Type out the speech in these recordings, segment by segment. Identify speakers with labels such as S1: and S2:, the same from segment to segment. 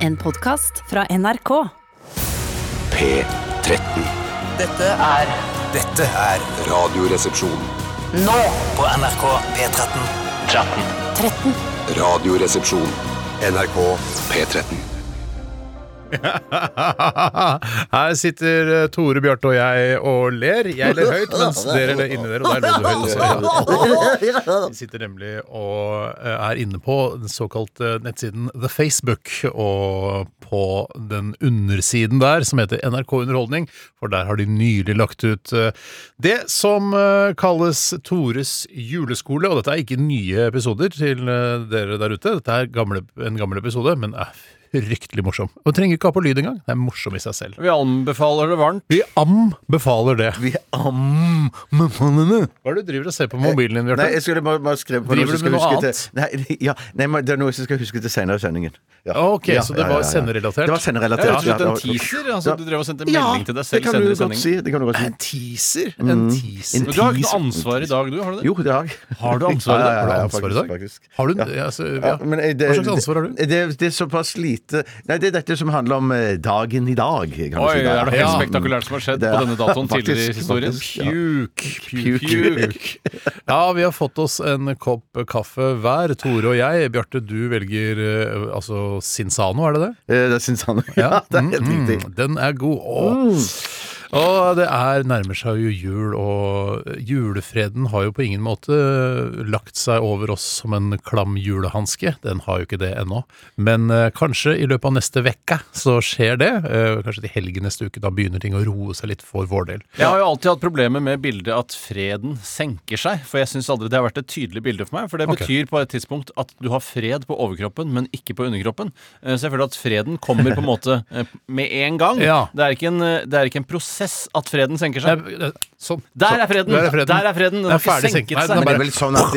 S1: En podkast fra NRK.
S2: P13.
S3: Dette er
S2: Dette er Radioresepsjon.
S3: nå på NRK P13. 13.
S2: Radioresepsjon. NRK P13.
S4: Her sitter eh, Tore, Bjarte og jeg og ler. Jeg ler høyt, mens dere ler inni dere. Og der lå du vel også. Vi sitter nemlig og eh, er inne på den såkalte nettsiden The Facebook. Og på den undersiden der, som heter NRK Underholdning, for der har de nylig lagt ut eh, det som eh, kalles Tores juleskole. Og dette er ikke nye episoder til eh, dere der ute, dette er gamle, en gammel episode, men er fryktelig morsom. Og trenger ikke ha på lyd engang. Det er morsom i seg selv.
S5: Vi anbefaler det varmt. Mm.
S4: Vi anbefaler det.
S6: Vi am... men faen, men-
S4: Hva er det du driver og ser på mobilen din,
S6: Nei,
S4: Bjarte?
S6: jeg skulle bare, bare skrive på
S4: Driver
S6: noe, så
S4: du med
S6: skal jeg
S4: noe
S6: huske Til, nei, ja, nei, men det er noe jeg skal huske til senere i sendingen. Ja.
S4: Ah, Ok, så det var senderelatert?
S6: Det var senderelatert.
S5: Det er rett og slett
S6: ja,
S5: en
S6: det var-
S5: teaser. Altså, du drev og sendte en
S6: Ja,
S5: melding til deg selv
S6: det kan du
S5: senere i
S6: godt
S5: sendingen.
S6: si. Det kan du godt si. Mm.
S4: En teaser? En teaser?
S5: Men du har ikke noe ansvar i dag, du? Har du det?
S6: Jo, det har jeg.
S5: Har du ansvar i dag?
S4: Har du
S6: ja,
S4: ansvar i dag?
S6: faktisk, faktisk.
S4: Har du,
S6: Ja.
S4: altså, ja.
S6: Ja, men, eh, det,
S4: Hva slags ansvar har du?
S6: Det, det, det er såpass lite Nei, det er dette som handler om eh, dagen i dag. Kan
S5: Oi,
S6: du si,
S5: det
S6: da.
S5: er noe helt
S4: Ja.
S5: spektakulært som har skjedd
S6: Det er-
S5: på denne datoen
S6: faktisk,
S5: tidligere i historien.
S6: faktisk, ja.
S4: Pjuk, pjuk,
S6: Pjuk.
S4: pjuk. Ja, vi har fått oss en kopp kaffe hver, Tore og jeg. Bjarte, du velger eh, altså Sinsano, er det det?
S6: Eh, Det syns han. Ja, det er helt
S4: Mm,
S6: riktig.
S4: Den er god. Åh. Og det er, nærmer seg jo jul, og julefreden har jo på ingen måte lagt seg over oss som en klam julehanske. Den har jo ikke det ennå. Men eh, kanskje i løpet av neste uke så skjer det. Eh, kanskje til helgen neste uke. Da begynner ting å roe seg litt for vår del.
S5: Jeg har jo alltid hatt problemer med bildet at freden senker seg. For jeg syns aldri det har vært et tydelig bilde for meg. For det
S4: Ok.
S5: betyr på et tidspunkt at du har fred på overkroppen, men ikke på underkroppen. Eh, Så jeg føler at freden kommer på en måte eh, med en gang.
S4: Ja.
S5: Det, er ikke en, eh, det er ikke en prosess at freden senker
S4: Eh,
S5: seg.
S4: eh, Sånn.
S5: Der er freden!
S4: Der er freden.
S5: Der er freden. Den
S4: Den er
S5: har ikke
S4: ferdig
S5: senket
S4: senket. Nei,
S5: seg.
S4: den
S6: Men det er vel sånn at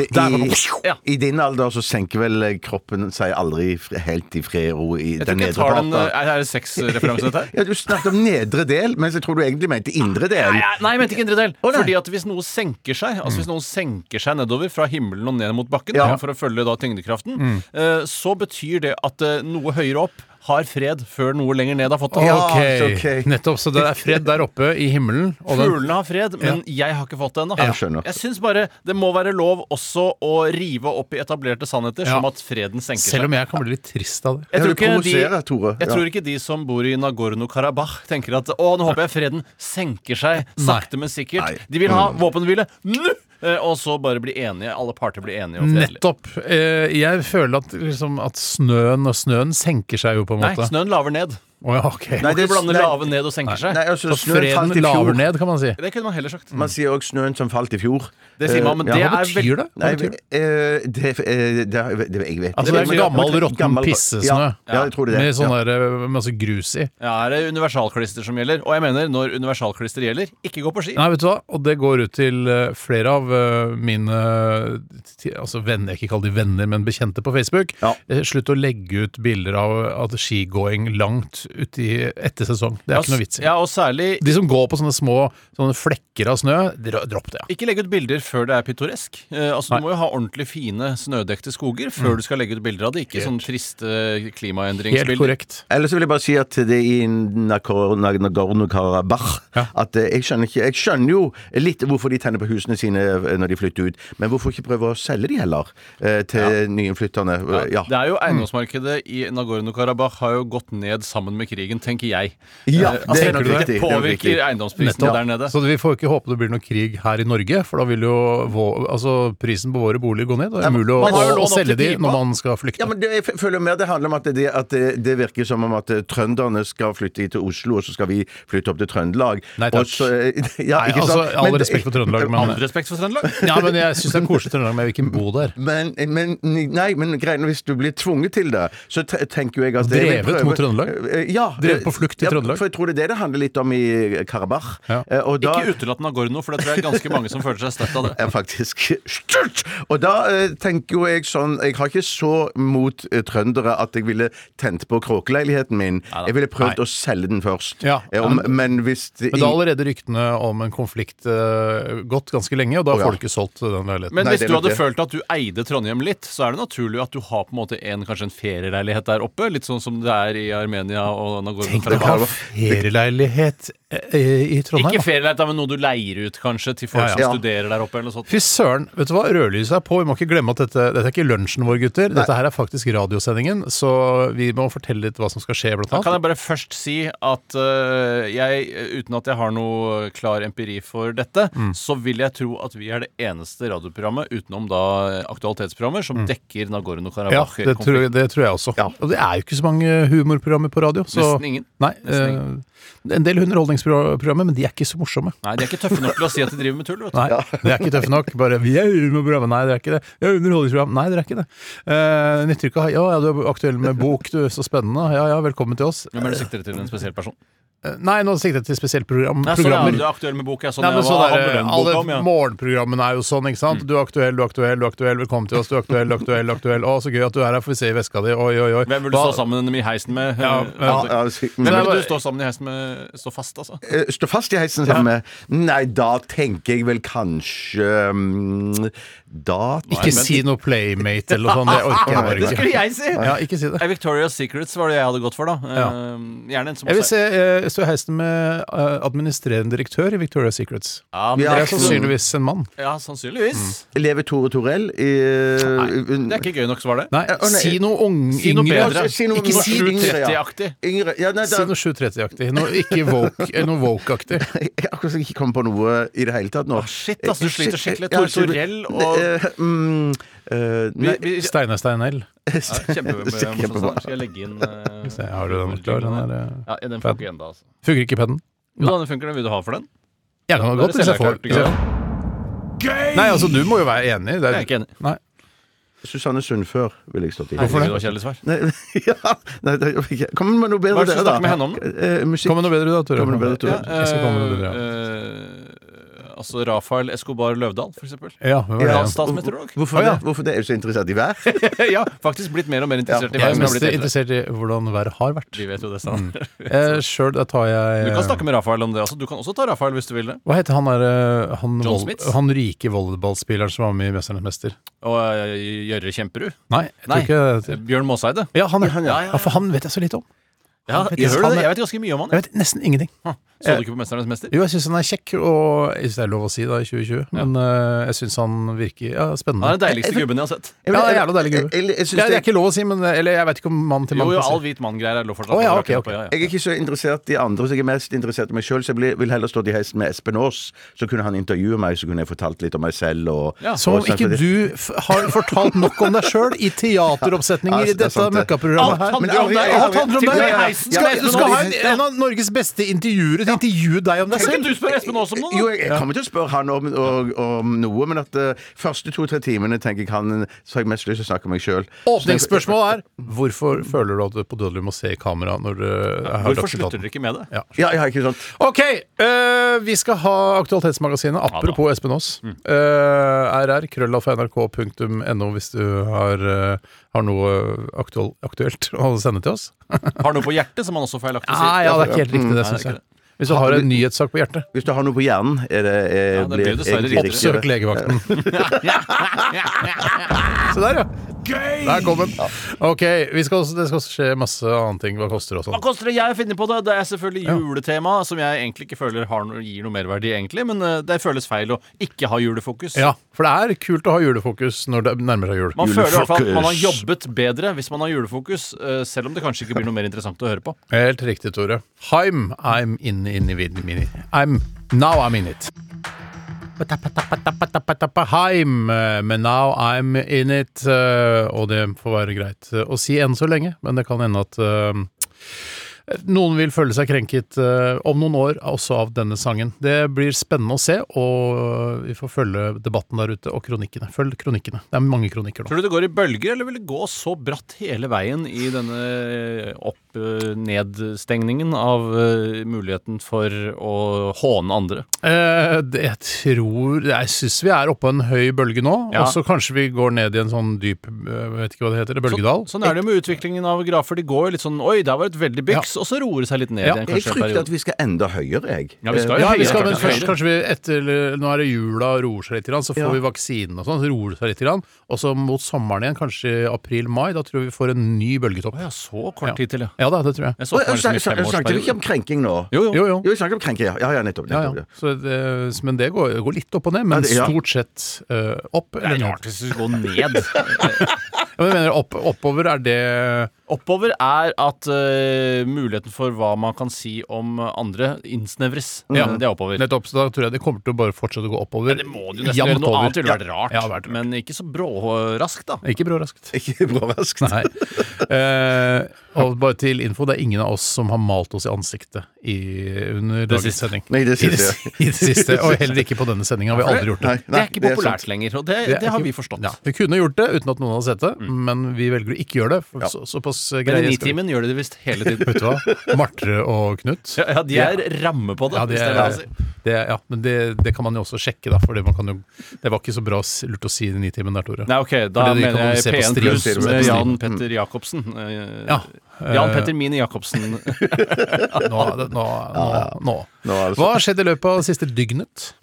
S6: i,
S5: Ja.
S6: i din alder så senker vel kroppen seg aldri fri- helt i fred og ro i
S5: Jeg
S6: den
S5: tror ikke jeg
S6: nedre
S5: tar den
S6: parten.
S5: eh, Er det sexreferanse, dette her?
S6: Ja, du snakket om nedre del, mens jeg tror du egentlig mente indre del.
S5: Nei, nei, jeg mente ikke indre del.
S6: Å, nei.
S5: Fordi at hvis noe senker seg Altså hvis noe senker seg nedover fra himmelen og ned mot bakken
S6: Ja.
S5: for å følge da tyngdekraften, eh, så betyr det at eh, noe høyere opp har fred før noe lenger ned har fått det.
S6: Ja,
S4: Ok,
S6: ok.
S4: nettopp. Så det er fred der oppe i himmelen. Og den,
S5: Fuglene har fred, men jeg har ikke fått det ennå.
S6: Jeg skjønner.
S5: Jeg syns bare det må være lov også å rive opp i etablerte sannheter,
S4: Ja.
S5: som at freden senker seg.
S4: selv om jeg kan bli litt trist av det.
S5: Jeg tror,
S6: Ja, du
S5: ikke de,
S6: provoserer, Tore.
S5: jeg
S6: Ja.
S5: tror ikke de som bor i Nagorno-Karabakh tenker at å, nå håper jeg freden senker seg sakte, men sikkert.
S6: Nei. Mm.
S5: De vil ha våpenhvile nå! Eh, Og så bare bli enige. Alle parter blir enige og fredelige.
S4: Nettopp. Eh, Jeg føler at, liksom, at snøen og snøen senker seg jo på en
S5: Nei,
S4: måte.
S5: snøen laver ned.
S4: Å ja, ok.
S6: Nei,
S5: Du
S6: det-
S5: blander
S6: nei.
S5: lave ned og senker seg.
S6: Nei, altså,
S4: Så
S6: snøen
S4: freden
S6: falt i
S4: laver
S6: fjor.
S4: ned, kan man si.
S5: Det kunne man heller sagt.
S6: Man sier òg 'snøen som falt i fjor'.
S5: Det sier man, men
S6: Eh,
S5: det
S6: ja.
S4: Hva
S5: er
S4: betyr det? Hva
S6: Nei,
S4: betyr det?
S6: eh, det, eh, det, det Jeg vet
S4: Altså, det er en gammel, råtten
S6: Gammel-
S4: pissesnø.
S6: Ja, ja, jeg tror det.
S4: Med sånn
S6: ja.
S4: der, eh, masse grus i.
S5: Ja, er det universalklister som gjelder? Og jeg mener, når universalklister gjelder, ikke gå på ski.
S4: Nei, vet du hva? Og det går ut til eh, flere av eh, mine eh, ti- altså venner, ikke kall de venner, men bekjente på Facebook.
S6: Ja.
S4: Eh, Slutt å legge ut bilder av at skigåing langt uti etter sesong. Det er ikke noe vits i.
S5: Ja, og særlig
S4: De som går på sånne små sånne flekker av snø, dro- dropp det. ja.
S5: Ikke legg ut bilder før det er pittoresk. Eh, altså, du må jo ha ordentlig fine snødekte skoger
S6: Mm.
S5: før du skal legge ut bilder av det. Ikke sånne triste
S4: Helt
S5: klimaendringsbilder.
S4: korrekt.
S6: Ellers så vil jeg bare si at det er i Nagor- Nagorno-Karabakh at eh, jeg skjønner, ikke, jeg skjønner jo litt hvorfor de tenner på husene sine eh, når de flytter ut, men hvorfor ikke prøve å selge de heller eh, til nyinnflytterne? Eh, Ja.
S5: Det er jo Eiendomsmarkedet i Nagorno-Karabakh har jo gått ned sammen med krigen, tenker jeg.
S6: Ja,
S5: Eh,
S6: det
S5: altså,
S4: er nok
S5: det,
S6: riktig, det er nok riktig.
S5: påvirker eiendomsprisene der nede.
S4: Så vi får ikke håpe det blir noe krig her i Norge, for da vil jo vå- altså, prisen på våre boliger gå ned. Og det er umulig å,
S5: man har jo
S4: å,
S5: lånt
S4: å
S5: opp til
S4: selge de
S5: pipa.
S4: når man skal flykte.
S6: Ja, men det, jeg f- føler mer det handler om at det, at det, det virker som om at eh, trønderne skal flytte hit til Oslo, og så skal vi flytte opp til Trøndelag.
S4: Nei, takk.
S6: Og så, eh, ja,
S4: Nei,
S6: ikke sant?
S4: altså, all
S6: Men-
S4: respekt for Trøndelag, men,
S5: All respekt for Trøndelag.
S4: ja, men jeg syns det er koselig i Trøndelag, men jeg vil ikke bo der.
S6: Men, men, nei, men greien, er hvis du blir tvunget til det, så te- tenker jo jeg at
S4: Drevet mot Trøndelag?
S6: Eh, ja,
S4: Drevet på flukt i
S6: ja,
S4: Trøndelag?
S6: For jeg tror det er det det handler litt om i Karabakh.
S4: Ja.
S6: Eh, og da-
S5: Ikke utelatt Nagorno, for det tror jeg er ganske mange som føler seg støtt av det.
S6: er faktisk stort! Og da eh, tenker jo jeg sånn Jeg har ikke så mot eh, trøndere at jeg ville tent på kråkeleiligheten min. Jeg ville prøvd å selge den først.
S4: Ja.
S6: Eh, om, men hvis det,
S4: Men da har allerede ryktene om en konflikt eh, gått ganske lenge, og da
S6: ja.
S4: får du ikke solgt den leiligheten.
S5: Men
S6: Nei,
S5: hvis
S6: det er
S5: du
S6: nok
S5: hadde
S6: det.
S5: følt at du eide Trondheim litt, så er det naturlig at du har på en måte en, kanskje en ferieleilighet der oppe. Litt sånn som det er i Armenia og Nagorno.
S4: Tenk deg å ha ferieleilighet eh, i Trondheim.
S5: Ikke
S4: da.
S5: ferieleilighet, da, men noe du leier ut kanskje til folk
S4: Ja, ja.
S5: som
S6: Ja.
S5: studerer der oppe. eller noe sånt.
S4: Fy søren! Vet du hva rødlyset er på? Vi må ikke glemme at dette, dette er ikke lunsjen vår, gutter. Dette her er faktisk radiosendingen, så vi må fortelle litt hva som skal skje, blant
S5: Da kan
S4: annet.
S5: jeg bare først si at øh, jeg, uten at jeg har noe klar empiri for dette,
S4: Mm.
S5: så vil jeg tro at vi er det eneste radioprogrammet utenom da aktualitetsprogrammer som dekker
S4: Mm. Ja, det tror,
S5: Nagorno-Karabakh-konflikten.
S4: jeg- det tror jeg også. Og det er jo ikke så mange humorprogrammer på radio. Så,
S5: Nesten ingen.
S4: Nei,
S5: Nesten
S4: eh, en del underholdningsprogrammer, men de er ikke så morsomme.
S5: Nei, de er ikke tøffe nok til å si at de driver med tull. vet du.
S4: Nei, det er ikke tøffe nok. Bare 'vi er humorprogram'. Nei, dere er ikke det. 'Vi er underholdningsprogram'. Nei, dere er ikke det. Eh, nytter ikke å ha 'ja, ja, du er aktuell med bok, du, så spennende'. Ja ja, velkommen til oss.
S5: Hvem er det sikter til? En spesiell person?
S4: Eh, Nei, nå sikter jeg til spesielt program,
S5: Nei, sånn, ja,
S4: programmer.
S5: du er aktuell med bok, ja. Sånn,
S4: Nei,
S5: ja,
S4: men
S5: hva
S4: så
S5: handler
S4: der,
S5: den boka om,
S4: alle
S5: ja?
S4: morgenprogrammene er jo sånn, ikke sant. Du er aktuell, du er aktuell, du er aktuell, velkommen til oss, du er aktuell, du er aktuell, du er aktuell. Å, så gøy at du er her, får vi se i veska di, oi, oi, oi.
S5: Hvem vil du
S4: Hva-
S5: stå sammen i heisen med?
S4: Ja,
S5: Eh,
S4: ja,
S6: ja, si-
S5: Hvem
S6: men-
S5: vil du stå sammen i heisen med? Stå fast, altså?
S6: eh, Stå fast i heisen sammen med Nei, da tenker jeg vel kanskje mm, Da
S4: Ikke si noe Playmate eller noe sånt, det orker jeg bare ikke.
S5: jeg si!
S4: Ja, ikke si det.
S5: Eh, Victoria's Secrets var det jeg hadde gått for, da. Eh, Gjerne en som
S4: Jeg vil
S5: også
S4: se eh, stå i heisen med eh, administrerende direktør i Victoria's Secrets.
S5: er- Ja, men
S6: Ja, Mm.
S4: Det
S5: det
S4: er sannsynligvis en mann.
S5: Ja, sannsynligvis.
S6: Leve Tore Torell i
S5: Det er ikke gøy nok svar, det.
S4: Nei,
S6: Eh, å, nei.
S4: si noe ung,
S5: Si noe
S4: yngre.
S5: bedre.
S6: Si noe
S5: ikke
S6: norsk
S5: si
S6: yngre, ja.
S5: 30-aktig.
S6: Yngre ja, nei,
S4: Si
S6: da,
S4: noe 730-aktig. Noe ikke woke, eh, noe woke-aktig.
S6: Jeg jeg- akkurat som jeg ikke kom på noe i det hele tatt nå. Eh,
S5: Ah, shit, ass, du sliter skikkelig.
S6: Ja,
S5: Tor
S6: shit.
S5: Torell og-
S6: Eh, mm, eh,
S5: Vi,
S6: nei,
S5: vi, ja,
S4: Steinar Steinell.
S5: Kjempemorsomt.
S6: Kjempebra.
S5: Skal jeg legge inn eh,
S4: Se, Har du den klar? Den der, eh,
S5: Ja, den funker ennå, altså.
S4: Funker ikke i pennen?
S5: Jo da, den funker. den. Vil du ha for den?
S4: Jeg kan godt hvis jeg får hvis jeg- Nei, altså, du må jo være enig. Det
S5: Jeg er ikke enig.
S4: Nei.
S6: Susanne Sundfør ville jeg stått i.
S5: Hvorfor det? var kjedelig svar.
S6: Nei, ja, nei, det er ikke- kom med noe bedre,
S5: Hva er det du
S6: dere, da.
S5: snakker med henne om, da?
S6: Eh, musikk.
S4: Kom med noe bedre, da, Tore.
S6: Kom med noe bedre, Tore.
S4: Ja, jeg skal komme med noe bedre, ja.
S5: Eh, eh, altså Rafael Escobar Løvdahl, for eksempel.
S4: Ja, hvem var
S6: Ja.
S5: eh, Ja,
S4: det?
S5: statsmeteorolog.
S4: Å,
S6: Hvorfor,
S4: ja.
S6: det? Hvorfor det? Er du så interessert i vær?
S5: ja, faktisk blitt mer og mer interessert i
S4: Jeg
S5: hver
S4: er
S5: som jeg har
S4: mest
S5: blitt eldre.
S4: interessert i hvordan været har vært.
S5: Vi vet jo det, sant?
S4: Eh, Sjøl, da tar jeg
S5: Du kan snakke med Rafael om det også. Du kan også ta Rafael hvis du vil det.
S4: Hva heter han der, eh, han,
S5: John
S4: vol-
S5: Smith?
S4: han rike volleyballspilleren som var med i 'Mesternes mester'?
S5: Og eh, Jørre Kjemperud.
S4: Nei, jeg
S5: Nei,
S4: tror ikke
S5: Bjørn Måseide.
S4: Ja, han, ja,
S5: ja, ja.
S4: ja, for han vet jeg så lite om.
S5: Ja,
S4: vet
S5: gjør
S4: ikke.
S5: du
S4: Han
S5: det?
S4: er-
S5: Jeg vet ganske mye om han.
S4: Jeg
S5: jeg.
S4: vet nesten ingenting.
S5: Så du ikke på 'Mesternes mester'?
S4: Jo, jeg syns han er kjekk, og jeg synes det er lov å si da i 2020, men eh, jeg syns han virker ja, spennende.
S5: Han er den deiligste gubben jeg har sett.
S4: Ja, det er jævla deilig gubbe.
S6: Jeg- jeg- jeg synes
S4: Ja, det er
S6: det-
S4: ikke lov å si, men eh, Eller jeg vet ikke om mann til
S5: Jo,
S4: mann
S5: jo,
S4: kan si.
S5: all hvit mann-greier er lov fortsatt.
S4: Å, ja,
S5: å
S4: ok,
S5: rakke
S4: ok.
S5: på, ja, ja.
S6: Jeg er ikke så interessert i andre, så jeg er mest interessert i meg sjøl. Så jeg blir- vil heller stått i heisen med Espen Aas. Så kunne han intervjue meg, så kunne jeg fortalt litt om meg selv. Og,
S5: Ja.
S4: Som om
S6: og-
S4: ikke du f har fortalt nok om deg sjøl i
S6: Ja,
S4: teateroppsetninger
S6: det
S4: i
S6: er
S4: dette
S6: sant, det.
S4: møkkaprogrammet her.
S5: Alt
S6: Men
S5: handler om
S6: aldri-
S5: deg!
S4: Alt handler om
S5: Til og med
S4: deg!
S5: heisen
S4: Skal,
S5: skal
S4: du
S5: Espen
S4: skal ha
S5: Aas-
S4: en, en av Norges beste intervjuere til å intervjue deg om deg
S5: Kan ikke
S4: selv!
S5: du spørre Espen Aas om noe?
S6: Jo,
S5: da?
S6: jeg jeg kommer til å spørre han om, og, om noe, men at de første to-tre timene tenker jeg han Så har jeg mest lyst til å snakke om meg sjøl.
S4: Åpningsspørsmålet er hvorfor føler du at du på dødelig må se i kamera når du har
S5: Hvorfor slutter dere ikke med det?
S4: Ja.
S6: Ja, ja, ikke sant?
S4: Ok, øh, vi skal ha Aktualitetsmagasinet. Apropos Espen Aas. Øh, RR, krøllalfa.nrk.no hvis du har, øh, har noe aktuell, aktuelt å sende til oss.
S5: Har noe på hjertet, som han også feilaktig
S4: Nei, ja, det er ikke helt riktig, det
S5: Nei, Ah, det er
S4: syns
S5: ikke
S4: jeg. Hvis du har en nyhetssak på hjertet,
S6: Hvis du har noe på hjernen, er det, er,
S5: Ja, det blir dessverre
S6: egentlig
S5: riktigere.
S6: riktigere.
S4: søk legevakten. Se der, ja. Der kom den. Ok, vi skal også, det skal også skje masse annet ting. Hva koster det og
S5: Hva
S4: sånn.
S5: koster det jeg finner på det? Det er selvfølgelig juletema, som jeg egentlig ikke føler har noe, gir noe merverdi, egentlig, men eh, det føles feil å ikke ha julefokus.
S4: Ja, for det er kult å ha julefokus når det nærmer seg jul.
S5: Man føler i hvert fall at man har
S6: Julefokus.
S5: jobbet bedre hvis man har julefokus, eh, selv om det kanskje ikke blir noe mer interessant å høre på.
S4: Helt riktig, Tore. I'm, I'm in, in, in, in it. I'm, now I'm in it. I'm, eh, men now I'm in it. eh, Og det får være greit eh, å si enn så lenge, men det kan hende at eh, noen vil føle seg krenket eh, om noen år også av denne sangen. Det blir spennende å se, og eh, vi får følge debatten der ute og kronikkene. Følg kronikkene. Det er mange kronikker nå.
S5: Tror du det går i bølger, eller vil det gå så bratt hele veien i denne opp eh, nedstengningen av eh, muligheten for å håne andre.
S4: Eh, det- jeg tror Jeg syns vi er oppå en høy bølge nå,
S5: Ja.
S4: og så kanskje vi går ned i en sånn dyp eh, Vet ikke hva det heter, bølgedal.
S5: Så, sånn er det jo med utviklingen av grafer. De går jo litt sånn Oi, der var et veldig byks, og så roer det seg litt ned
S4: Ja.
S5: igjen.
S6: Jeg
S5: kanskje en
S6: frykter
S5: periode.
S6: at vi skal enda høyere, jeg.
S5: Ja, vi skal jo
S4: ja, vi
S5: høyere,
S4: skal,
S5: klart
S4: men
S5: det er
S4: først
S5: høyere.
S4: kanskje vi etter Nå er det jula og roer seg litt, grann, så får
S6: Ja.
S4: vi vaksinen og sånn, så roer det seg litt. grann. Og så mot sommeren igjen, kanskje april-mai, da tror jeg vi får en ny bølgetopp.
S5: Ja, så kort tid til, ja.
S4: Ja da, det tror jeg.
S5: Jeg så på
S6: Å,
S5: det som i
S6: snak- snak- Snakket vi ikke om
S5: femårsperiode.
S6: krenking nå?
S5: Jo, jo.
S4: Jo, jo.
S6: Jo, vi snakket om krenking, ja. Ja, ja, nettopp.
S4: Ja,
S6: nettopp
S4: ja.
S6: ja.
S4: Så det, men det går, det går litt opp og ned,
S6: Ja,
S4: men
S6: det- ja.
S4: stort sett eh, opp.
S5: Det
S4: Eller
S5: er
S4: ned.
S5: rart hvis du går ned.
S4: Ja, men jeg mener, opp, oppover er det
S5: Oppover er at eh, muligheten for hva man kan si om andre, innsnevres.
S4: Mm.
S5: Ja, det er oppover.
S4: Nettopp, så da tror jeg det kommer til å bare fortsette å gå oppover.
S5: Det må du nesten gjøre.
S4: jevnt
S5: Noe
S4: over.
S5: annet ville vært rart.
S4: Ja, ja, vært rart.
S5: Men ikke så bråraskt, da.
S4: Ikke bråraskt.
S6: Ikke bra raskt.
S4: Nei. Eh, og bare til info, det er ingen av oss som har malt oss i ansiktet i, under dagens
S5: siste.
S4: sending.
S6: Nei, det
S4: I, det,
S6: siste, ja.
S4: I det siste, og heller ikke på denne sendinga. Vi har aldri gjort det.
S6: Nei, nei,
S5: det er ikke
S6: sant.
S5: populært lenger, og det, det,
S4: er
S5: har
S4: ikke-
S5: vi forstått. Mm.
S4: Ja, vi kunne gjort det uten at noen hadde sett det, men vi velger å ikke gjøre det. For
S6: Ja.
S4: så, såpass
S5: Men i
S4: greie skal vi.
S5: Nitimen gjør de det visst hele tiden.
S4: Vet du hva? Marte og Knut.
S5: Ja, ja, de er ramme på det.
S4: Ja, det,
S5: hvis det er lov å si.
S4: er, det, er- ja, men det, det kan man jo også sjekke, da. For det, man kan jo, det var ikke så bra s- lurt å si i Nitimen der, Tore.
S5: Nei, ok, da
S4: Fordi de kan
S5: mener jeg
S4: se på
S5: P1
S4: stream,
S5: pluss
S6: ser du på
S5: med
S6: stream.
S5: Jan Petter Jacobsen. Eh,
S4: Mm. Ja.
S5: Jan Petter Mini Jacobsen.
S4: Nå, nå, nå, nå.
S6: Nå er det
S4: Hva har skjedd i løpet av det siste dygnet?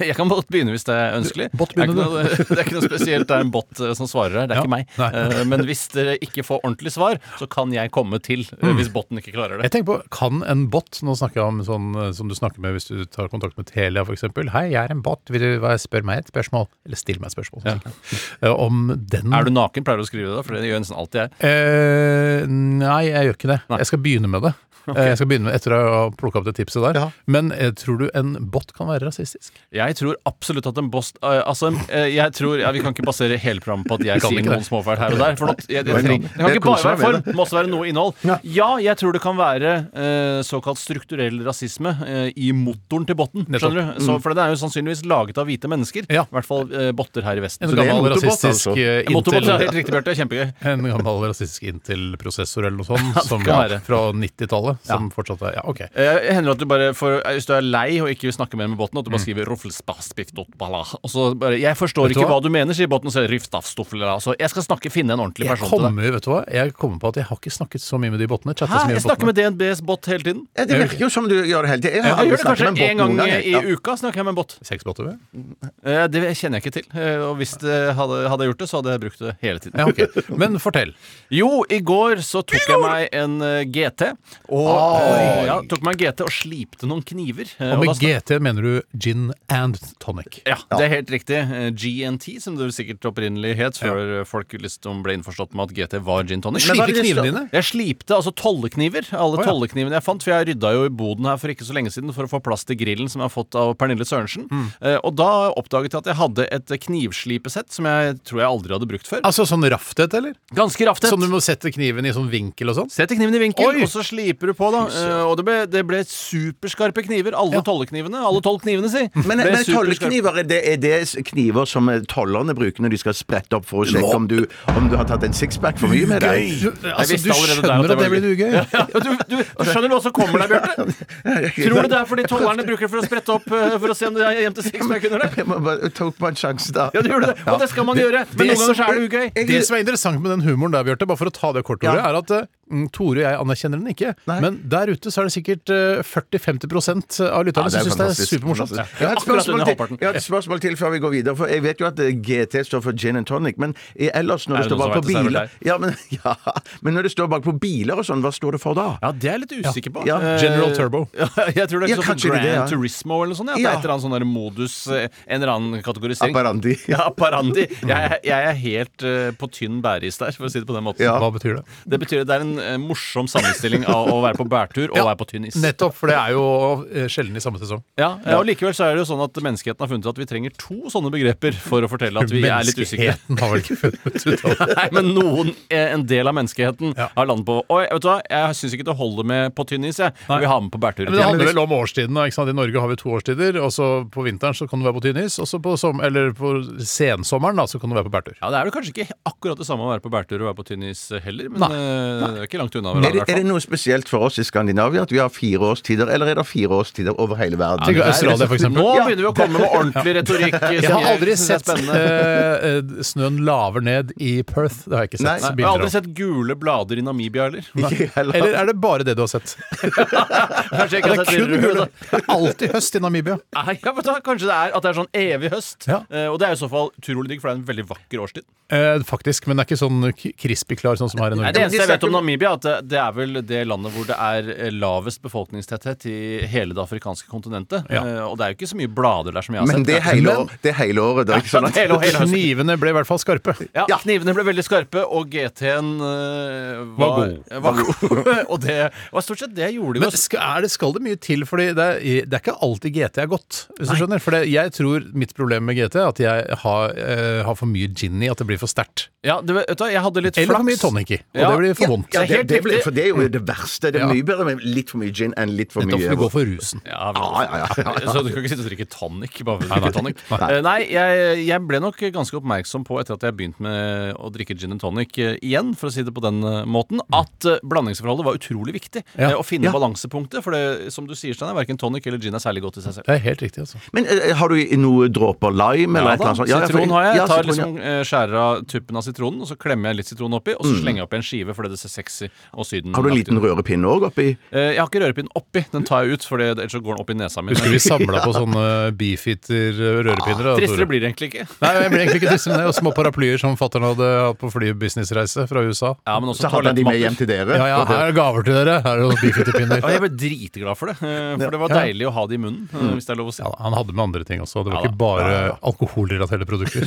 S5: Jeg kan godt begynne hvis det er ønskelig.
S4: Bot
S5: det, er ikke
S4: begynner
S5: noe, det er ikke noe spesielt, det er en bot eh, som svarer her, det er
S4: Ja,
S5: ikke meg.
S4: nei.
S5: Eh, Men hvis dere ikke får ordentlig svar, så kan jeg komme til eh,
S4: Mm.
S5: hvis botten ikke klarer det.
S4: Jeg tenker på, Kan en bot Nå snakker jeg om sånn eh, som du snakker med hvis du tar kontakt med Telia f.eks. Hei, jeg er en bot. Vil du hva- spørre meg et spørsmål? Eller stille meg et spørsmål. sånn. Eh, Om den
S5: Er du naken, pleier du å skrive det, da? for det gjør nesten alltid jeg.
S4: Eh, nei, jeg gjør ikke det. Jeg skal begynne med det. Eh, Jeg skal begynne med Etter å ha plukka opp det tipset der. Men eh, tror du en bot kan være rasistisk?
S5: Jeg tror absolutt at en boss eh, Altså, eh, jeg tror ja, Vi kan ikke basere hele programmet på at jeg
S4: Kan
S5: sier
S4: ikke
S5: noen
S4: det.
S5: småfeil her og der. For nå- jeg, jeg,
S6: Oi, nå.
S5: trenger- det kan
S6: Jeg
S5: ikke bare
S6: koser
S5: være
S6: meg med
S5: form, det må også være noe innhold. Ja, jeg tror det kan være eh, såkalt strukturell rasisme eh, i motoren til botten.
S4: Nettopp. Mm.
S5: Skjønner du? Så, for den er jo sannsynligvis laget av hvite mennesker.
S4: Ja.
S5: I hvert fall eh, botter her i Vesten. Så
S4: En
S5: det-
S6: det er
S4: gammel
S6: motobot,
S4: rasistisk
S6: altså.
S4: eh,
S5: Motobot er
S4: Intel
S5: helt riktig, Bjarte. Kjempegøy.
S4: En gammel rasistisk Intel-prosessor eller noe sånt som,
S5: kan være.
S4: fra 90-tallet. Som fortsatt er Ja, OK.
S5: Eh, Det hender at du bare får, eh, Hvis du er lei og ikke vil snakke mer med botten, at du bare skriver «Ruffelspassbiftotbala», Og så bare 'Jeg forstår
S4: Vet du
S5: ikke hva
S4: hva?
S5: du mener', sier botten. Så er det «Riftafstoffela». Så jeg skal snakke, finne en ordentlig
S4: Jeg
S5: person til deg.
S4: kommer, vet du hva? jeg kommer på at jeg har ikke snakket så mye med de botene.
S5: Hæ? Jeg snakker
S4: botene.
S5: med DNBs bot hele tiden.
S6: Ja, det virker jo som du gjør det hele tiden. har
S5: Jeg gjør
S6: aldri
S5: det
S6: snakket
S5: kanskje
S6: med en bot
S5: en gang
S6: noen gang,
S5: i
S6: jeg. Ja.
S5: uka. snakker jeg med en bot
S4: Seks botter, vel?
S5: Eh, Det kjenner jeg ikke til. Eh, Og hvis det hadde, hadde jeg gjort det, så hadde jeg brukt det hele tiden.
S4: Ja, ok. Men fortell.
S5: Jo, i går så tok jeg meg en eh, GT. Og, eh, ja, tok meg en GT og slipte noen kniver. eh,
S4: Og
S5: da
S4: med
S5: snak-
S4: GT mener du gin and tonic.
S5: Ja, det er helt riktig. Eh, GNT, som det sikkert opprinnelig het, før folk liksom ble innforstått med at GT var gin tonic.
S4: Men
S5: Men hva
S4: Slipe
S5: er det-
S4: knivene dine?
S5: Jeg slipte altså tollekniver. Alle
S4: Å, ja.
S5: tolleknivene jeg fant. For jeg rydda jo i boden her for ikke så lenge siden for å få plass til grillen som jeg har fått av Pernille Sørensen. Eh, og da oppdaget jeg at jeg hadde et knivslipesett som jeg tror jeg aldri hadde brukt før.
S4: Altså sånn rafthet, eller?
S5: Ganske raftet.
S4: Som du må sette kniven i sånn vinkel og sånn?
S5: Setter kniven i vinkel,
S4: Oi!
S5: og så sliper du på, da. Eh, og det ble, det ble superskarpe kniver. Alle
S4: Ja.
S5: tolleknivene. Alle tolv knivene, si.
S6: Men,
S5: Ble
S6: men
S5: superskarpe.
S6: tollekniver, er det, er det s- kniver som eh, tollerne bruker når de skal sprette opp for å sjekke om du, om du har tatt en sixpack for mye med deg?
S4: Du, altså,
S5: visste
S4: du
S5: allerede der at
S4: skjønner
S5: det
S4: at det
S5: var
S4: blir ugøy?
S5: Ja, du, du, du skjønner hva som kommer deg, Bjarte? Tror du det er fordi tollerne bruker det for å sprette opp eh, for å se om du er hjem til sexpack under det?
S6: Jeg må bare- jeg tok bare en sjanse da.
S5: Ja, du gjør det. Og det skal man gjøre. Men noen ganger så er det ugøy.
S4: Det som er interessant med den humoren der, Bjarte, bare for å ta det kortordet,
S6: Ja.
S4: er at eh, mm, Tore og jeg anerkjenner den ikke.
S6: Nei.
S4: Men der ute så er det sikkert eh, 40-50 av lytterne som
S6: Ja,
S4: syns det er
S6: fantastisk.
S4: supermorsomt.
S6: Fantastisk. Jeg har et
S5: Akkurat
S6: spørsmål
S5: under
S6: til,
S5: halvparten.
S6: jeg har et spørsmål til før vi går videre. For jeg vet jo at eh, GT står for gin and tonic, men i- ellers når
S5: Er
S6: det
S5: det
S6: står
S5: noen
S6: bak på
S5: som vet det, så er det
S6: biler
S5: vel
S6: ja men, ja, men når det står bak på biler og sånn, hva står det for da?
S5: Ja, det er jeg litt usikker på.
S6: Ja.
S5: Eh,
S4: General Turbo.
S5: Ja, jeg tror det er
S6: Ja,
S5: ikke sånn
S6: kanskje det er
S5: Grand
S6: det, ja.
S5: Turismo eller noe sånt. Ja. at Det
S6: Ja.
S5: er et eller annet sånn der modus, eh, en eller annen kategorisering.
S6: Apparandi.
S5: Ja, apparandi. Jeg, jeg er helt eh, på tynn bæris der, for å si det på den måten.
S6: Ja.
S4: Hva betyr det?
S5: Det betyr at det er en eh, morsom sammenstilling av å være på bærtur og
S4: Ja.
S5: være på tynn is.
S4: Nettopp, for det er jo eh, sjelden i samme sesong.
S5: Ja, ja, og Likevel så er det jo sånn at menneskeheten har funnet ut at vi trenger to sånne begreper for å fortelle at vi er litt usikre.
S4: Menneskeheten har vel ikke funnet ut av det.
S5: Nei, men noen, eh, en del av menneskeheten
S4: Ja.
S5: har landet på Oi, vet du hva, jeg syns ikke det holder med på tynn is, jeg. Vi har med på bærtur.
S4: Men det handler vel om årstidene. Ikke sant? I Norge har vi to årstider. og så På vinteren så kan du være på tynn is, og så på, som, eller på sensommeren da, så kan du være på bærtur.
S5: Ja, Det er vel kanskje ikke akkurat det samme å være på bærtur og være på tynn is heller, men eh, det er er ikke langt unna
S6: Er
S5: hverandre.
S6: det,
S5: i hvert
S6: er det
S5: fall.
S6: noe spesielt for oss i Skandinavia at vi har fire årstider, eller er det fire årstider over hele verden?
S4: Tenk på Australia, for
S5: liksom-
S4: eksempel.
S5: Nå begynner vi å komme med ordentlig retorikk. eh,
S4: Jeg har aldri sett
S5: spennende.
S4: eh, eh, snøen laver ned i Perth. Det har jeg ikke
S6: Nei,
S4: sett.
S5: Nei, jeg
S4: bilder
S5: har
S4: av.
S5: aldri sett gule blader i Namibia heller.
S6: Ikke heller.
S4: Eller er det bare det du har sett?
S5: Kanskje jeg
S4: Det
S5: ikke
S4: er
S5: har sett altså.
S4: kun
S5: det
S4: gule.
S5: røde.
S4: Det er alltid høst i Namibia.
S5: Nei, ja, men da, kanskje det er at det er sånn evig høst.
S4: Ja.
S5: Eh, og det er i så fall utrolig digg, for det er en veldig vakker årstid.
S4: Eh, faktisk, men det er ikke sånn k- crispy klar sånn som her i
S5: Nei, det
S4: Norge.
S5: eneste jeg vet om Namibia, er at det, det er vel det landet hvor det er eh, lavest befolkningstetthet i hele det afrikanske kontinentet.
S4: Ja.
S5: Eh, og det er jo ikke så mye blader der som jeg har
S6: Men
S5: sett.
S6: det er hele, år, det er hele året. Det er ikke sånn at
S5: Hele, og hele høsten.
S4: Knivene ble i hvert fall skarpe.
S5: Ja, Knivene ble veldig skarpe, og GT-en eh, var,
S4: Var god.
S5: eh, Var god. og det var stort sett det jeg gjorde.
S4: Men
S5: jo.
S4: skal, er det, skal det mye til? Fordi det er, det er ikke alltid GT er godt. Hvis du skjønner For det, jeg tror mitt problem med GT er at jeg har, eh, har for mye gin i at det blir for sterkt.
S5: ja, det, vet du, hva, jeg hadde litt
S4: Eller for mye
S5: flaks.
S4: tonic i. Og
S5: Ja.
S4: det blir for vondt.
S6: Ja,
S5: Det er
S6: det,
S5: helt
S6: det blir,
S5: riktig. Mm.
S6: for det er jo det verste. Det er mye bedre med litt for mye gin enn litt for
S4: Nettopp for du
S6: mye
S4: går for rusen.
S5: Ja, men-
S6: Ja, ja, ja, ja.
S5: Så du kan ikke sitte og drikke tonic bare for å drikke tonic? Eh, Nei, jeg, jeg ble nok ganske oppmerksom på, etter at jeg begynte med å drikke gin and tonic eh, igjen, for å si det på den eh, måten, at eh, blandingsforholdet var utrolig viktig.
S4: Mm. Ja.
S5: Eh, Å finne balansepunktet, for det, som du sier, Steinar, verken tonic eller gin er særlig godt i seg selv.
S4: Det er helt riktig, altså.
S6: Men eh, har du noe dråper lime eller et eller annet sånt? Ja, ja, for-
S5: sitron har jeg.
S6: ja,
S5: tar
S6: sitron, ja.
S5: liksom, eh, skjærer av tuppen av sitronen, og så klemmer jeg litt sitron oppi, og så slenger jeg oppi en skive fordi det ser sexy og syden
S6: Mm. Har du en liten rørepinne òg oppi?
S5: Eh, Jeg har ikke rørepinn oppi, den tar jeg ut, for det- ellers så går den opp i nesa mi.
S4: Husker vi samla på sånne eh, beefeater-rørepinner?
S5: Tristere blir det egentlig ikke.
S4: Nei, jeg ble egentlig ikke trist med det. Og små paraplyer som fatter'n hadde hatt på flybusinessreise fra USA.
S5: Ja, men også
S6: Så hadde han de med hjem
S5: toalettmatter.
S6: til dere?
S4: Ja, ja, her er det gaver til dere. Her er det noen beefeater-pinner.
S5: Ja, jeg ble dritglad for det. eh, For det var
S4: Ja. Mm.
S5: deilig å ha det i munnen, eh, hvis det er lov å si.
S4: Ja, han hadde med andre ting også. Det var
S5: Ja,
S4: ikke bare alkoholrelaterte produkter.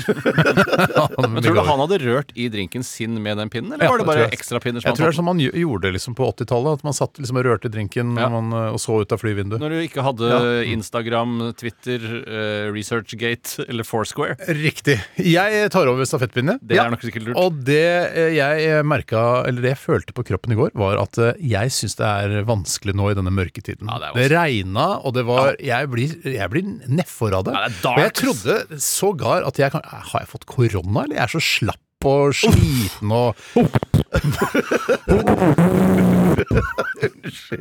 S4: Han
S5: Men Tror du han hadde rørt i drinken sin med den pinnen, eller
S4: Ja,
S5: var det
S4: det
S5: bare
S4: tror jeg.
S5: ekstrapinner? som
S4: jeg tror det
S5: han
S4: er
S5: hadde?
S4: som man gj- gjorde det liksom på 80-tallet. At man satt liksom og rørte drinken
S5: Ja.
S4: når man, eh, og så ut av flyvinduet.
S5: Når du ikke hadde Instagram, Twitter, eh, Researchgate eller Foursquare.
S4: Riktig. Jeg tar over stafettpinnen.
S5: Det
S4: Ja.
S5: er nok sikkert lurt.
S4: Og det eh, jeg merka, eller det jeg følte på kroppen i går, var at eh, jeg syns det er vanskelig nå i denne mørketiden.
S5: Ja, det er
S4: det regna, og det var Jeg blir, jeg blir nedfor av det.
S5: Ja, det er dark,
S4: og jeg trodde sågar at jeg kan Har jeg fått korona, eller? Jeg er så slapp og sliten og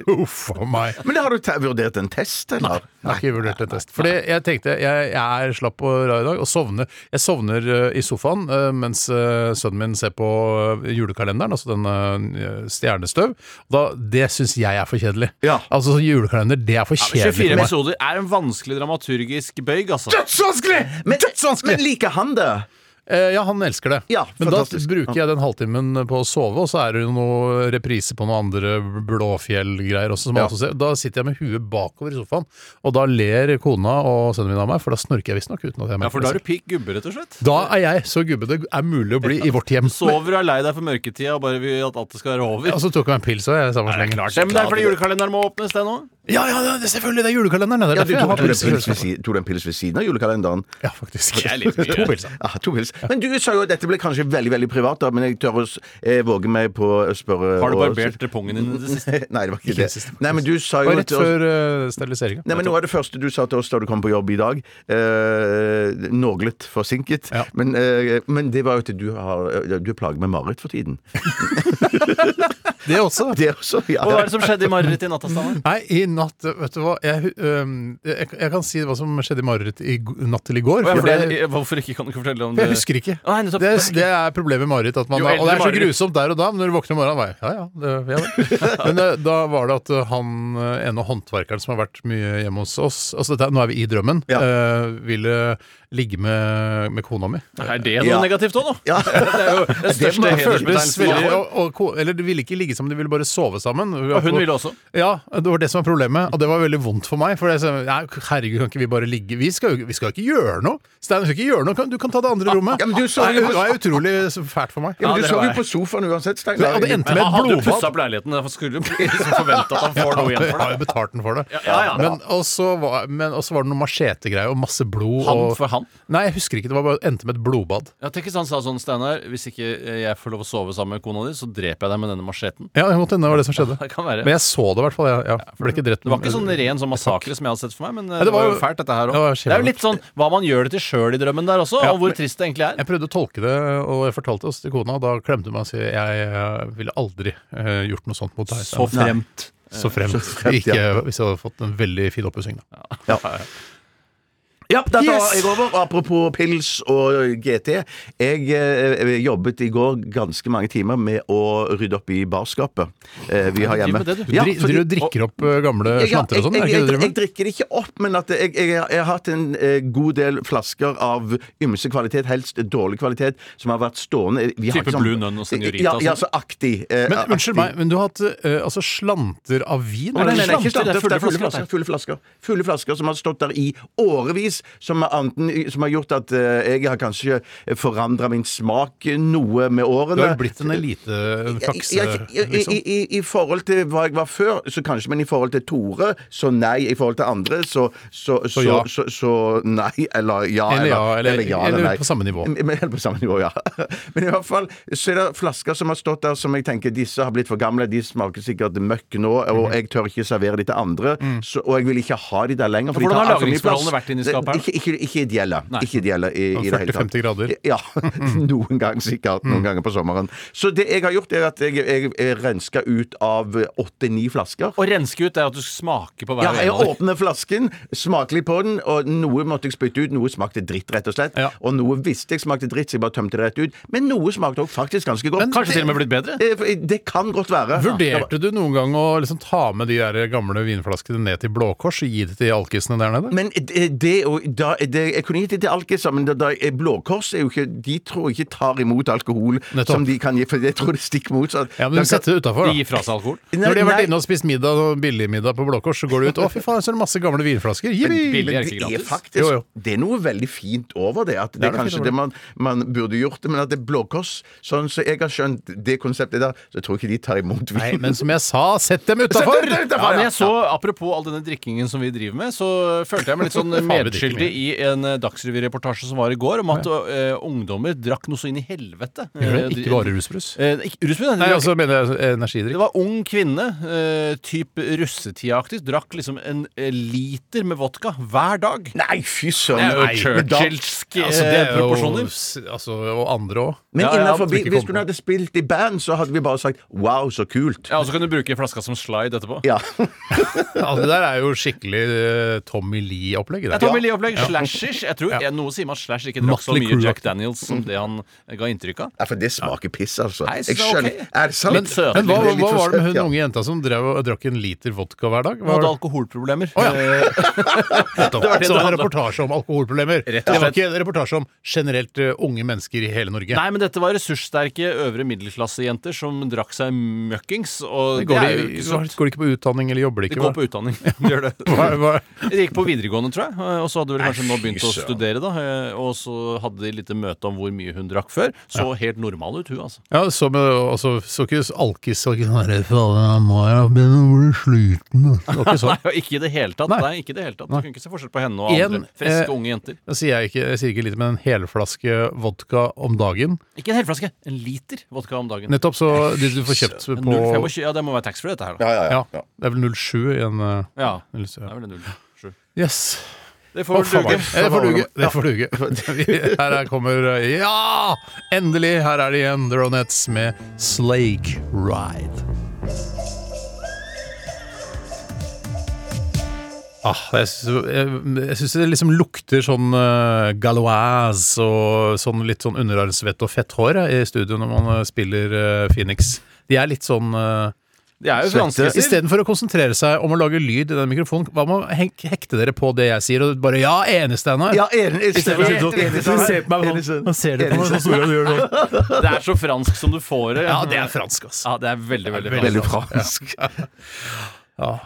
S4: Uff a meg.
S6: Men har du te- vurdert en test, eller?
S4: Jeg har ikke vurdert en test. Fordi jeg tenkte jeg, jeg er slapp og rar i dag, og sovner. Jeg sovner eh, i sofaen eh, mens eh, sønnen min ser på eh, julekalenderen, altså den eh, stjernestøv. Da, det syns jeg er for kjedelig.
S6: Ja.
S4: Altså sånn julekalender, det er for
S5: 24
S4: kjedelig for meg.
S5: episoder er en vanskelig dramaturgisk bøyg, altså.
S6: Dødsvanskelig! Men,
S4: Dødsvanskelig!
S6: men liker han det?
S4: Eh, Ja, han elsker det.
S6: Ja,
S4: Men da
S6: fantastisk.
S4: bruker jeg den halvtimen på å sove, og så er det jo noe reprise på noe andre Blåfjell-greier også. Som man
S6: Ja.
S4: også ser. Da sitter jeg med huet bakover i sofaen, og da ler kona og sønnen min av meg, for da snorker jeg visstnok uten at jeg merker
S5: Ja, for da er du pikk gubbe, rett og slett.
S4: Da er jeg så gubbe det er mulig å bli i vårt hjem.
S5: Sover og er lei deg for mørketida og bare vil at alt skal være over.
S4: Ja, så tok jeg meg en pils òg, jeg. Samme slengen.
S5: Ja, men det er fordi julekalenderen må åpnes, det nå.
S4: Ja, ja, det er selvfølgelig! Det er julekalenderen. Det er
S6: Ja,
S4: derfor
S6: du
S4: jeg
S6: tok,
S4: har
S6: tok, du en
S4: pils i
S6: pils ved
S4: kjøleskapet.
S6: si- tok du en pils ved siden av julekalenderen?
S4: Ja, faktisk.
S5: Det er litt mye.
S4: To pils, ja.
S6: Ah, to pils. Men du sa jo at dette ble kanskje veldig veldig privat, da, men jeg tør å s- eh, våge meg på å spørre
S5: Har du
S6: og-
S5: barbert pungen din i det siste?
S6: Nei, det var ikke
S4: Ikke
S6: det.
S4: siste.
S6: Nei, men du sa
S4: Det
S6: jo
S4: var rett
S6: til oss-
S4: før uh, steriliseringa.
S6: Nei, men Noe av det første du sa til oss da du kom på jobb i dag eh, Norglet, forsinket.
S4: Ja.
S6: Men, eh, men det var jo at du, har, du er plaget med mareritt for tiden.
S4: Det også.
S6: Det også, ja.
S5: Hva var det som skjedde i mareritt i natt, Steinar?
S4: Nei, i natt Vet du hva, jeg, øhm, jeg, jeg kan si hva som skjedde i mareritt i g- natt til i går.
S5: Å, ja,
S4: for
S5: fordi-
S4: det-
S5: Hvorfor ikke kan du ikke fortelle om
S4: jeg
S5: det?
S4: husker ikke.
S5: Nei, nettopp.
S4: Det er, det er problemet med mareritt. at man-
S5: Jo
S4: Og det er så
S5: eldre mareritt.
S4: grusomt der og da, men når du våkner om morgenen var jeg, ja, ja, det, ja vel. Men eh, da var det at eh, han eh, ene håndverkeren som har vært mye hjemme hos oss altså dette, er- Nå er vi i drømmen.
S6: Ja.
S4: eh, ville ligge med, med kona mi.
S5: Er det noe
S6: Ja.
S5: negativt òg, nå?
S6: Ja.
S5: Det er jo den største
S4: Det føltes
S5: hedersbetegnelsen. man
S4: veldig
S5: får.
S4: og, og, ko- Eller de ville ikke ligge sammen, de ville bare sove sammen.
S5: Og hun ville også.
S4: Ja, det var det som var problemet, og det var veldig vondt for meg. For jeg sa, «Nei, herregud, kan ikke vi bare ligge Vi skal jo vi skal jo ikke gjøre noe! Stein, vi skal ikke gjøre noe, Kan- du kan ta det andre rommet.
S6: Ah, Ja, men du så jo-
S4: Nei, det var utrolig fælt for meg.
S6: Ja, men
S5: Ja,
S6: du
S5: det
S6: sov
S5: var
S6: jo
S5: jeg.
S6: på sofaen uansett, Steinar.
S4: Ja, det endte med
S5: Han
S4: et
S5: hadde jo pussa
S4: blodbad.
S5: opp leiligheten. Derfor skulle du liksom forvente at han får noe igjen for
S4: Jeg har
S5: det.
S4: jo betalt den for det.
S5: Ja, ja, ja.
S4: Men, og så var, men og så var det noe machetegreier og masse blod.
S5: Han,
S4: og,
S5: for han?
S4: Nei, jeg husker ikke. Det var bare endte med et blodbad.
S5: Ja, Tenk hvis han sa sånn, Steinar, hvis ikke jeg får lov å sove sammen med kona di, så dreper jeg deg med denne macheten.
S4: Ja, det måtte hende det var det som skjedde.
S5: Det kan være.
S4: Men jeg så det i hvert fall. Ja, ja. Ble ikke drept.
S5: Det var ikke sånn ren sånn massakre som jeg hadde sett for meg, men eh,
S4: det
S5: det
S4: var
S5: var jo
S4: jo-
S5: fælt, dette her
S4: det
S5: òg.
S4: var
S5: Det er jo
S4: kjempefælt.
S5: litt sånn hva man gjør det til sjøl i drømmen der også,
S4: Ja,
S5: og hvor
S4: men-
S5: trist det egentlig er.
S4: Jeg prøvde å tolke det, og jeg fortalte oss til kona, og da klemte hun meg og sa jeg eh, ville aldri eh, gjort noe sånt mot deg.
S5: Så fremt.
S4: Så fremt.
S6: fremt,
S4: ikke
S6: ja.
S4: hvis jeg hadde fått en veldig fin oppussing, da.
S6: Ja, dette
S4: Yes!
S6: var jeg over. Apropos pils og GT. Jeg eh, jobbet i går ganske mange timer med å rydde opp i barskapet eh, vi har
S5: du driver
S6: hjemme.
S5: med det, du.
S4: Du dri- driver og drikker opp eh, gamle
S6: Ja, ja,
S4: slanter og sånn,
S6: jeg,
S4: er det
S6: jeg,
S4: ikke det du
S6: jeg,
S4: driver
S6: jeg
S4: med?
S6: drikker det ikke opp, men at jeg, jeg, jeg har hatt en eh, god del flasker av ymse kvalitet, helst dårlig kvalitet, som har vært stående Vi har
S5: Type
S6: ikke sånn-
S5: Blue Nun og Senorita
S6: Ja,
S5: og
S6: ja
S5: sånn.
S6: så aktig. eh,
S4: Men
S6: aktig.
S4: unnskyld meg, men du har hatt eh, altså slanter av vin?
S6: Nei,
S4: eller?
S6: nei, nei, ikke
S5: slanter, det er
S6: slanter, det er
S5: fulle
S6: fulle
S5: flasker,
S6: flasker. Fulle flasker, fulle flasker som har stått der i årevis, som, er anten, som har gjort at eh, jeg har kanskje forandra min smak noe med årene.
S4: Du har jo blitt en elite en
S6: Ja,
S4: fakse,
S6: i, i,
S4: liksom.
S6: i, I forhold til hva jeg var før, så kanskje, men i forhold til Tore, så nei. I forhold til andre, så Så, så,
S4: ja.
S6: så, så nei, eller ja.
S4: Eller ja, eller- eller
S6: nei.
S4: på samme nivå.
S6: Men- men Eller på samme nivå, ja. Men i hvert fall så er det flasker som har stått der som jeg tenker disse har blitt for gamle, de smaker sikkert møkk nå,
S4: Mhm.
S6: og jeg tør ikke servere de til andre, så, og jeg vil ikke ha de der lenger. for de
S5: Hvordan
S6: tar
S5: har
S6: altfor mye
S5: lagringsforholdene
S6: plass.
S5: vært inni skapet her?
S6: Ikke, ikke, ikke ideelle. Ikke ideelle i, i det hele tatt.
S4: 40-50 grader.
S6: Ja. Noen ganger sikkert.
S4: Mm.
S6: Noen ganger på sommeren. Så det jeg har gjort, er at jeg, jeg, jeg renska ut av åtte-ni flasker.
S5: Å renske ut det er at du smaker på
S6: Ja,
S5: hver
S6: jeg
S5: ene av dem.
S6: åpner flasken, smaker litt på den, og noe måtte jeg spytte ut. Noe smakte dritt, rett og slett.
S4: Ja.
S6: Og noe visste jeg smakte dritt, så jeg bare tømte det rett ut. Men noe smakte også faktisk ganske godt.
S5: Kanskje til og med blitt bedre?
S6: Eh, Det kan godt være.
S4: Vurderte du noen gang å liksom ta med de der gamle vinflaskene ned til Blå Kors og gi det til alkisene der nede?
S6: Men det, det, og da, det Jeg kunne gitt det til alkiser, men da, da, eh, Blå Kors er jo ikke De tror jeg ikke tar imot alkohol
S4: Nettopp.
S6: som de kan gi, for jeg tror det er stikk motsatt.
S4: Ja, men
S6: Da
S4: du
S6: kan-
S4: setter det utafor,
S5: De
S4: da.
S5: gir fra seg alkohol.
S6: Nei,
S4: Når de har vært
S6: nei.
S4: inne og spist middag og billigmiddag på Blå Kors, så går de ut Å, fy faen, så er det masse gamle vinflasker. Jippi!
S5: Billig er ikke
S6: det er
S5: gratis.
S6: faktisk
S4: Jo, jo.
S6: Det er noe veldig fint over det. At det,
S4: Det er
S6: er
S4: noe
S6: kanskje
S4: fint
S6: det
S4: over
S6: man, man burde gjort det, men at det er blåkors Sånn som jeg har skjønt det konseptet der, så tror jeg ikke de tar imot
S4: Nei,
S6: vin.
S4: men som jeg sa, sett dem utafor!
S6: Sett dem
S5: Ja,
S6: utenfor,
S5: men jeg
S6: ja.
S5: så, Apropos all denne drikkingen som vi driver med, så følte jeg meg litt sånn
S4: Faen, vi drikker
S5: medskyldig i en eh, Dagsrevy-reportasje som var i går, om at eh, ungdommer drakk noe så inn i helvete. Eh, de-
S4: Ikke bare rusbrus.
S5: Eh, ikke- rusbrus,
S4: Nei,
S5: nei,
S4: altså mener jeg
S5: Det
S4: energidrikk.
S5: var ung kvinne, eh, typ russetidaktig, drakk liksom en eh, liter med vodka hver dag.
S6: Nei, fy
S5: Det er
S6: søren.
S5: jo
S4: nei,
S6: men da-
S5: Churchillske
S4: Altså, det er
S5: eh,
S4: jo
S5: proporsjoner.
S4: s- altså, Og andre òg.
S6: Men
S5: Ja, ja,
S6: innenfor,
S4: det kom
S6: hvis
S4: på.
S6: hun hadde spilt i band, så hadde vi bare sagt 'wow, så kult'.
S5: Ja, Og så kan du bruke flaska som slide etterpå.
S6: Ja.
S4: Altså, det der er jo skikkelig eh, Tommy Lee-opplegget.
S5: Det er
S4: der.
S5: Tommy Lee-opplegg. Slashers. Jeg tror, eh, Noe sier meg at Slash ikke drakk så
S4: Motley
S5: mye
S4: Crue.
S5: Jack Daniels som det han eh, ga inntrykk av.
S6: ja, for det smaker piss, altså.
S5: Nei, jeg synes det
S6: jeg
S5: er
S6: skjønner.
S5: ok.
S6: Er det sant?
S5: Men- søt.
S4: Men hva,
S6: Det er litt
S4: hva
S6: for
S4: var det med
S6: søtt,
S4: hun
S6: ja.
S4: unge jenta som drev og drakk en liter vodka hver dag?
S5: Han
S4: Hva var
S5: hadde
S4: det?
S5: alkoholproblemer. Eh,
S4: Det var
S5: det
S4: altså
S5: det
S4: en
S5: handlet om.
S4: reportasje om alkoholproblemer.
S5: Rett og
S4: Det var
S5: slett.
S4: ikke en reportasje om generelt eh, unge mennesker i hele Norge.
S5: Nei, men dette var ressurssterke øvre middelklassejenter som drakk seg møkkings. Og det,
S4: Det går,
S5: er jo
S4: de,
S5: ikke
S4: går
S5: så
S4: de ikke på utdanning eller jobber de
S5: Det
S4: ikke?
S5: går på utdanning. Det gjør det.
S4: hva, hva,
S5: De gikk på videregående, tror jeg. Og så hadde vel kanskje nå begynt å
S6: søren.
S5: studere, da. eh, Og så hadde de lite møte om hvor mye hun drakk før. Så helt normal ut, hun, altså.
S4: ja, så, med, altså, så ikke sånn alkis og knarre Han må jo begynne å bli sliten. da. Det var ikke sånn.
S5: Nei, ikke i det hele tatt. Nei. ikke i det hele tatt. Du kunne ikke se forskjell på henne og
S4: En,
S5: andre friske,
S4: eh,
S5: unge jenter.
S4: Jeg sier, jeg ikke, jeg sier ikke lite, men en helflaske vodka om dagen
S5: Ikke en helflaske, en liter vodka om dagen.
S4: Nettopp så de du får kjøpt
S5: En
S4: på
S5: 0,25 Ja, det må være taxfree, dette her, da.
S6: Ja, ja,
S4: ja,
S6: ja. ja.
S4: Det er vel 07 i en eh,
S5: Ja.
S4: eller så-
S5: Det er vel en 0,7.
S4: Yes.
S5: Det får
S4: Å, faen,
S5: vel duge.
S4: Det får duge. Det får duge. Vi- Her er kommer eh, Ja! Endelig! Her er de igjen, The Ronettes med Slake Ride. Ah, jeg syns jeg- jeg syns det liksom lukter sånn eh, galoise og sånn litt sånn underarmsvett og fett hår eh, i studio når man eh, spiller eh, Phoenix. De er litt sånn eh,
S5: Det er jo franske stil.
S4: Istedenfor å konsentrere seg om å lage lyd i den mikrofonen, hva med å hek- hekte dere på det jeg sier, og bare 'ja, enig, Steinar'?
S6: Ja, enig. enig,
S4: Istedenfor å sitte
S6: enig,
S4: sånn- Se på meg
S6: enig,
S4: sånn. Nå ser dere på meg
S6: enig,
S4: sånn som du gjør sånn.
S5: Det er så fransk som du får det.
S4: Ja, det er fransk, ass.
S5: Ja, det er veldig, veldig,
S6: Veldig
S5: fransk.
S6: fransk.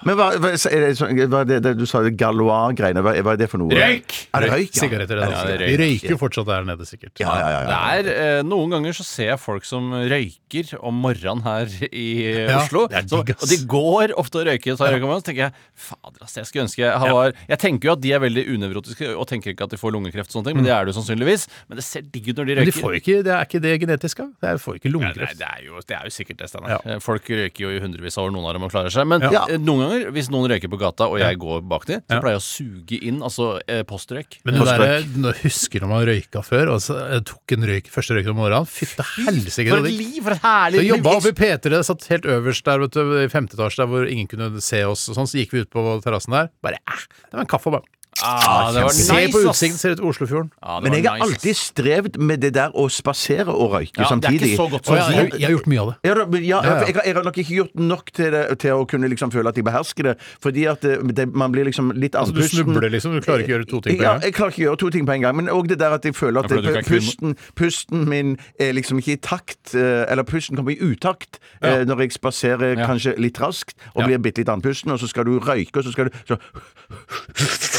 S6: Men hva, hva, er det, sånn- hva er det, det du sa Galois-greiene, hva, hva er det for noe? Er det røyk? ja?
S4: Sigaretter. er det
S5: Ja, det
S4: altså.
S5: er røyk.
S4: De røyker jo fortsatt der nede, sikkert.
S6: Ja, ja, ja, ja.
S5: Det er, eh, Noen ganger så ser jeg folk som røyker om morgenen her i eh,
S4: Ja,
S5: Oslo.
S4: det er
S5: så,
S4: digg, ass.
S5: og de går ofte og røyker. Så, røyker man, så tenker jeg fader ass, jeg skulle ønske jeg var Jeg tenker jo at de er veldig unevrotiske og tenker ikke at de får lungekreft, og sånne ting, men det er det jo sannsynligvis. Men det ser digg ut når de
S4: Mm. Men de
S5: røyker.
S4: får jo ikke, det er ikke det genetisk av. Det er- får ikke
S5: Nei,
S4: lungekreft.
S5: det er jo, det er jo sikkert det, Steinar. Eh, Folk røyker jo i hundrevis av år, noen av dem og klarer seg. Men
S6: Ja.
S5: eh, noen ganger, hvis noen røyker på gata, og jeg går bak dem, så
S4: Ja.
S5: pleier jeg å suge inn altså eh, postrøyk.
S4: Men det
S6: Norsk
S4: der, nå husker når man røyka før, og så eh, tok en røyk første røyken om morgenen. Fytte helsike!
S5: For
S4: det
S5: et
S4: gikk.
S5: liv! For et herlig
S4: Så
S5: liv!
S4: jobba oppe i P3, satt helt øverst der vet du, i femte etasje, der hvor ingen kunne se oss. og sånn, Så gikk vi ut på terrassen der. Bare æh, det var en kaffe. og Bare.
S5: Ah, det var
S4: Se
S5: nice,
S4: på
S5: ass.
S4: utsikten, ser ut til Oslofjorden.
S5: Ja, det var
S6: Men jeg har
S5: nice, ass.
S6: alltid strevd med det der å spasere og røyke
S5: Ja, det er
S6: samtidig.
S5: ikke så godt
S4: Så
S5: som
S4: jeg, jeg, jeg har gjort mye av det.
S6: Ja, da, men ja,
S4: ja.
S6: Jeg, har- jeg har nok ikke gjort nok til, det, til å kunne liksom føle at jeg behersker det. Fordi at det, det, man blir liksom litt
S5: Altså,
S4: du
S6: andpusten.
S4: snubler liksom, du klarer ikke å gjøre to ting på en
S6: ja,
S4: gang.
S6: Jeg klarer ikke å gjøre to ting på en gang. Men òg det der at jeg føler at
S5: Ja, fordi du
S6: det,
S5: ikke er kvinne.
S6: pusten, pusten min er liksom ikke i takt. eh, Eller pusten kommer i utakt eh, når jeg spaserer kanskje litt raskt og
S5: Ja.
S6: blir bitte litt andpusten, og så skal du røyke, og så skal du så,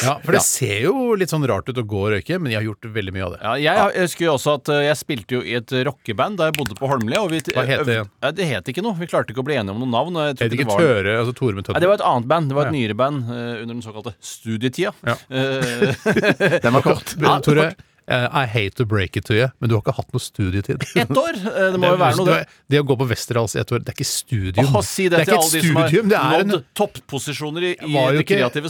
S4: Ja, For det ser jo litt sånn rart ut å gå og røyke, men jeg har gjort veldig mye av det.
S5: Ja, jeg, har- jeg husker jo også at eh, jeg spilte jo i et rockeband da jeg bodde på Holmlia. Og vi,
S4: Hva het det igjen?
S5: Ja, det het ikke noe. Vi klarte ikke å bli enige om noe navn. og jeg tror
S4: Jeg vet
S5: ikke
S4: ikke
S5: det var-
S4: tøre, altså Tore med
S5: Nei, det
S4: tønner.
S5: var et annet band. Det var et
S4: Ja.
S5: nyere band eh, under den såkalte studietida.
S4: Ja.
S5: Eh,
S6: Den var kort.
S4: Men, Tore, eh, I hate to break it to you, men du har ikke hatt noe studietid.
S5: Ett år! eh, Det må jo være noe, det.
S4: det. det å gå på Westerdals i ett år, det er ikke studium.
S5: Å, si det,
S4: det er
S5: til
S4: ikke et
S5: alle de som har
S4: studium, det er en
S5: nådd topposisjoner i, i
S4: var jo
S5: det
S4: ikke
S5: kreative samfunnet, delen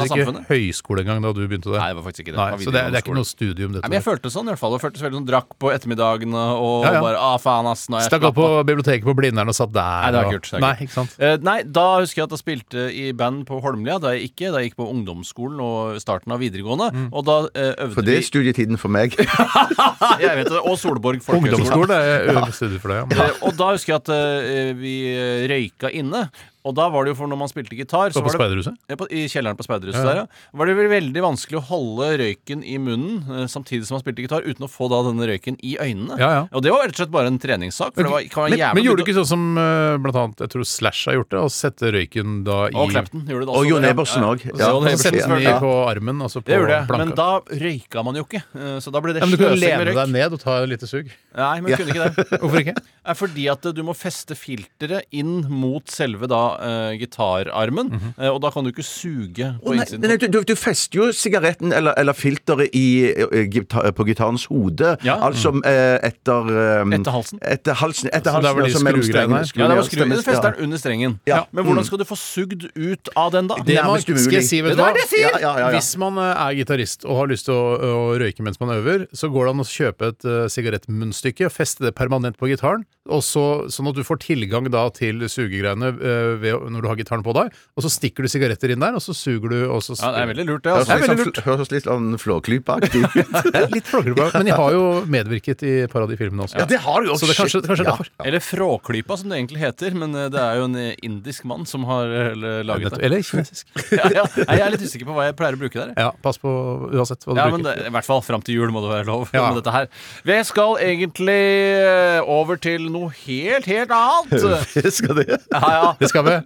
S5: av
S4: sannsynligvis ikke
S5: samfunnet.
S4: høyskole engang da du begynte der.
S5: Nei, det var faktisk ikke det.
S4: Nei,
S5: Det var
S4: så det, er- det er ikke
S5: videregående
S4: noe studium, dette.
S5: Nei, men jeg følte sånn i hvert fall. Jeg følte veldig sånn drakk på ettermiddagene og
S4: Ja, ja.
S5: bare ah, faen, ass. Nå er jeg
S4: Stakk opp
S5: slapp
S4: på
S5: av.
S4: biblioteket på Blindern og satt der.
S5: Nei, det var
S4: og-
S5: kult. det var
S4: Nei,
S5: kult.
S4: ikke sant?
S5: Eh, nei, da husker jeg at jeg spilte i band på Holmlia. Da jeg ikke, da jeg gikk på ungdomsskolen og starten av videregående.
S4: Mm.
S5: Og da eh, øvde
S6: For det er studietiden for meg.
S5: vi Jeg vet det, Og Solborg folkehøgskole.
S4: Ungdomsskolen er ja. studier for deg. Ja.
S5: Eh, og da husker jeg at eh, vi eh, røyka inne. Og da var det jo for når man spilte gitar så
S4: Og på
S5: var det,
S4: speiderhuset?
S5: Ja, på, I kjelleren på speiderhuset der, ja. Var det vel veldig vanskelig å holde røyken i munnen eh, samtidig som man spilte gitar, uten å få da denne røyken i øynene.
S4: Ja, ja.
S5: Og det var rett og slett bare en treningssak. For det var, kan være
S4: Men,
S5: jævla
S4: men gjorde du
S5: dyrt å-
S4: ikke sånn som eh, blant annet, jeg tror Slash har gjort det, å sette røyken da i
S5: Og Clapton gjorde det også.
S6: Og Jon Ebersen òg.
S5: Ja, Jon
S4: Og så sette
S5: Ebersen,
S4: den i
S5: selvfølgelig.
S4: på armen, altså på
S5: Det gjorde jeg,
S4: blanka.
S5: men da røyka man jo ikke. eh, Så da ble det
S4: ja, men du kunne
S5: sløsing med
S4: lene deg
S5: røyk.
S4: ned og ta et lite sug.
S5: Nei, men kunne ikke det.
S4: Hvorfor ikke?
S5: er fordi at eh, du må feste filteret inn mot selve da eh, gitararmen,
S4: Mhm.
S5: eh, og da kan du ikke suge på
S6: Å, nei,
S5: innsiden.
S6: nei, du, du, du fester jo sigaretten eller, eller filteret i, eh, gita- på gitarens hode.
S5: Ja.
S6: Altså eh, etter eh,
S5: Etter halsen.
S6: Etter halsen, etter
S4: Mm. Så der
S6: halsen
S4: var de
S6: altså mellom
S4: skrugreiene
S6: strengene.
S4: her.
S5: ja, det var
S6: Stemmer,
S5: skruene. Du fester
S6: ja.
S5: den under strengen.
S6: Ja.
S5: Men hvordan skal du få sugd ut av den, da?
S4: Det man,
S6: Nærmest
S4: skal jeg
S6: umulig.
S4: si, vet
S5: Det
S4: du
S5: er
S4: hva?
S5: det jeg sier!
S6: Ja, ja, ja, ja.
S4: Hvis man eh, er gitarist og har lyst til å, å røyke mens man øver, så går det an å kjøpe et eh, sigarettmunnstykke og feste det permanent på gitaren, og så, sånn at du får tilgang da til sugegreiene eh, ved, å- når du har gitaren på deg, og så stikker du sigaretter inn der, og så suger du, og så
S5: Ja, det er veldig lurt, det.
S6: Høres
S5: Altså.
S6: litt sånn fl- Høres litt sånn flåklypeaktig ut.
S4: Det er Litt flåkete, på meg, men jeg har jo medvirket i et par av de filmene også.
S6: Ja, det har du jo.
S4: Så det er kanskje, kanskje
S6: Ja.
S4: derfor.
S5: Eller Fråklypa, som det egentlig heter. Men eh, det er jo en eh, indisk mann som har eh, laget det.
S4: Eller kinesisk.
S5: Ja, ja. Nei, jeg er litt usikker på hva jeg pleier å bruke der. jeg.
S4: Ja, pass på uansett hva du
S5: Ja, men
S4: bruker.
S5: det, I hvert fall fram til jul må det være lov
S4: Ja.
S5: med dette her. Vi skal egentlig eh, over til noe helt, helt annet.
S6: Skal det?
S5: Ja, ja.
S4: Det skal vi.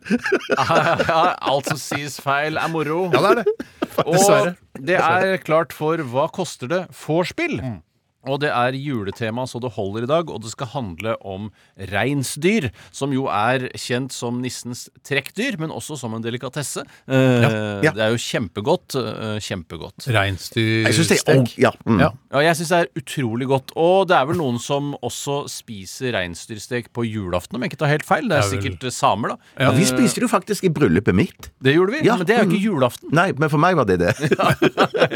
S5: ja, ja, ja. Alt som sies feil, er moro.
S4: Ja, det er det. Dessverre.
S5: Og det er klart for Hva koster det? vorspiel.
S6: Mm.
S5: Og det er juletema så det holder i dag, og det skal handle om reinsdyr. Som jo er kjent som nissens trekkdyr, men også som en delikatesse. Eh,
S6: ja.
S5: Det er jo kjempegodt. eh, Kjempegodt.
S4: Reinsdyrstek.
S6: Jeg syns det er ja, mm.
S4: Ja.
S5: Ja, jeg syns det er utrolig godt. Og det er vel noen som også spiser reinsdyrstek på julaften, om jeg ikke tar helt feil. Det er
S4: Det er vel-
S5: sikkert eh, samer, da.
S6: Ja, Vi spiste det jo faktisk i bryllupet mitt.
S5: Det gjorde vi,
S6: Ja.
S5: men det er jo ikke julaften.
S6: Nei, men for meg var det det.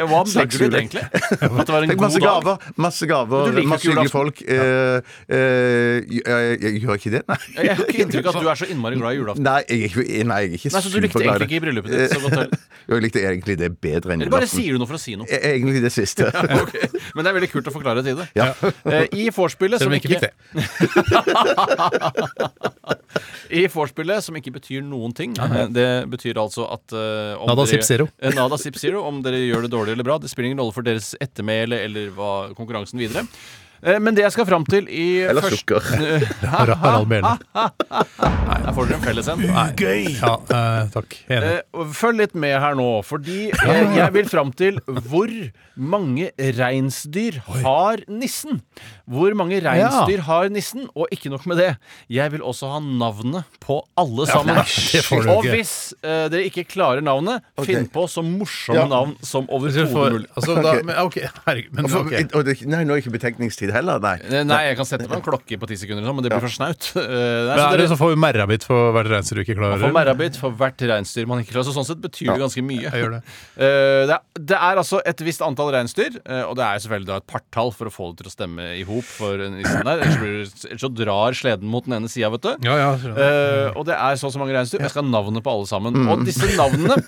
S5: Hva legger du i det,
S6: jule.
S5: egentlig? At det var en
S6: Fikk
S5: god
S6: masse
S5: dag?
S6: gaver, masse
S5: Men du liker
S6: gaver,
S5: jo
S6: masse
S5: julaften.
S6: hyggelige folk. Eh, eh, jeg, jeg, jeg gjør ikke det, nei.
S5: Jeg har ikke inntrykk av at du er så innmari glad i julaften.
S6: Nei, jeg, er ikke- nei, jeg er ikke
S5: Nei, Så du likte
S6: superglad i
S5: egentlig
S6: det.
S5: ikke bryllupet ditt så godt heller?
S6: Jo, jeg likte egentlig det bedre enn
S5: Eller bare
S6: julaften.
S5: sier du noe for å si noe?
S6: E- Egentlig det siste.
S5: Ok, Men det er veldig kult å forklare til det.
S6: Ja.
S5: Eh, I vorspielet som
S4: Selv om jeg ikke
S5: ikke
S4: fikk det.
S5: I vorspielet, som ikke betyr noen ting. Eh, Det betyr altså at eh, om
S4: Nada
S5: dere-
S4: sip zero.
S5: Eh, Nada sip zero. Om dere gjør det dårlig eller bra, det spiller ingen rolle for deres ettermæle eller hva konkurransen videre. Eh, Men det jeg skal fram til i
S6: Eller
S5: først-
S6: sukker.
S4: Har- Harald Mæhle.
S5: Der får dere en felles en.
S4: Gøy! Ja, eh, takk. Enig.
S5: Eh, og Følg litt med her nå, fordi eh, jeg vil fram til hvor mange reinsdyr har nissen. Hvor mange reinsdyr har nissen, og ikke nok med det. Jeg vil også ha navnet på alle sammen.
S4: det får du
S5: og
S4: ikke.
S5: hvis eh, dere ikke klarer navnet, finn på så morsomme navn som
S4: Så
S5: overhodet
S4: du får-
S5: mulig.
S4: altså, da, men, ok, herregud, men,
S6: For,
S4: ok.
S6: og det, nei, nå er ikke betenkningstid heller, nei.
S5: Eh, Nei, jeg kan sette på en klokke på ti sekunder, eller noe, men det blir for snaut. Eh, nei,
S4: Men
S5: så
S4: er det
S5: dere
S4: så får vi merrabitt for hvert reinsdyr du ikke klarer?
S5: For merrabitt for hvert reinsdyr man ikke klarer. Så sånn sett betyr det ganske mye.
S4: Jeg gjør det.
S5: Eh, det, er, det er altså et visst antall reinsdyr, eh, og det er jo selvfølgelig da et partall for å få det til å stemme i hop for nissen der. Ellers, blir, ellers så drar sleden mot den ene sida, vet du.
S4: Ja, ja, skjønner.
S5: Eh, og det er så og så mange reinsdyr. Jeg skal ha navnet på alle sammen. Og disse navnene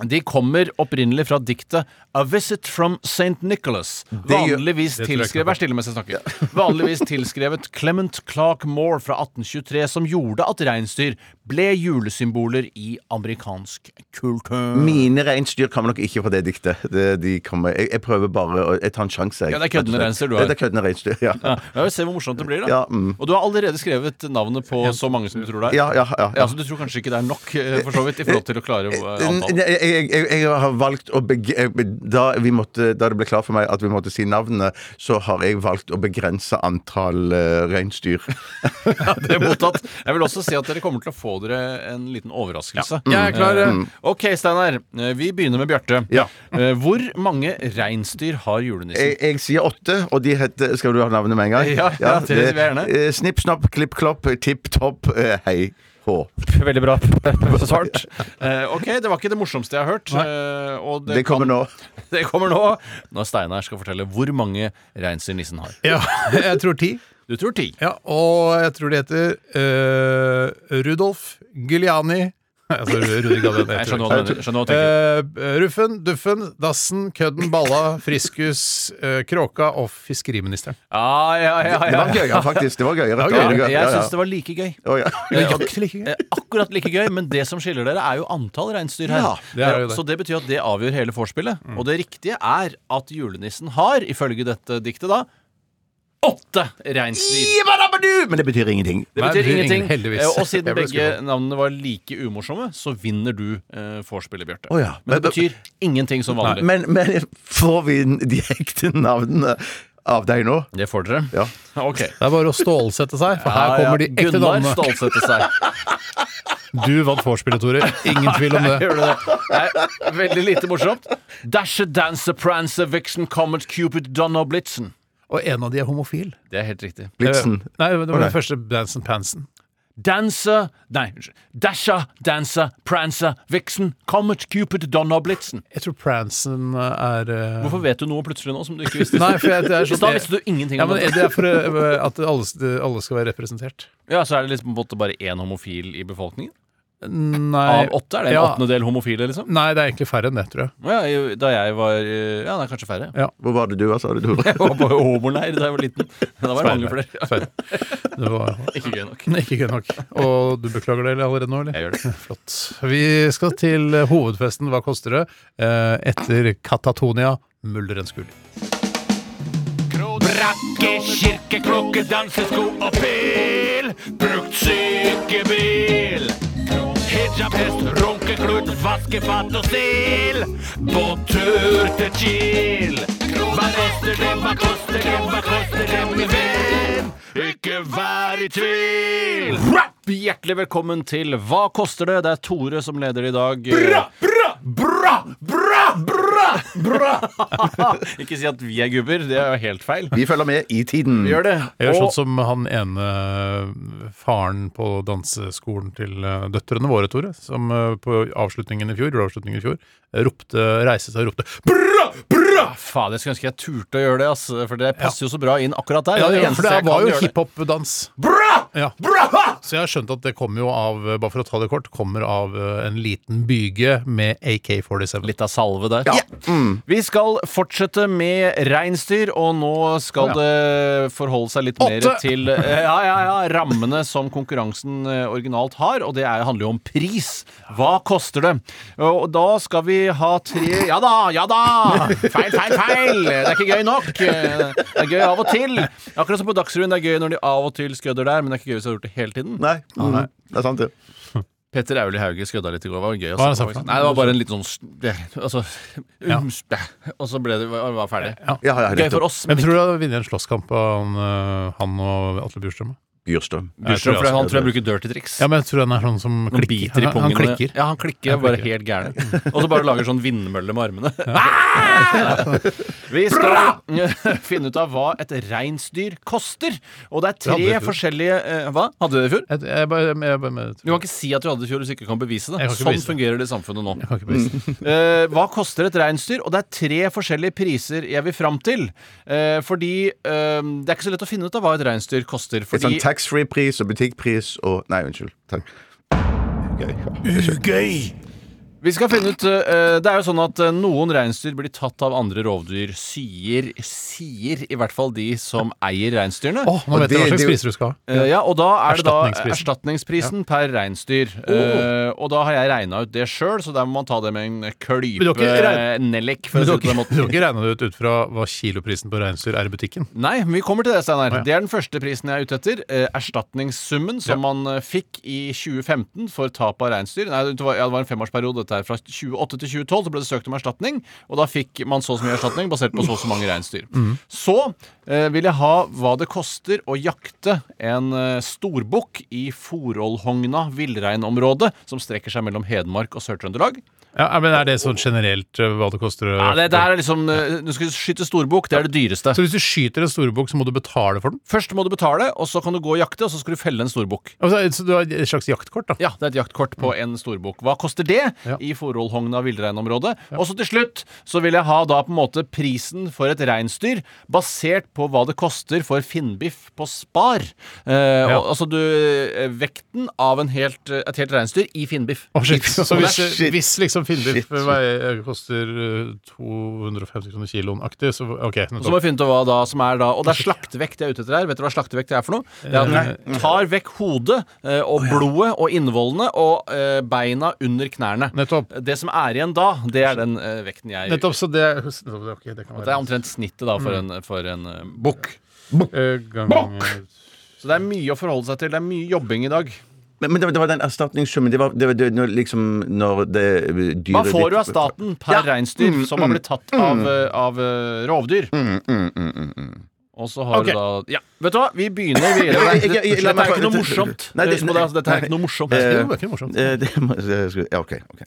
S5: de kommer opprinnelig fra diktet A Visit from St. Nicholas.
S6: gjør-
S5: Vanligvis
S4: tror jeg ikke noe
S5: tilskrevet
S4: på.
S5: Vær stille mens jeg snakker. Vanligvis tilskrevet Clement Clark Moore fra 1823, som gjorde at reinsdyr ble julesymboler i amerikansk kultur.
S6: Mine reinsdyr kommer nok ikke fra det diktet. Det- De kommer, jeg, jeg prøver bare å Jeg tar en sjanse, jeg.
S5: Ja, det er køddende reinsdyr du har.
S6: Ja, Det er køddende reinsdyr, ja.
S5: Ja, vi får se hvor morsomt det blir, da.
S6: Ja, mm.
S5: Og du har allerede skrevet navnet på så mange som du tror det er.
S6: Ja, ja, ja.
S5: Ja, så du tror kanskje ikke det er nok, eh, for så vidt, i forhold til å klare eh,
S6: Nei,
S5: antallet.
S6: Jeg, jeg, jeg har valgt å beg eh, da, vi måtte, da det ble klart for meg at vi måtte si navnet, så har jeg valgt å begrense antall eh, reinsdyr.
S5: Ja, det er mottatt. Jeg vil også si at dere kommer til å få dere en liten overraskelse.
S4: Jeg er klar,
S5: Eh,
S4: ja.
S5: Ok, Steinar. eh, Vi begynner med Bjarte.
S6: Mm. Ja. Eh.
S5: Eh, Hvor mange reinsdyr har julenissen?
S6: Jeg, jeg sier åtte, og de heter Skal du ha navnet med en gang?
S5: Ja, ja, det vil jeg gjerne.
S6: eh, Snipp, snapp, klipp, klopp, tipp, topp, eh, hei, hå.
S5: Veldig bra svart. Eh, ok, det var ikke det morsomste jeg har hørt. eh, og
S6: Det kommer nå.
S5: nå. Det kommer nå når Steinar skal fortelle hvor mange reinsdyr nissen har.
S4: Ja, jeg tror ti.
S5: Du tror ti.
S4: Ja, og jeg tror de heter eh, Rudolf Giuliani altså, Rudi Giuliani
S5: Jeg
S4: heter
S5: skjønner
S4: det.
S5: hva du mener. Skjønner hva du tenker.
S4: Eh, Ruffen, Duffen, Dassen, Kødden, Balla, Friskus, eh, Kråka og fiskeriministeren.
S5: Ja, ja, ja,
S6: Det
S5: ja,
S6: var gøyere, faktisk. Det var gøyere.
S5: ja. Jeg syns det var like gøy.
S6: Å, ja.
S5: Eh, ak- eh, Akkurat like gøy, men det som skiller dere, er jo antall reinsdyr her. Eh,
S6: Ja,
S4: det er jo det.
S5: Så det betyr at det avgjør hele vorspielet. Og det riktige er at julenissen har, ifølge dette diktet, da åtte reinsdyr.
S6: Jibadabadu! Men det betyr ingenting.
S5: Det
S4: Nei,
S5: betyr
S4: det betyr
S5: ingenting.
S4: ingen- heldigvis.
S5: Eh, Og siden
S4: Jeg ble
S5: begge
S4: skuffet.
S5: navnene var like umorsomme, så vinner du eh, vorspielet, Bjarte.
S6: Å ja.
S5: Men det
S6: Men-
S5: betyr ingenting som vanlig.
S6: Men, men får vi de ekte navnene av deg nå?
S5: Det får dere.
S6: Ja.
S5: Ok.
S4: Det er bare å stålsette seg, for her
S5: Ja, ja.
S4: kommer de ekte
S5: Gunnar
S4: damene.
S5: stålsetter seg.
S4: Du vant vorspielet, Tore. Ingen tvil om det.
S5: Gjør du det? Nei, veldig lite morsomt. Dasher, dancer, prancer, vixen, comet, cupid, donna, blitzen.
S4: Og en av de er homofil.
S5: Det er helt riktig.
S6: Blitzen.
S4: Eh, Nei, det var
S6: nei.
S4: den første Dansen Pansen.
S5: Dancer Nei, unnskyld. Dasher, dancer, prancer, vixen, comet, cupid, donna, blitzen.
S4: Jeg tror Pransen er eh,
S5: Hvorfor vet du noe plutselig nå som du ikke visste?
S4: Nei, for jeg, det er
S5: I
S4: sånn
S5: stad visste du ingenting
S4: ja,
S5: om
S4: men
S5: det.
S4: Det er for eh, at alle, alle skal være representert.
S5: Ja, Så er det liksom på en måte bare én homofil i befolkningen?
S4: Nei
S5: Av åtte? Er det en
S4: ja.
S5: åttendedel homofile, liksom?
S4: Nei, det er egentlig færre enn det, tror jeg.
S5: Ja, i- da jeg var eh, Ja, det er kanskje færre.
S6: Hvor var det du var, sa du? Tore?
S5: Jeg var på homoleir da jeg var liten. Men Da var det mange flere.
S4: Færre. Det var
S5: Ikke gøy nok.
S4: ikke gøy nok. Og du beklager det allerede nå, eller?
S5: Jeg gjør det.
S4: Flott. Vi skal til hovedfesten Hva koster det? Eh, etter Katatonia, Muldrens gull.
S7: Brakke, kirke, klokke, dansesko og pil. Brukt sykebil. Hijab, hest, runkeklut, vaskefat og stil. Båttur til Kiel. Hva koster det, hva koster det, hva koster det, min venn? Ikke vær i tvil.
S5: Rap! Hjertelig velkommen til Hva koster det? Det er Tore som leder i dag.
S7: Bra, bra, bra, bra, bra.
S5: Ikke si at vi er gubber, det er jo helt feil.
S6: Vi følger med i tiden.
S5: Vi gjør det.
S4: Jeg gjør
S5: Og
S4: sånn som han ene eh, faren på danseskolen til eh, døtrene våre, Tore, som eh, på avslutningen i fjor, juleavslutningen i fjor eh, ropte, reiste seg og ropte
S7: Bra, bra.
S5: faen, jeg skulle ønske jeg turte å gjøre det, ass, for det passer jo så bra inn akkurat der.
S4: Ja,
S5: Det er det
S4: for det
S5: eneste jeg kan
S4: var jo
S5: gjøre det.
S4: hiphop-dans.
S7: Bra,
S4: Ja. Så jeg har skjønt at det kommer jo av eh, bare for å ta det kort, kommer av eh, en liten byge med AK-47.
S5: Litt av salve der. Vi skal fortsette med reinsdyr, og nå skal det forholde seg litt mer
S4: Åtte!
S5: til eh, ja, ja, ja, rammene som konkurransen eh, originalt har, og det er, handler jo om pris. Hva koster det? Og da skal vi ha tre Ja da, ja da! Feil, feil, feil! Det er ikke gøy nok. Eh, Det er gøy av og til. Akkurat som på Dagsrevyen, det er gøy når de av og til skødder der, men det er ikke gøy hvis de har gjort det hele tiden.
S6: Nei. Mm. Det er sant, det.
S5: Petter Auli Hauge skødda litt i går. Det var gøy. å
S4: Hva har han
S5: se på,
S4: sagt da?
S5: faktisk. Nei, det var bare en litt sånn s- det- Altså ums, bæ, Og så ble det var, var ferdig.
S6: Ja, ja,
S5: Gøy for
S6: nettopp.
S5: oss.
S4: Hvem
S5: Men
S4: tror du hadde vunnet en slåsskamp av han, eh, han og Atle Bjurstrøm?
S6: Bjurstrøm.
S5: Bjurstrøm,
S4: jeg tror
S5: for han
S4: også-
S5: tror jeg bruker dirty tricks.
S4: Ja, men jeg tror han er sånn som
S5: Han
S4: klikker.
S5: biter i
S4: Han-
S5: pungen.
S4: han klikker.
S5: Ja, han klikker bare
S4: klikker.
S5: helt gæren. Og så bare lager sånn vindmølle med armene. Ah! Vi skal finne ut av hva et reinsdyr koster. Og det er
S4: Det hadde
S5: tre
S4: jeg i fjor.
S5: forskjellige eh, Hva? Hadde du det i fjor?
S4: Jeg, jeg, bare, jeg, jeg, jeg,
S5: Du kan ikke si at du hadde det i fjor hvis du ikke kan bevise det.
S4: Jeg kan ikke
S5: Sånn
S4: bevise det.
S5: fungerer det i samfunnet nå.
S4: kan ikke bevise det.
S5: Eh, hva koster et reinsdyr? Og det er tre forskjellige priser jeg vil fram til. Eh, fordi eh, det er ikke så lett å finne ut av hva et reinsdyr koster.
S6: Litt sånn
S5: Fordi
S6: taxfree-pris og butikkpris og Nei, unnskyld. Takk. Gøy.
S7: Ugøy!
S5: vi skal finne ut eh, Det er jo sånn at eh, noen reinsdyr blir tatt av andre rovdyr. Sier, sier i hvert fall de som eier reinsdyrene.
S4: Åh, nå
S6: Og
S4: vet jeg
S6: det-
S4: hva slags
S6: det-
S4: priser du skal ha.
S5: Eh, ja, og da er det da
S4: Erstatningsprisen.
S5: erstatningsprisen per reinsdyr. Eh, og da har jeg regna ut det sjøl, så der må man ta det med en
S4: Men du har
S5: klype
S4: ikke regn-
S5: eh, nellik. For
S4: Men
S5: å
S4: du
S5: si
S4: har
S5: det på den
S4: ikke,
S5: måten.
S4: du har ikke regna det ut ut fra hva kiloprisen på reinsdyr er i butikken?
S5: Nei, men vi kommer til det, Steinar.
S4: Å, ja.
S5: Det er den første prisen jeg er ute etter. Eh, erstatningssummen som man eh, fikk i 2015 for tap av reinsdyr. Nei, det var, ja, det var en femårsperiode, dette her. Fra 2008 til 2012 så ble det søkt om erstatning, og da fikk man så og så mye erstatning basert på så og så mange reinsdyr.
S4: Mm.
S5: Så eh, vil jeg ha hva det koster å jakte en eh, storbukk i Forollhogna villreinområde, som strekker seg mellom Hedmark og Sør-Trøndelag.
S4: Ja, men Er det sånn generelt eh, hva det koster? å-
S5: Ja, det der er liksom eh, Du skal skyte storbukk, det er det dyreste.
S4: Så hvis du skyter en storebukk, så må du betale for den?
S5: Først må du betale, og så kan du gå og jakte, og så skal du felle en storbukk.
S4: Altså, så du har et slags jaktkort, da?
S5: Ja, det er et jaktkort på en storbukk. Hva koster det
S4: Ja.
S5: i Forollhogna villreinområde? Og så til slutt så vil jeg ha da på en måte prisen for et reinsdyr basert på hva det koster for finnbiff på Spar. Eh, og, altså du eh, Vekten av en helt, eh, et helt reinsdyr i finnbiff.
S4: Å, shit. Så hvis,
S5: det er-
S6: shit.
S4: hvis liksom Finnbiff
S6: Shit, shit.
S4: veier- koster eh, 250 kroner kiloen aktig, så OK.
S5: Så må
S4: nettopp.
S5: vi finne ut hva da som er da Og det er slaktevekt jeg er ute etter her. Vet dere hva slaktevekt er for noe? Det er at
S4: Eh,
S5: du tar vekk hodet eh, og blodet og innvollene og eh, beina under knærne.
S4: Nettopp.
S5: Det som er igjen da, det er den eh, vekten jeg
S4: Nettopp, så det, ok, det kan
S5: Det er
S4: være
S5: omtrent snittet da for en, for en eh, bukk.
S4: Eh, gang-
S5: Så det er mye å forholde seg til. Det er mye jobbing i dag.
S6: Men, men det var- det var den erstatningssummen. Det var, det var det, når, liksom når det dyret
S5: Hva får du av staten per reinsdyr
S6: Mm,
S5: som har blitt tatt av, eh, av eh, rovdyr? Og så har
S4: Ok.
S5: du da Ja, vet du hva? Vi begynner videre.
S6: Nei, jeg- jeg-
S5: Dette
S6: jeg- jeg- la
S5: er
S6: meg-
S5: ikke noe morsomt.
S6: Nei, det-
S5: Husk på det, altså, Dette er ikke noe morsomt.
S4: Det var ikke morsomt.
S6: Eh, det må- det skulle- Ja, OK. ok.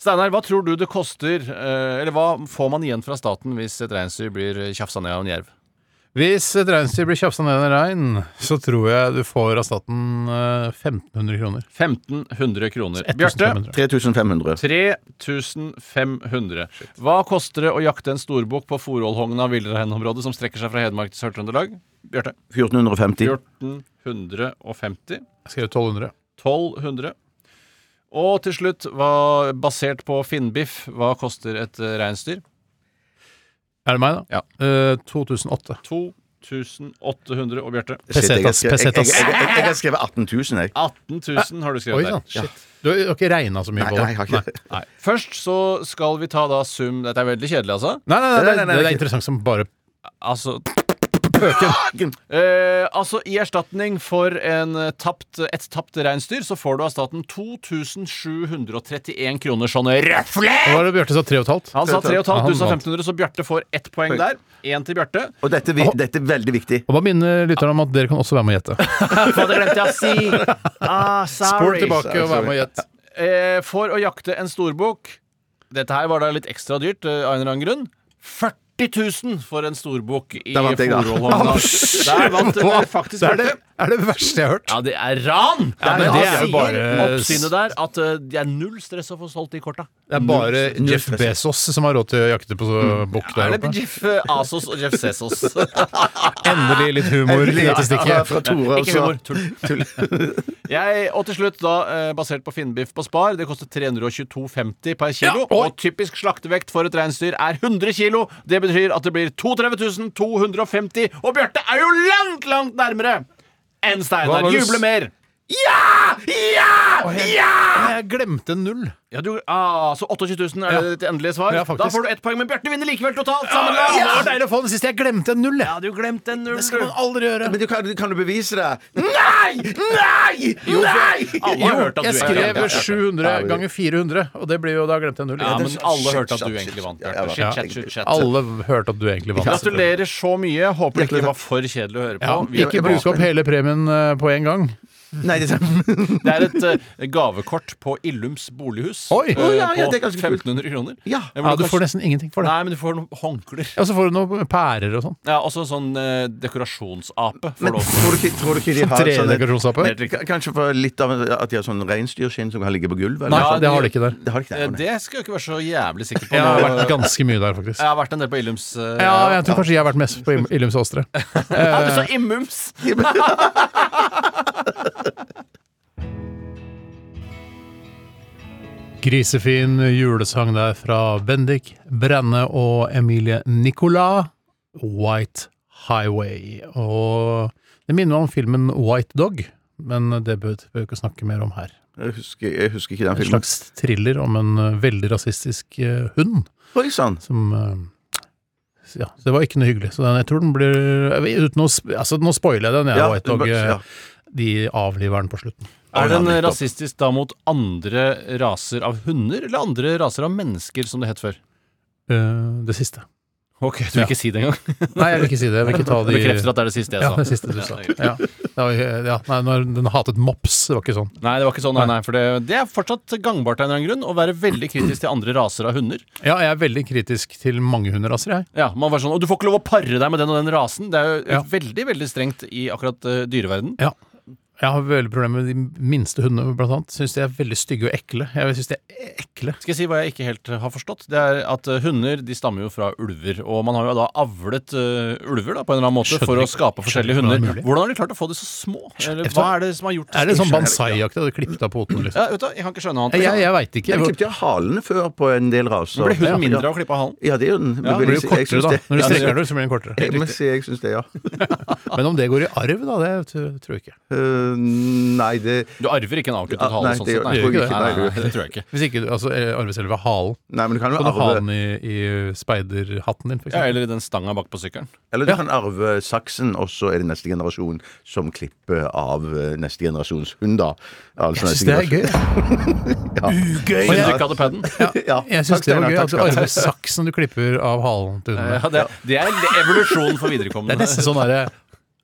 S5: Steinar, hva tror du det koster eh, Eller hva får man igjen fra staten hvis et reinsdyr blir tjafsa ned av en jerv?
S4: Hvis et reinsdyr blir tjafsa ned av en rein, så tror jeg du får av staten eh, 1500 kroner.
S5: 1500 kroner.
S4: 1500.
S6: 3500.
S5: 3500. Hva koster det å jakte en storbukk på Forollhogna villreinområde som strekker seg fra Hedmark til Sør-Trøndelag? Bjarte?
S6: 1450.
S5: 1450.
S4: Jeg skrev 1200.
S5: 1200. Og til slutt, hva, basert på finnbiff, hva koster et eh, reinsdyr?
S4: Er det meg, da?
S5: Ja.
S4: Eh, 2008.
S5: 2800. Og Bjarte?
S6: Shit, jeg
S4: Pesetas.
S6: har skrevet- jeg-
S4: pesetas.
S6: Jeg jeg- jeg- jeg har skrevet 18 000, jeg.
S5: 18 000 har du
S4: Oi
S5: skrevet der.
S4: sann, shit. Du har ikke regna så mye på
S6: Nei, nei, jeg
S4: det?
S6: har ikke det.
S5: Nei. Først så skal vi ta da sum Dette er veldig kjedelig, altså.
S4: Nei, nei, nei,
S6: Nei, nei,
S4: det-
S6: nei,
S4: det
S6: nei.
S4: er interessant som bare
S5: Altså Eh, altså, i erstatning for en eh, tapt, et tapt reinsdyr, så får du av staten 2731 kroner sånn røfle!
S4: Hva var det Bjarte sa? 3,5?
S5: Han sa 3,5, du sa
S4: Han vant.
S5: 1500, så Bjarte får ett poeng der. Én til Bjarte.
S6: Og dette, vi- dette er veldig viktig.
S4: Og bare minne lytterne om at dere kan også være med og gjette.
S5: For det glemte jeg å si! Ah,
S4: Spol
S5: sorry.
S4: tilbake og vær med og gjett.
S5: Eh, for å jakte en storbukk Dette her var da litt ekstra dyrt, eh, av en eller annen grunn. 40 000 for en storbukk i
S6: Der vant jeg, da.
S5: Forollhogna. Der vant eh, faktisk
S4: Det er det,
S5: Bjarte.
S4: er det verste jeg har hørt.
S5: Ja, det er ran! men
S4: Ja, men det
S5: da
S4: er jo
S5: sier
S4: bare-
S5: Oppsynet der at eh, det er null stress å få solgt de korta.
S4: Det er bare
S6: Null- null
S4: Jeff
S6: stress.
S4: Bezos som har råd til å jakte på så- bukk der
S5: Er det
S4: oppe.
S5: Jeff eh, Asos og Jeff Sesos?
S4: Endelig litt humor i dette
S6: Fra,
S4: stikket.
S6: fra Tore,
S5: Ikke humor,
S6: altså.
S5: tull. Jeg, og til slutt, da, eh, basert på finnbiff på Spar, det koster 322,50 per kilo.
S4: oi.
S5: og typisk slaktevekt for et reinsdyr er 100 kilo. Det betyr at det blir 32 250, og Bjarte er jo langt, langt nærmere enn
S4: Hva
S5: Steinar.
S4: var det du s-
S5: Juble mer!
S4: Jeg glemte null.
S5: Ja, du, ah, så 28 000 er det ditt endelige svar?
S4: Ja, faktisk. Ah,
S5: da får du ett poeng, men Bjarte vinner likevel totalt. Sammenlagt!
S4: Det var deilig å få den siste. Jeg glemte en null, jeg.
S5: Ja, du glemte en null.
S4: aldri gjøre.
S6: Men du, kan, kan du bevise det? Nei! Nei! Nei!
S5: Alle har hørt at
S4: Jeg
S5: du
S4: skrev
S5: egentlig-
S4: 700 ganger 400, og det blir jo da glemte jeg null.
S5: Ja, men
S4: igjen.
S5: alle hørte at
S6: Shit,
S5: du
S6: shit,
S5: egentlig
S6: shit.
S5: vant.
S6: Ja,
S5: Bjarte.
S6: ja,
S5: Shit, shit, shit, shit.
S4: Alle hørte at du egentlig vant.
S5: Gratulerer så mye. Håper det ikke var for kjedelig å høre
S4: Ja,
S5: på. Vi-
S4: ikke bruke opp hele premien eh, på en gang.
S6: Nei, det er sant.
S5: Det er et eh, gavekort på Illums bolighus
S4: Oi!
S5: eh,
S6: Å, ja, ja,
S5: på
S6: det er ganske kult.
S5: 1500 kroner.
S6: Ja.
S5: Eh, hvor
S4: Ja, du
S5: kan-
S4: får nesten ingenting for det.
S5: Nei, men du får noen håndklær.
S4: Og så får du noen pærer og sånn.
S5: Ja, også en sånn eh, dekorasjonsape. Får
S6: Men
S5: du også.
S6: tror du ikke, tror du ikke de har
S4: Tredje
S6: sånne-
S4: dekorasjonsape?
S6: Helt riktig. K- Kanskje for litt av at de har sånn reinsdyrskinn som kan ligge på gulvet? eller
S4: Nei,
S6: noe sånt?
S4: det har de ikke der.
S6: Det har de ikke
S5: Eh,
S6: der. nei.
S5: Det skal jeg ikke være så jævlig sikker på.
S4: Jeg har
S5: nå.
S4: vært ganske mye der,
S5: Jeg
S4: faktisk.
S5: har vært en del på Illums. eh,
S4: Ja, jeg tror kanskje jeg har vært mest på Im- Illums Åstre.
S5: Ja, du sa Immums!
S4: Grisefin julesang der fra Bendik, Brenne og Emilie Nicolas. White Highway. Og det minner meg om filmen White Dog, men det bør bør vi ikke snakke mer om her.
S6: Jeg husker, jeg husker ikke den
S4: En
S6: filmen.
S4: slags thriller om en eh, veldig rasistisk eh, hund
S6: Oi sånn. sann!
S4: som eh, ja, så Det var ikke noe hyggelig. Så den, jeg tror den blir jeg vet- uten å, sp- altså, Nå spoiler jeg den, jeg,
S6: Ja,
S4: White Dog.
S6: men-
S4: eh,
S6: ja.
S4: De avliver den på slutten.
S5: Er
S6: Ja,
S5: den
S6: nettopp.
S5: rasistisk da mot andre raser av hunder, eller andre raser av mennesker, som det het før?
S4: Eh, det siste.
S5: Ok, Du vil
S4: Ja.
S5: ikke si det engang?
S4: Nei, jeg vil ikke si det. Jeg vil ikke ta de
S5: Bekrefter at det altså. er det siste jeg
S4: Ja,
S5: sa.
S4: det siste du sa.
S5: det er greit.
S4: Ja. Det var, ja, nei, når den hatet mops, det var ikke sånn.
S5: Nei, det var ikke sånn. Nei, nei, for det, det er fortsatt gangbart av en eller annen grunn å være veldig kritisk til andre raser av hunder.
S4: Ja, jeg er veldig kritisk til mange hunderaser, jeg.
S5: Ja, man var sånn, Og du får ikke lov å pare deg med den og den rasen. Det er jo
S4: Ja.
S5: veldig veldig strengt i akkurat uh, dyreverden.
S4: Ja. Jeg har veldig problemer med de minste hundene, blant annet. Syns de er veldig stygge og ekle. Jeg syns de er ekle.
S5: Skal jeg si hva jeg ikke helt eh, har forstått? Det er at eh, Hunder de stammer jo fra ulver. Og man har jo da avlet eh, ulver da, på en eller annen måte
S4: Skjønner
S5: for å
S4: ikke-
S5: skape
S4: skjønner
S5: forskjellige
S4: ikke hvordan det er
S5: hunder.
S4: mulig.
S5: Hvordan har de klart å få de så små? Eller,
S4: vet du
S5: hva
S4: hva?
S5: er det som har gjort
S4: Er det sånn
S5: Jeg skjønner
S4: bansai-aktig? Hadde klippet av potene,
S5: ikke.
S4: liksom.
S5: Ja, vet du, hva, Jeg kan ikke skjønne annet.
S4: Jeg, jeg veit ikke.
S6: Jeg
S4: Jeg,
S6: klippet jo halene før på en del raser.
S5: Ble
S6: Ja.
S5: hunden mindre av å klippe av halen?
S6: Ja, det er jo den.
S5: Ja,
S6: vil
S4: blir jo
S6: jeg si.
S4: kortere,
S6: Jeg syns
S4: da.
S6: det-
S4: Når du
S6: Ja, det-
S4: strekker den ut, så blir den kortere.
S6: Jeg må si jeg syns det, ja.
S4: Men om det går i arv, da, det t- tror jeg ikke.
S6: Eh, nei, det
S5: Du arver ikke en avkuttet
S6: Ja,
S5: hale?
S6: nei,
S5: sånn
S6: det
S5: sett,
S6: gjør-
S5: nei.
S6: det gjør
S4: ikke det.
S5: Nei, nei,
S6: Nei,
S5: nei, det tror jeg ikke.
S4: Hvis ikke du altså, eh, arver selve halen.
S6: Nei, men du kan jo
S4: Kan du ha
S6: arve
S4: den i, i speiderhatten din, for
S5: Ja,
S4: eksempel?
S5: eller i den stanga bak på sykkelen.
S6: Eller du kan arve saksen, og så er det neste generasjon som klipper av eh, neste generasjons hund, da. Altså,
S4: Jeg syns
S6: neste
S4: det er
S6: generasjon-
S4: gøy.
S5: Ugøy! Men du ikke hadde padden?
S6: Ja,
S4: Jeg
S6: takk,
S4: syns det
S6: Steinar,
S4: var gøy at
S6: takk
S4: du
S6: skal du ha.
S4: arver saksen du klipper av halen til hundene.
S5: Ja, det, det er le- evolusjon for viderekommende.
S4: Det er nesten sånn derre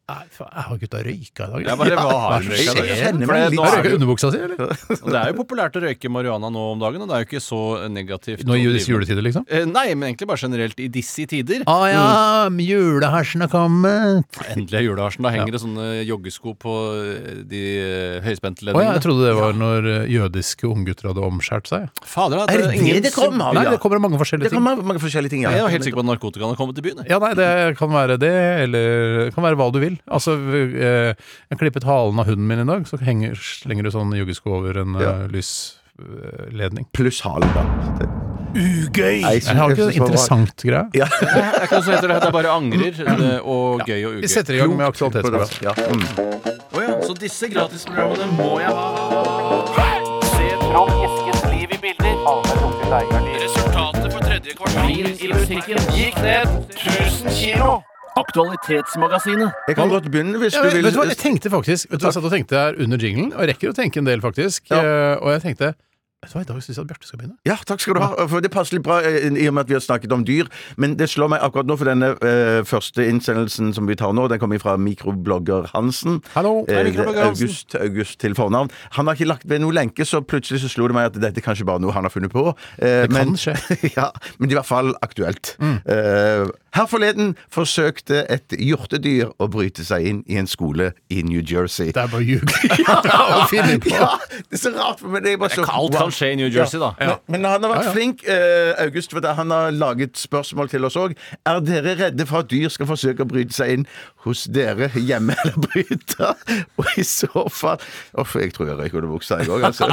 S4: Nei, faen, jeg har gutta røyka i dag.
S5: Jeg bare, hva har
S4: Hva
S5: du røyka
S4: er det som
S5: da?
S6: Jeg kjenner meg
S5: For det-
S6: litt-
S5: nå er
S4: Har du
S5: det
S4: røyka
S5: jo-
S4: underbuksa si, eller?
S5: Det er jo populært å røyke marihuana nå om dagen, og det er jo ikke så negativt.
S4: Nå i
S5: å
S4: disse
S5: drive-
S4: juletider, liksom?
S5: Eh, Nei, men egentlig bare generelt i disse tider.
S4: Å ja, julehasjen har kommet.
S5: Endelig er julehasjen. Da henger det sånne joggesko på eh, de eh, høyspente
S4: Å ja,
S5: leddene.
S4: jeg trodde det var når eh, jødiske unggutter hadde omskjært seg.
S5: Fader, at
S6: Er det
S5: ingen-
S6: det det kom av?
S4: Nei,
S6: ja?
S4: det kommer mange
S6: Det
S4: forskjellige ting.
S6: kommer mange- mange forskjellige ting, ja.
S5: Jeg var helt sikker på at narkotikaen har kommet til byen. jeg.
S4: Ja, nei, det kan være det, eller det kan være hva du vil. Altså, eh, jeg klippet halen av hunden min i dag, så henger, slenger du sånn joggesko over en
S6: Ja.
S4: eh, lysledning.
S6: Pluss halen, da. Ugøy!
S4: Jeg har ikke noe interessant greie.
S6: Ja.
S5: Det er ikke noe som heter det. Det er bare angrer eh, og gøy og
S4: Vi
S5: ugøy.
S4: setter i gang med aktualitetsprogrammet.
S6: Ja. Mm.
S5: Å ja, så disse gratisprogrammene må jeg ha.
S7: Resultatet for tredje kvartal i butikken gikk ned 1000 kilo. Aktualitetsmagasinet.
S6: Jeg kan godt begynne, hvis
S4: Ja,
S6: du
S4: men,
S6: vil.
S4: vet du hva, jeg tenkte faktisk Vet du hva jeg satt og tenkte her under jinglen, og jeg rekker å tenke en del, faktisk.
S6: Ja.
S4: eh, Og jeg tenkte Vet du hva, i dag syns jeg at Bjarte skal begynne.
S6: Ja, takk skal du ha. For det passer litt bra eh, i og med at vi har snakket om dyr. Men det slår meg akkurat nå, for denne eh, første innsendelsen som vi tar nå, den kommer fra mikroblogger Hansen.
S4: Hallo, hei,
S6: Eh, det er
S4: mikroblogger Hansen.
S6: August, August til fornavn. Han har ikke lagt ved noen lenke, så plutselig så slo det meg at dette er kanskje bare noe han har funnet på. Eh,
S4: Det kan Mm.
S6: men-
S4: skje.
S6: ja, men det er i hvert fall aktuelt. Eh, Her forleden forsøkte et hjortedyr å bryte seg inn i en skole i New Jersey.
S4: Det er bare ljug. Det er å finne på.
S6: Ja, det er så rart for meg. Det er bare så,
S5: Alt kan skje i New Jersey, da.
S6: Men, men han har vært flink, eh, August, for det- han har laget spørsmål til oss òg. Er dere redde for at dyr skal forsøke å bryte seg inn hos dere hjemme eller bryte? Og i så fall Uff, jeg tror jeg røyker under buksa, jeg òg, altså.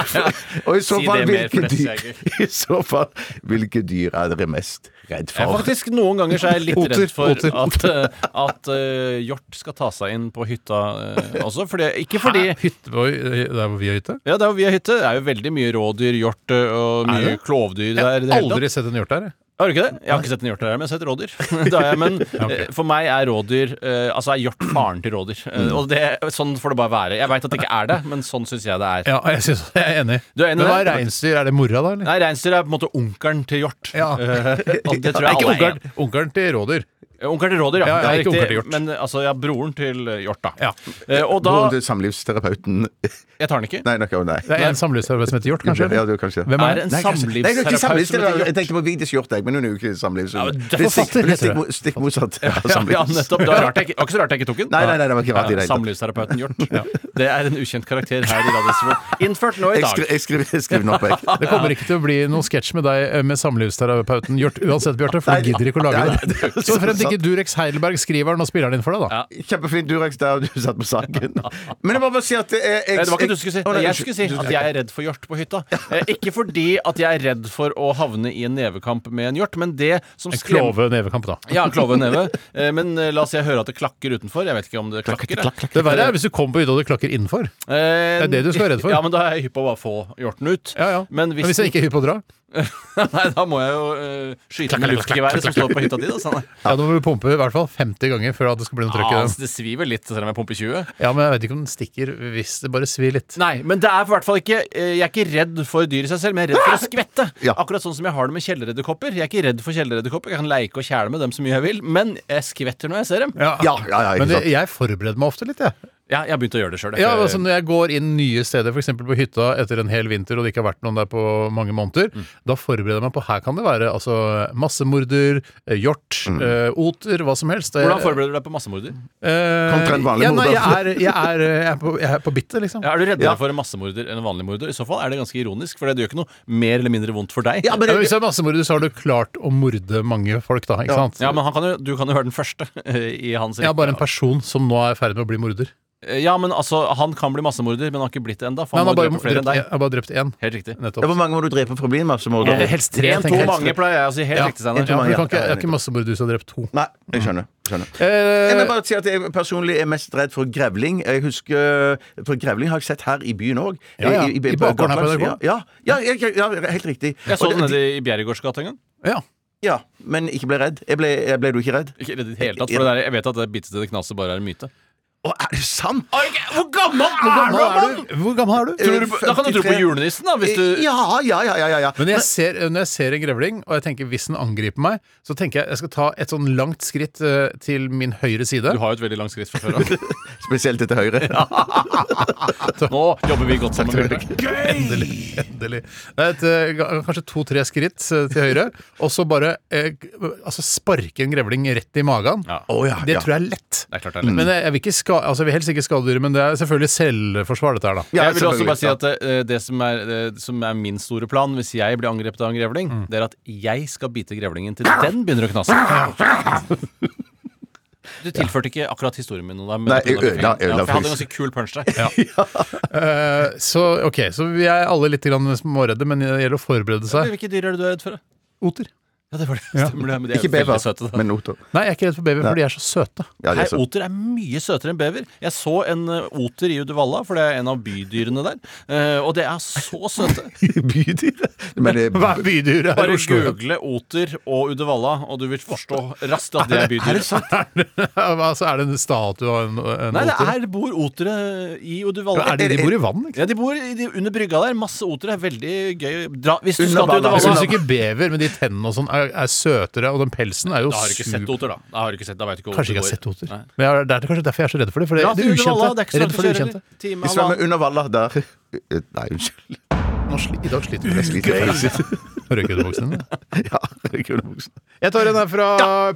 S6: Og i så
S5: Si
S6: fall,
S5: det mer, for
S6: hvilke
S5: det ser
S6: dyr,
S5: jeg
S6: i så fall, hvilke dyr er dere mest redd
S5: Jeg er
S6: for?
S5: faktisk Noen ganger så er jeg litt
S4: Oter,
S5: redd for
S4: oter,
S5: at, eh, at eh, hjort skal ta seg inn på hytta eh, også. Fordi, ikke fordi
S4: Hytte, oi, der hvor vi har hytte?
S5: ja, der hvor vi har hytte, det er jo veldig mye rådyr, hjort eh, og
S4: Er
S5: mye
S4: det?
S5: klovdyr der.
S4: Jeg
S5: i
S4: har
S5: det hele tatt.
S4: aldri sett en hjort der. jeg.
S5: Har du ikke det? Jeg har ikke sett en hjort der, men jeg har sett rådyr. Det har jeg, men eh, For meg er rådyr eh, Altså er hjort faren til rådyr. Eh,
S4: Mm.
S5: Og det, sånn får det bare være. Jeg veit at det ikke er det, men sånn syns jeg det er.
S4: Ja, jeg, synes, jeg er enig.
S5: Du er enig i
S4: Men hva er
S5: det?
S4: reinsdyr? Er det mora, da? eller?
S5: Nei, reinsdyr er på en måte onkelen til hjort.
S4: Ja.
S5: Eh, og det tror
S4: Nei,
S5: jeg alle er.
S4: ikke onkelen. Onkelen til rådyr.
S5: Eh, Onkelen til rådyr, ja.
S4: Ja, ja,
S5: Det er riktig.
S4: ikke onkelen til hjort.
S5: Men eh, altså, ja, broren til eh, hjort, da.
S4: Ja.
S5: Eh, og da
S6: Broren til samlivsterapeuten
S5: Jeg tar den ikke.
S6: Nei, nok, nei.
S4: Det er en samlivsarbeid som heter hjort, kanskje?
S6: Ja,
S4: eller?
S6: du, kanskje.
S4: Hvem
S5: Er
S4: er
S5: det
S4: det?
S5: en
S6: Nei, kanskje- Nei, det er ikke
S5: samlivsterapeut som
S6: samlivsterapeut.
S5: heter
S6: Jeg
S5: hjort?
S6: tenkte på Vigdis Hjort, jeg, men hun er jo ikke
S5: Ja,
S6: samlivshund.
S5: men
S6: det er stikk,
S4: forfatter
S6: det er stikk,
S4: heter
S6: mo- stikk motsatt. av
S5: Ja,
S6: samlivs-
S5: nettopp. Det var rart jeg ikke- det var ikke så rart jeg ikke tok den.
S6: Nei, nei, nei, det var ikke rart i det hele tatt.
S5: Samlivsterapeuten Hjort. Det er en ukjent karakter her i Radioresepsjonen. Innført nå i
S6: Jeg
S5: dag.
S6: skri- jeg skriver jeg skriver den opp, jeg.
S4: Det kommer ikke til å bli noen sketsj med deg eh, med samlivsterapeuten Hjort uansett, Bjarte, for du
S6: Nei,
S4: gidder ikke å lage
S6: ja,
S4: det.
S6: det er
S4: Så frem til
S6: sant.
S4: ikke Durex Heidelberg skriver den og spiller den inn for deg, da.
S6: Kjempefint Durex der, og du satt på saken. Men jeg må bare si at eh,
S5: Nei, Eh,
S6: jeg, jeg,
S5: det var ikke du skulle si.
S6: Å, nei,
S5: jeg skulle si at jeg er redd for hjort på hytta. Eh, Ikke fordi at jeg er redd for å havne i en nevekamp med en hjort, men det som
S4: En klove nevekamp, da.
S5: Ja, en klove neve. Eh, Men eh, la oss si jeg hører at det klakker utenfor. Jeg vet ikke om det klakker. jeg.
S4: Det verre er hvis du kommer på hytta og det klakker innenfor.
S5: Eh,
S4: Det er det du skal være redd for.
S5: Ja, men da er jeg hypp på å bare få hjorten ut.
S4: Ja, ja.
S5: Men hvis,
S4: jeg ikke er hypp på å dra,
S5: Nei, da må jeg jo eh, skyte med luftgeværet som står på hytta di. Da, sånn.
S4: ja, da må du pumpe i hvert fall 50 ganger før at det skal bli noe trøkk
S5: Ah,
S4: i den.
S5: altså, det sviver litt selv om jeg pumper 20.
S4: Ja, men jeg vet ikke om den stikker hvis det bare svir litt.
S5: Nei, men det er i hvert fall ikke eh, Jeg er ikke redd for dyr i seg selv, men jeg er redd for å skvette.
S6: Ja.
S5: Akkurat sånn som jeg har det med kjeleredderkopper. Jeg er ikke redd for kjeleredderkopper. Jeg kan leke og kjæle med dem så mye jeg vil, men jeg skvetter når jeg ser dem.
S6: Ja, ja, ja, ikke
S4: men det,
S6: sant.
S4: jeg forbereder meg ofte litt, jeg.
S5: Ja, jeg har begynt å gjøre det sjøl.
S4: Ja, altså Når jeg går inn nye steder, f.eks. på hytta etter en hel vinter og det ikke har vært noen der på mange måneder, da forbereder jeg meg på her kan det være altså, massemorder, eh, hjort,
S6: Mm.
S4: eh, oter, hva som helst.
S5: Eh, Hvordan forbereder du deg på massemorder?
S4: Eh,
S6: Kontra en vanlig
S4: ja, nei,
S6: morder.
S4: jeg er, jeg er, jeg er, på, jeg er på bittet, liksom.
S5: Ja, er du reddere
S6: Ja.
S5: for en massemorder enn en vanlig morder? I så fall er det ganske ironisk, for det gjør ikke noe mer eller mindre vondt for deg.
S6: Ja, men
S4: Ja, men
S6: det,
S4: hvis det er massemorder, så har du klart å morde mange folk, da. ikke sant?
S5: Ja, men han kan jo, du kan jo være den første eh, i hans
S4: Jeg
S5: rekke.
S4: er bare en person som nå er i ferd med å bli morder.
S5: Ja, men altså, han kan bli massemorder, men han har ikke blitt det ennå. For
S4: Nei,
S5: han,
S4: han har
S5: har
S4: bare
S5: drept flere enn deg.
S4: drept, jeg har bare drept én.
S5: Helt riktig.
S4: Nettopp.
S6: ja, hvor mange må du drepe for å bli en massemorder?
S4: Ja, helst tre,
S5: En, to
S4: tenker jeg.
S5: mange pleier jeg å si. Helt
S4: Ja.
S5: riktig, Steinar.
S6: to
S4: Ja,
S6: mange,
S4: men du kan ikke,
S6: ja,
S4: det er ikke massemorder som har drept to.
S6: Nei, jeg skjønner. skjønner. Jeg må
S4: Eh,
S6: bare si at jeg personlig er mest redd for grevling. Jeg husker, eh, For grevling har jeg sett her i byen òg.
S4: Ja, ja. I bakgården her på NRK.
S6: Ja, ja, ja, ja, ja, helt riktig.
S5: Jeg så
S6: Og
S5: den nede i Bjerregårdsgata en gang.
S4: ja.
S6: Ja, Men ikke ble redd. Jeg ble, jeg ble du ikke redd?
S5: Ikke redd i det hele tatt, for det der, jeg vet at det bitte til det knaset bare er en myte.
S6: Å, er det sant?
S5: Hvor gammel
S4: Hvor gammel er du? Hvor gammel er du?
S5: Tror du på- Da kan du tro på
S6: 53.
S5: julenissen, da, hvis du
S6: Ja, ja, ja, ja, ja, ja.
S4: Men jeg ser, når jeg ser en grevling, og jeg tenker hvis den angriper meg, så tenker jeg jeg skal ta et sånn langt skritt eh, til min høyre side.
S5: Du har jo et veldig langt skritt fra før av.
S6: Spesielt til høyre.
S5: Nå jobber vi godt sammen. Bjørnar.
S4: Endelig. endelig. Det er et, eh, ga- kanskje to-tre skritt eh, til høyre, og så bare eh, g- altså sparke en grevling rett i magen.
S5: Ja.
S6: Å, ja, Mm.
S4: Det
S6: ja.
S4: tror jeg er lett.
S5: Det er klart det er lett.
S4: Men jeg, jeg, vil ikke ska, altså, jeg vil helst ikke skade dyret, men det er selvfølgelig selvforsvar, dette her, da.
S6: Ja,
S5: jeg vil også
S6: selvfølgelig,
S5: bare si
S6: ja.
S5: at eh, det som er, eh, som er min store plan hvis jeg blir angrepet av en grevling,
S6: Mm.
S5: det er at jeg skal bite grevlingen til den begynner å knase. Du tilførte ikke akkurat historien min noe der. men-
S6: Nei, jeg ødela-
S5: Ja, for
S6: ødela
S5: jeg hadde en
S6: faktisk.
S5: ganske kul punch der.
S4: Eh, så ok, så vi er alle litt grann småredde, men det gjelder å forberede seg.
S5: Hvilke dyr er det du er redd for? da?
S4: Oter.
S5: Ja, det var det. Stemmer det. Men de er
S6: Ikke
S5: jo veldig
S6: bever,
S5: søte. da.
S6: men oter.
S4: Nei, jeg er ikke redd for baby, for de er så søte.
S6: Ja, det
S5: Nei,
S6: er så-
S5: oter er mye søtere enn bever. Jeg så en eh, oter i Uddevalla, for det er en av bydyrene der. Eh, og det er så søte.
S6: Bydyr? Men eh, det
S4: Hva er bydyret her i
S5: Bare
S4: Oslo?
S5: google oter og Uddevalla, og du vil forstå raskt at det er bydyr.
S4: altså, er det en statue av en, en
S5: Nei, det
S4: oter?
S5: er, bor otere i Uddevalla.
S4: Er de, de bor i vann, ikke
S5: Ja,
S4: sant?
S5: de bor i de, under brygga der. Masse otere. er Veldig gøy. Dra, hvis du skal til
S6: Under badet.
S4: Jeg
S5: Uddevalla
S4: syns ikke bever, men de tennene og sånn er, er søtere, og den pelsen er jo
S5: Da har du ikke sett
S4: super...
S5: oter, da. Da har du ikke sett, da vet du ikke
S4: Kanskje ikke jeg har sett
S5: går.
S4: oter.
S5: Nei.
S4: Men jeg er, det er kanskje derfor jeg er så redd for det. For det,
S5: Dra
S4: det
S5: til
S4: ukjente.
S5: Uddevalla, det er ikke så
S4: redd for det
S5: langt å kjøre,
S4: ukjente.
S5: eller? Time,
S6: Vi svømmer
S5: halvannen.
S6: under Valla der. Nei, Eh, unnskyld.
S4: Nå sli, I dag sliter vi nesten litt.
S6: Gøy.
S4: Røyker du boksen din?
S6: Ja, kulebuksen.
S4: Jeg tar en her fra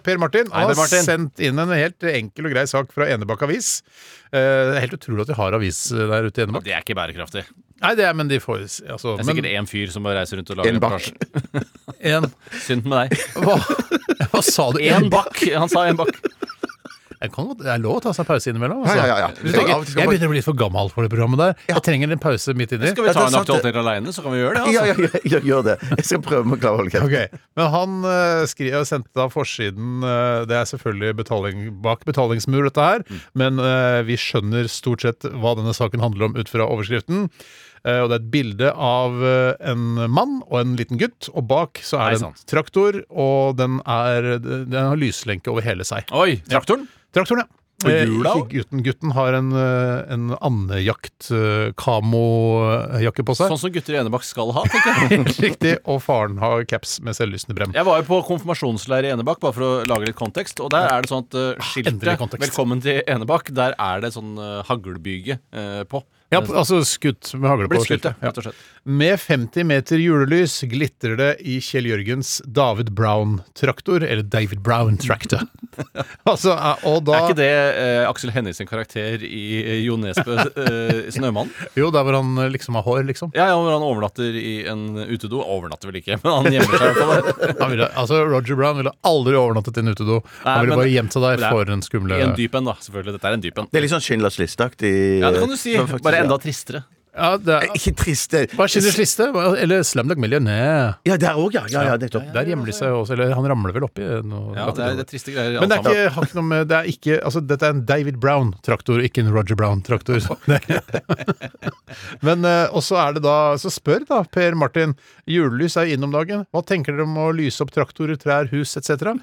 S4: Per Martin. Han
S5: Hei, Per
S4: har
S5: Martin.
S4: sendt inn en helt enkel og grei sak fra Enebakk Avis. Eh, Det er helt utrolig at de har avis eh, der ute i Enebakk.
S5: Det er ikke bærekraftig. Det
S4: Nei, det er, men de får altså,
S5: er
S4: men,
S5: sikkert én fyr som bare reiser rundt og lager
S6: En bakk.
S5: reportasjer.
S4: en,
S5: Synd med deg.
S4: hva, hva sa du?
S5: Én bakk! Han sa én bakk.
S4: Jeg kan godt, det er lov å ta seg en pause innimellom.
S6: Ja, ja, ja, ja.
S4: Du tenker,
S6: Ja, av og til skal
S4: jeg
S6: man-
S4: begynner å bli litt for gammel for det programmet der. Jeg trenger en pause midt inni.
S5: Skal vi
S6: Ja, det
S5: ta
S6: er
S5: en
S6: sant, det.
S5: aktualitet aleine, så kan vi gjøre det.
S6: Ja,
S5: Altså.
S6: ja, ja, ja, gjør det. Jeg skal prøve med å klare å holde kjeft.
S4: Ok, Men han eh, skri, jeg sendte da forsiden eh, Det er selvfølgelig betaling, bak betalingsmur, dette her.
S6: Mm.
S4: Men eh, vi skjønner stort sett hva denne saken handler om ut fra overskriften. Eh, og det er et bilde av eh, en mann og en liten gutt. Og bak så
S5: Nei,
S4: er det en
S5: sant.
S4: traktor, og den, er, den har lyslenke over hele seg.
S5: Oi, traktoren?
S4: Traktoren, ja.
S5: Og
S4: Eh,
S5: hjula
S4: ikke gutten. Gutten har en, eh, en andejakt-kamojakke på seg.
S5: Sånn som gutter i Enebakk skal ha, tenker jeg.
S4: Helt riktig. Og faren har caps med selvlysende brem.
S5: Jeg var jo på konfirmasjonsleir i Enebakk, bare for å lage litt kontekst. Og der er det sånn at eh,
S4: endelig
S5: skiltet
S4: kontekst.
S5: 'Velkommen til Enebakk', der er det sånn eh, haglbyge eh, på.
S4: Ja, p- altså skutt med hagle på.
S5: Blitt skutt, ja,
S4: skiltet.
S5: rett og slett.
S4: Med 50 meter julelys glitrer det i Kjell Jørgens David Brown-traktor, eller David Brown-traktor. altså, eh, og da
S5: Er ikke det eh, Aksel Hennies sin karakter i eh, Jo Nesbø eh, 'Snømann'?
S4: Jo, der hvor han eh, liksom har hår, liksom.
S5: Ja, ja, hvor han overnatter i en utedo. Overnatter vel ikke, men han gjemmer seg i hvert fall der.
S4: Han ville, altså, Roger Brown ville aldri overnattet i en utedo. Han
S5: Nei,
S4: ville
S5: men-
S4: bare gjemt seg
S5: men
S4: der
S5: det er-
S4: for en skumle
S5: I en dyp en, da. Selvfølgelig. Dette er en dyp en.
S6: Det er litt sånn Schindlers liste-aktig.
S5: Ja, det kan du si.
S6: eh, faktisk,
S5: Bare enda
S6: ja.
S5: tristere.
S4: Ja, det
S5: Eh,
S4: er,
S6: Ikke trist, det.
S4: Hva er Schindlers liste? Hva- Eller Slumdog Millionaire?
S6: Ja, der òg, ja. Ja, ja, nettopp.
S4: Der gjemmer de
S5: altså-
S4: seg jo også. Eller han ramler vel oppi noe
S5: Ja, det er, det er triste greier.
S4: Men det
S5: alt
S4: er
S5: sammen.
S4: ikke, har ikke noe med det er ikke, altså, Dette er en David Brown-traktor, ikke en Roger Brown-traktor. Men eh, og så er det da Så spør da Per Martin. Julelys er jo inn om dagen. Hva tenker dere om å lyse opp traktorer, trær, hus etc.?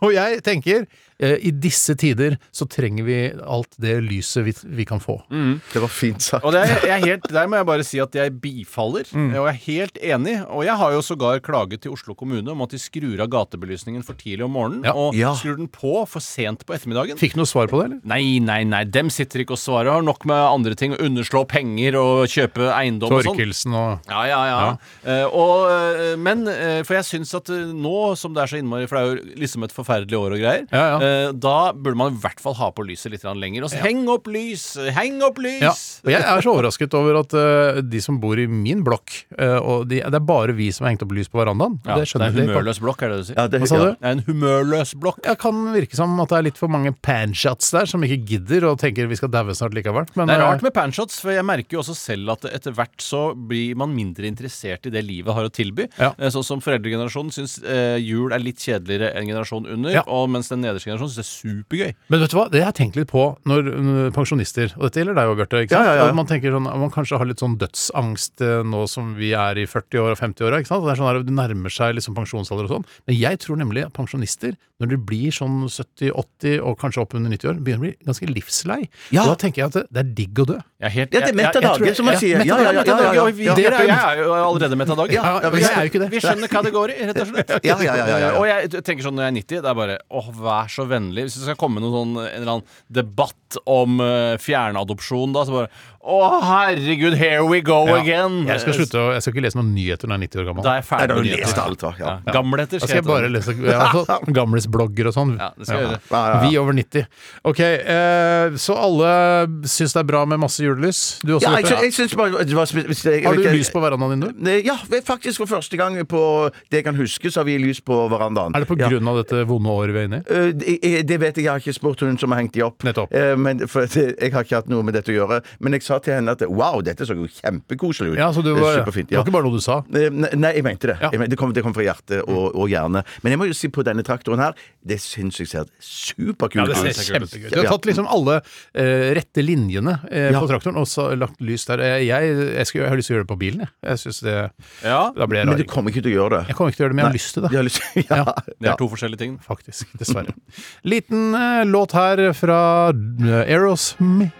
S4: Og jeg tenker eh, i disse tider så trenger vi alt det lyset vi, vi kan få.
S5: Mm.
S6: Det var fint sagt.
S5: Og det er, jeg er helt, Der må jeg bare si at jeg bifaller,
S4: Mm.
S5: og jeg er helt enig. Og jeg har jo sågar klaget til Oslo kommune om at de skrur av gatebelysningen for tidlig om morgenen,
S4: Ja.
S5: og
S6: Ja.
S5: skrur den på for sent på ettermiddagen.
S4: Fikk du noe svar på det, eller?
S5: Nei, nei, nei, dem sitter ikke og svarer. Har nok med andre ting. Å underslå penger og kjøpe eiendom og sånn.
S4: Torkelsen og
S5: Ja, ja, ja. Eh, og, eh, men eh, For jeg syns at eh, nå som det er så innmari For det er jo liksom et forferdelig år og greier.
S4: Ja, ja.
S5: eh, da burde man i hvert fall ha på lyset litt grann lenger. Og så heng opp lys! Heng opp lys!
S4: Ja, og jeg er så overrasket over at eh, de som bor i min blokk eh, og de, Det er bare vi som har hengt opp lys på verandaen.
S5: Ja,
S4: det skjønner
S5: det er en
S4: jeg ikke.
S5: humørløs blokk, er det det du sier?
S6: Ja, det-
S4: Hva sa
S6: ja.
S4: du?
S5: Det er en humørløs blokk.
S4: Det kan virke som at det er litt for mange panshots der som ikke gidder og tenker vi skal daue snart likevel. Men
S5: Det er rart
S4: eh,
S5: med panshots, for jeg merker jo også selv at etter hvert så blir man mindre interessert i det livet har å tilby.
S4: Ja.
S5: Eh, Sånn som foreldregenerasjonen syns eh, jul er litt kjedeligere enn generasjonen under,
S4: Ja.
S5: og mens den nederste generasjonen syns det er supergøy.
S4: men vet du hva, det har jeg tenkt litt på når mm, pensjonister Og dette gjelder deg òg, Bjarte. ikke sant?
S6: Ja, ja, ja.
S4: At Man tenker sånn, man kanskje har litt sånn dødsangst eh, nå som vi er i 40 år og 50-åra. ikke sant? Det er sånn her, Du nærmer seg liksom pensjonsalder og sånn. Men jeg tror nemlig at pensjonister, når de blir sånn 70-80 og kanskje opp under 90 år, begynner å bli ganske livslei.
S6: Ja.
S4: Og Da tenker jeg at det, det er digg å dø.
S5: Jeg er helt
S6: Ja, det er mett av
S5: jeg- jeg-
S6: dagen, som man
S4: ja,
S6: sier.
S4: mett
S6: Ja,
S4: av
S6: ja, ja,
S4: dagen,
S6: ja, ja, ja.
S5: Vi, dere, jeg er jo allerede mett av dagen.
S6: Ja, ja,
S4: men jeg er jo ikke det.
S5: Vi skjønner hva det går i, rett og slett.
S6: Ja, ja, ja, ja, ja.
S5: Og jeg tenker sånn når jeg er 90, det er bare åh, vær så vennlig. Hvis det skal komme noen sånn, en eller annen debatt om eh, fjernadopsjon, da, så bare å, herregud, here we go
S4: Ja.
S5: again.
S4: Jeg skal slutte å, jeg skal ikke lese noen nyheter når jeg er 90 år gammel.
S5: Da er jeg
S6: Eh, Nei,
S5: ferdig
S6: da har
S5: med
S6: du lest
S5: nyheter.
S6: alt, hva? Ja.
S5: Ja. Gamleter
S4: Da skal jeg bare lese ja, altså, gamlisblogger og sånn.
S5: Ja, det skal jeg gjøre.
S6: Ja, ja, ja.
S4: Vi over 90. Ok, eh, så alle syns det er bra med masse julelys? Du også,
S6: Ja, jeg,
S4: Bjarte?
S6: sy- jeg syns bare det var spe- hvis det- jeg
S4: Har
S6: vet
S4: du
S6: ikke-
S4: lys på verandaen din, du?
S6: Nei, Eh, Ja, faktisk for første gang på det jeg kan huske, så har vi lys på verandaen.
S4: Er det på
S6: Ja.
S4: grunn av dette vonde året vi er inne i?
S6: Eh, Det det vet jeg, jeg har ikke spurt hun som har hengt de opp.
S4: Nettopp.
S6: Eh, Men, for det, jeg har ikke hatt noe med dette å gjøre. Men jeg sa til henne at wow, dette så jo kjempekoselig ut.
S4: Ja, så du
S6: Eh,
S4: var,
S6: Superfint.
S4: Det
S6: Ja.
S4: var ikke bare noe du sa?
S6: Eh, ne- Nei, jeg mente det.
S4: Ja. Mm.
S6: Jeg men- det, kom, det kom fra hjertet og, og hjerne. Men jeg må jo si på denne traktoren her, det syns jeg ser superkult ut.
S4: kjempegøy ut. Du har tatt liksom alle eh, rette linjene eh, på traktoren og så lagt lys der. Eh, Jeg, jeg, skulle, jeg har lyst til å gjøre det på bilen, jeg. jeg synes det,
S5: Ja.
S4: da blir jeg
S6: Men du
S4: rar.
S6: kommer ikke til å gjøre det.
S4: Jeg kommer ikke til å gjøre det, men jeg har lyst til det.
S6: Du har lyst- ja.
S5: Det er to forskjellige ting.
S4: Faktisk. Dessverre. Liten eh, låt her fra eh, Aerosmith.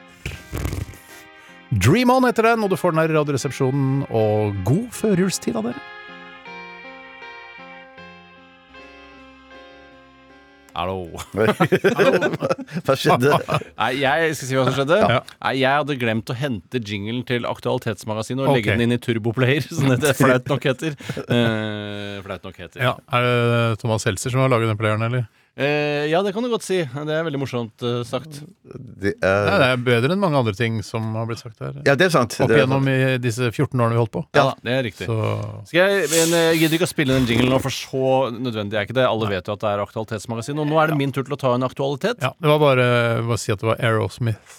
S4: Dream On heter den, og du får den her i Radioresepsjonen. Og god førjulstid av dere.
S5: Ja, Hallo.
S6: Hva skjedde?
S5: Nei, jeg skal si hva som skjedde.
S4: Ja.
S5: Nei, jeg hadde glemt å hente jinglen til Aktualitetsmagasinet og
S4: Ok.
S5: legge den inn i Turboplayer, som det flaut nok heter. Eh, flaut nok heter.
S4: Ja, Er det Thomas Seltzer som har laget den playeren, eller?
S5: Eh, ja, det kan du godt si. Det er veldig morsomt eh, sagt.
S6: Det
S4: Nei,
S6: er,
S4: det er bedre enn mange andre ting som har blitt sagt her.
S6: ja, det er sant.
S4: Opp
S6: Det er
S4: igjennom
S6: sant.
S4: i disse 14 årene vi holdt på.
S5: Ja, det er riktig.
S4: Så
S5: Skal jeg, men jeg gidder ikke å spille den jinglen nå, for så nødvendig er ikke det. Alle vet jo at det er Aktualitetsmagasinet, og nå er det min tur til å ta en aktualitet.
S4: ja, det var bare bare å si at det var Aerosmith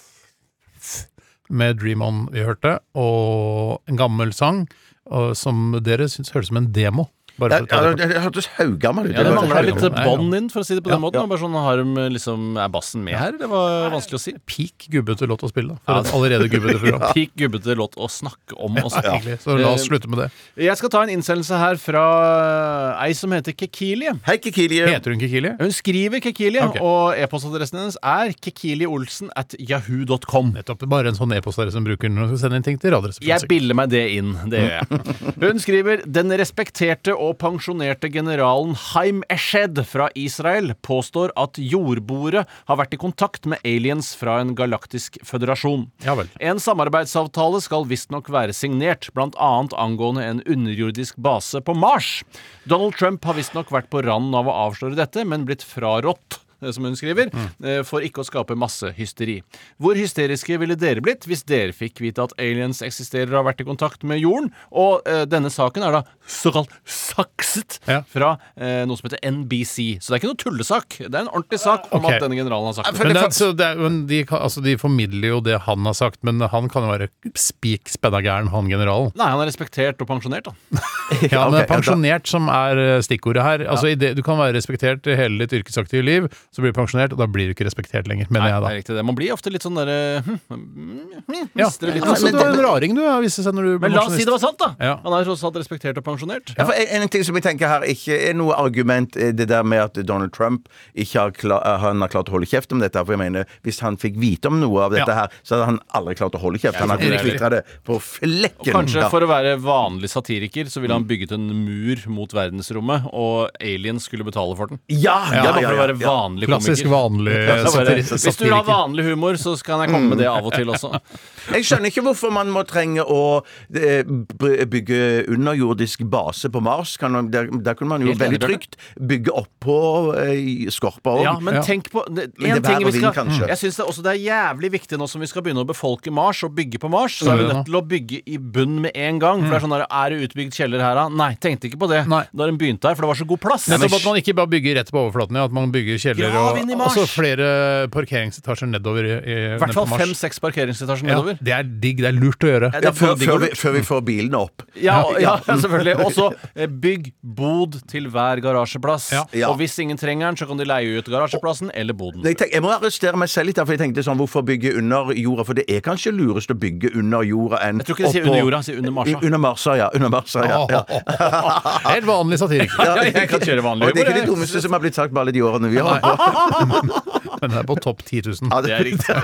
S4: med Dream On vi hørte, og en gammel sang og, som dere syns høres ut som en demo. Bare for
S6: Ja,
S4: å ta
S6: ja,
S4: det kort.
S6: det hørtes haugammal ut.
S5: Ja, Det
S4: var-
S5: mangler litt eh,
S4: Nei, ja.
S5: bånd inn, for å si det på den
S4: Ja,
S5: måten.
S4: ja.
S5: og Bare sånn, har de liksom, Er bassen med her? Det var vanskelig å si.
S4: Peak gubbete låt å spille, da, for et allerede gubbete program.
S5: Pikk gubbete låt å snakke om også.
S4: Egentlig. Så la
S5: Eh,
S4: oss slutte med det.
S5: Jeg skal ta en innsendelse her fra ei som heter Kekilie.
S6: Hei, Kikilie.
S4: Heter hun Kikili?
S5: Hun skriver Kekilie,
S4: Ok.
S5: og e-postadressen hennes er kekilieolsen at yahoo.com.
S4: Nettopp. Bare en sånn e-postadresse som bruker når hun skal sende inn ting til
S5: Jeg
S4: Radioresepsjonen.
S5: biller meg det inn. Det gjør jeg. Hun skriver Den respekterte og pensjonerte generalen Haim Eshed fra Israel påstår at jordboere har vært i kontakt med aliens fra en galaktisk føderasjon.
S4: Ja vel.
S5: En samarbeidsavtale skal visstnok være signert, bl.a. angående en underjordisk base på Mars. Donald Trump har visstnok vært på randen av å avsløre dette, men blitt frarådt. eh, Som hun skriver, eh, for ikke å skape massehysteri. Hvor hysteriske ville dere blitt hvis dere fikk vite at aliens eksisterer og har vært i kontakt med jorden? Og eh, denne saken er da såkalt sakset
S4: Ja.
S5: fra eh, noe som heter NBC. Så det er ikke noe tullesak. Det er en ordentlig sak om
S4: Ok.
S5: at denne generalen har sagt
S4: Men, det, er- så det, er- men de, kan- altså, de formidler jo det han har sagt, men han kan jo være spik spenna gæren, han generalen.
S5: Nei, han er respektert og pensjonert, da.
S4: Ja, men
S6: ok,
S4: det er pensjonert som er eh, stikkordet her. Altså, i det, du kan være respektert i hele ditt yrkesaktive liv, så blir du pensjonert, og da blir du ikke respektert lenger, mener
S5: Nei,
S4: jeg
S5: det
S4: da.
S5: er riktig det. Man blir ofte litt sånn derre hm, hm, hm,
S4: Ja.
S5: mister det litt.
S4: Altså,
S5: men,
S4: du er en raring, du, viser seg når du blir
S5: la oss si det
S4: pensjonist.
S5: var sant, da!
S4: Ja.
S5: Han er tross alt respektert og pensjonert.
S6: Ja, for en, en ting som jeg tenker her ikke er noe argument, er det der med at Donald Trump ikke har, kla- eh, han har klart å holde kjeft om dette. her, For jeg mener, hvis han fikk vite om noe av dette
S4: Ja.
S6: her, så hadde han aldri klart å holde kjeft. Han hadde
S4: riktig.
S6: klitra det på flekken.
S5: Kanskje
S6: Ja.
S5: for å være vanlig satiriker så ville han bygget en mur mot verdensrommet, og aliens skulle betale for den.
S6: ja, ja,
S5: Bare for
S6: ja,
S5: å
S6: ja,
S5: være
S6: ja.
S5: vanlig
S4: Klassisk
S5: komiker.
S4: vanlig
S5: Ja, bare,
S4: satiri-
S5: hvis du vil ha
S4: satiriker.
S5: vanlig humor, så kan jeg komme med det av og til også.
S6: Jeg skjønner ikke hvorfor man må trenge å eh, b- bygge underjordisk base på Mars. Kan man, der, der kunne man jo
S5: Helt enig,
S6: veldig
S5: Bjarte.
S6: trygt bygge oppå eh, skorpa òg.
S5: Ja, men
S4: Ja.
S5: tenk på det,
S6: Men det
S5: en
S6: er vær
S5: ting
S6: og
S5: vi skal, Mm.
S6: vind, kanskje.
S5: Jeg syns det, også det er jævlig viktig nå som vi skal begynne å befolke Mars og bygge på Mars, så er vi
S4: det
S5: nødt til å bygge i bunn med en gang. For det er sånn der, Er det utbygd kjeller her, da? Nei, tenkte ikke på det
S4: Nei.
S5: da den begynte her, for det var så god plass.
S4: Nettopp at man ikke bare bygger rett på overflaten, ja, at man bygger kjeller
S5: Grav
S4: og
S5: inn i Mars!
S4: også flere parkeringsetasjer nedover i, i
S5: I hvert fall
S4: ned på Mars.
S5: fem-seks parkeringsetasjer
S4: Ja,
S5: nedover.
S4: det er digg, det er lurt å gjøre.
S5: Eh,
S6: Ja,
S5: da
S6: før,
S5: får de gå
S6: før, vi,
S5: lurt.
S6: før vi får bilene opp.
S5: Ja, ja, selvfølgelig. Og så eh, bygg bod til hver garasjeplass.
S4: Ja.
S6: Ja.
S5: Og hvis ingen trenger den, så kan de leie ut garasjeplassen eller boden.
S6: Jeg, tenk, jeg må arrestere meg selv litt, der, for jeg tenkte sånn, hvorfor bygge under jorda? For det er kanskje lurest å bygge under jorda enn
S5: Jeg tror ikke de sier under jorda, de sier under Marsa.
S6: I- Under Marsa, ja. Under Marsa, ja. ja.
S4: Helt vanlig satiriker.
S5: Ja, jeg kan kjøre vanlig
S6: Og det
S5: humor,
S6: er ikke
S5: jeg.
S6: det dummeste som har blitt sagt på alle de årene vi har holdt på.
S4: Men det er på topp 10 000.
S6: Ja,
S5: Det er riktig.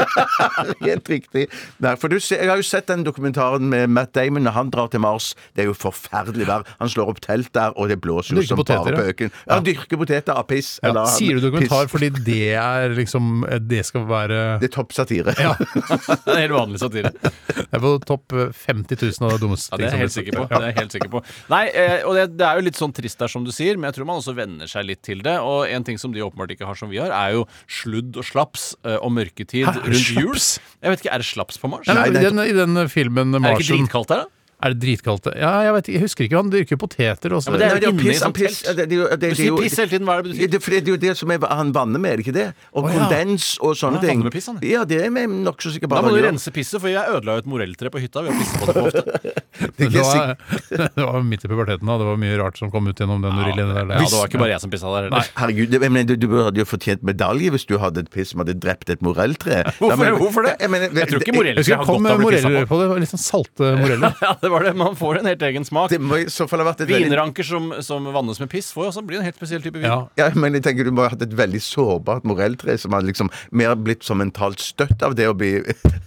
S6: Helt riktig. Nei, for du, ser- jeg har jo sett den dokumentaren med Matt Damon når han drar til Mars. Det er jo forferdelig vær. Han slår opp telt der, og det blåser jo
S4: Dyrker
S6: som bare
S4: poteter, ja.
S6: pøken. Ja, han dyrker poteter av piss.
S4: Ja,
S6: eller han-
S4: sier du dokumentar
S6: piss.
S4: fordi det er liksom Det skal være
S6: Det er topp satire.
S4: Ja.
S5: Det er helt vanlig satire.
S4: Det er på topp 50 000 av det dummeste.
S5: Ja, det er jeg helt
S4: som blir
S5: sikker på.
S4: sagt.
S5: Det er jeg helt sikker på. Nei, eh, og det, det er jo litt sånn trist der, som du sier, men jeg tror man også venner seg litt til det. Og en ting som de åpenbart ikke har som vi har, er jo sludd og slaps eh, og mørketid
S4: Hæ, er det
S5: rundt jul.
S4: slaps?
S5: Jeg vet ikke, er det slaps på Mars?
S4: Ja, men
S6: Nei, det er-
S4: den, I den filmen
S5: er det ikke
S4: Martian
S5: dritkaldt der, da?
S4: er det dritkaldt. Ja, jeg vet ikke, jeg husker ikke. Han dyrker poteter også.
S5: men det er-
S6: Nei,
S5: inne i
S6: piss,
S5: sånt
S6: han piss.
S5: telt.
S6: Ja, det- det er jo- det- det er
S5: Du sier
S6: jo-
S5: piss hele tiden, hva er det du
S6: Ja,
S5: sier?
S6: det, for det er jo det som er, han vanner med, er det ikke det? Og
S4: Å, ja.
S6: kondens og sånne
S5: Han vanner
S6: ting.
S5: med piss, han.
S6: Ja, det er jeg nokså sikker på.
S5: Da
S6: at
S5: må
S6: han
S5: du
S6: gjør.
S5: rense pisset, for jeg ødela jo et morelltre på hytta ved å pisse på det for ofte.
S4: det,
S6: det er
S4: var, det var midt i puberteten, da. Det var mye rart som kom ut gjennom den urillen der.
S5: Ja, det var ikke bare jeg som pissa der heller.
S6: Herregud, jeg mener, du, du hadde jo fortjent medalje hvis du hadde et piss som hadde drept et morelltre. Da
S5: Hvorfor,
S6: mener-
S5: hvorfor det?
S6: Ja, Jeg, mener,
S5: Jeg tror ikke
S4: Jeg
S5: morelltre
S4: husker
S5: har
S4: det kom
S5: godt av å bli pissa
S4: moreller
S5: på.
S4: på det. var Litt sånn salte moreller.
S5: Ja, det det var det. Man får en helt egen smak.
S6: Det må i så fall ha vært et veldig
S5: Vinranker som, som vannes med piss, får jo også bli en helt spesiell type vin.
S4: Ja.
S6: ja, men jeg tenker Du må ha hatt et veldig sårbart morelltre som har liksom mer blitt som mentalt støtt av det å bli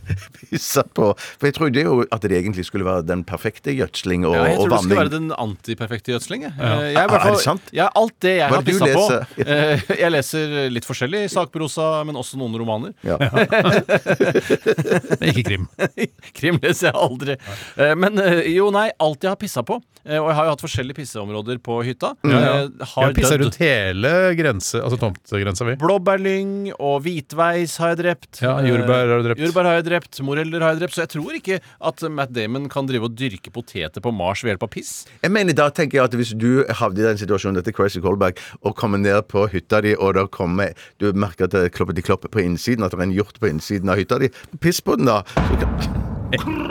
S6: pissa på. For jeg trodde jo at det egentlig skulle være den perfekte gjødsling og,
S5: Ja, jeg
S6: og
S5: tror det skal være
S6: vanning. Ah,
S5: den antiperfekte gjødsling. jeg. Eh, Jeg, er i hvert
S6: Er
S5: fall-
S6: det sant?
S5: Ja, alt det jeg
S6: Hva
S5: har
S6: er det du
S5: pissa på.
S6: leser?
S5: eh, Jeg leser litt forskjellig sakprosa, men også noen romaner.
S6: Ja.
S4: Men ikke krim.
S5: Krim leser jeg aldri. Eh, Men eh, jo, nei, alt jeg har pissa på, eh, og jeg har jo hatt forskjellige pisseområder på hytta,
S6: Mm.
S5: eh, har
S4: Jeg pisser
S5: dødd.
S4: rundt hele grense, altså tomtegrensa mi.
S5: Blåbærlyng og hvitveis har jeg drept.
S4: Ja, jordbær har du drept.
S5: Eh, Jordbær har jeg drept, Moreller har jeg drept. Så jeg tror ikke at Matt Damon kan drive og dyrke poteter på Mars ved hjelp av piss.
S6: Jeg mener da tenker jeg at Hvis du havner i den situasjonen dette er Crazy Callback og kommer ned på hytta di, og da kommer du merker at det er kloppet i klopp på innsiden, at det er en hjort på innsiden av hytta di, piss på den, da! Så kan-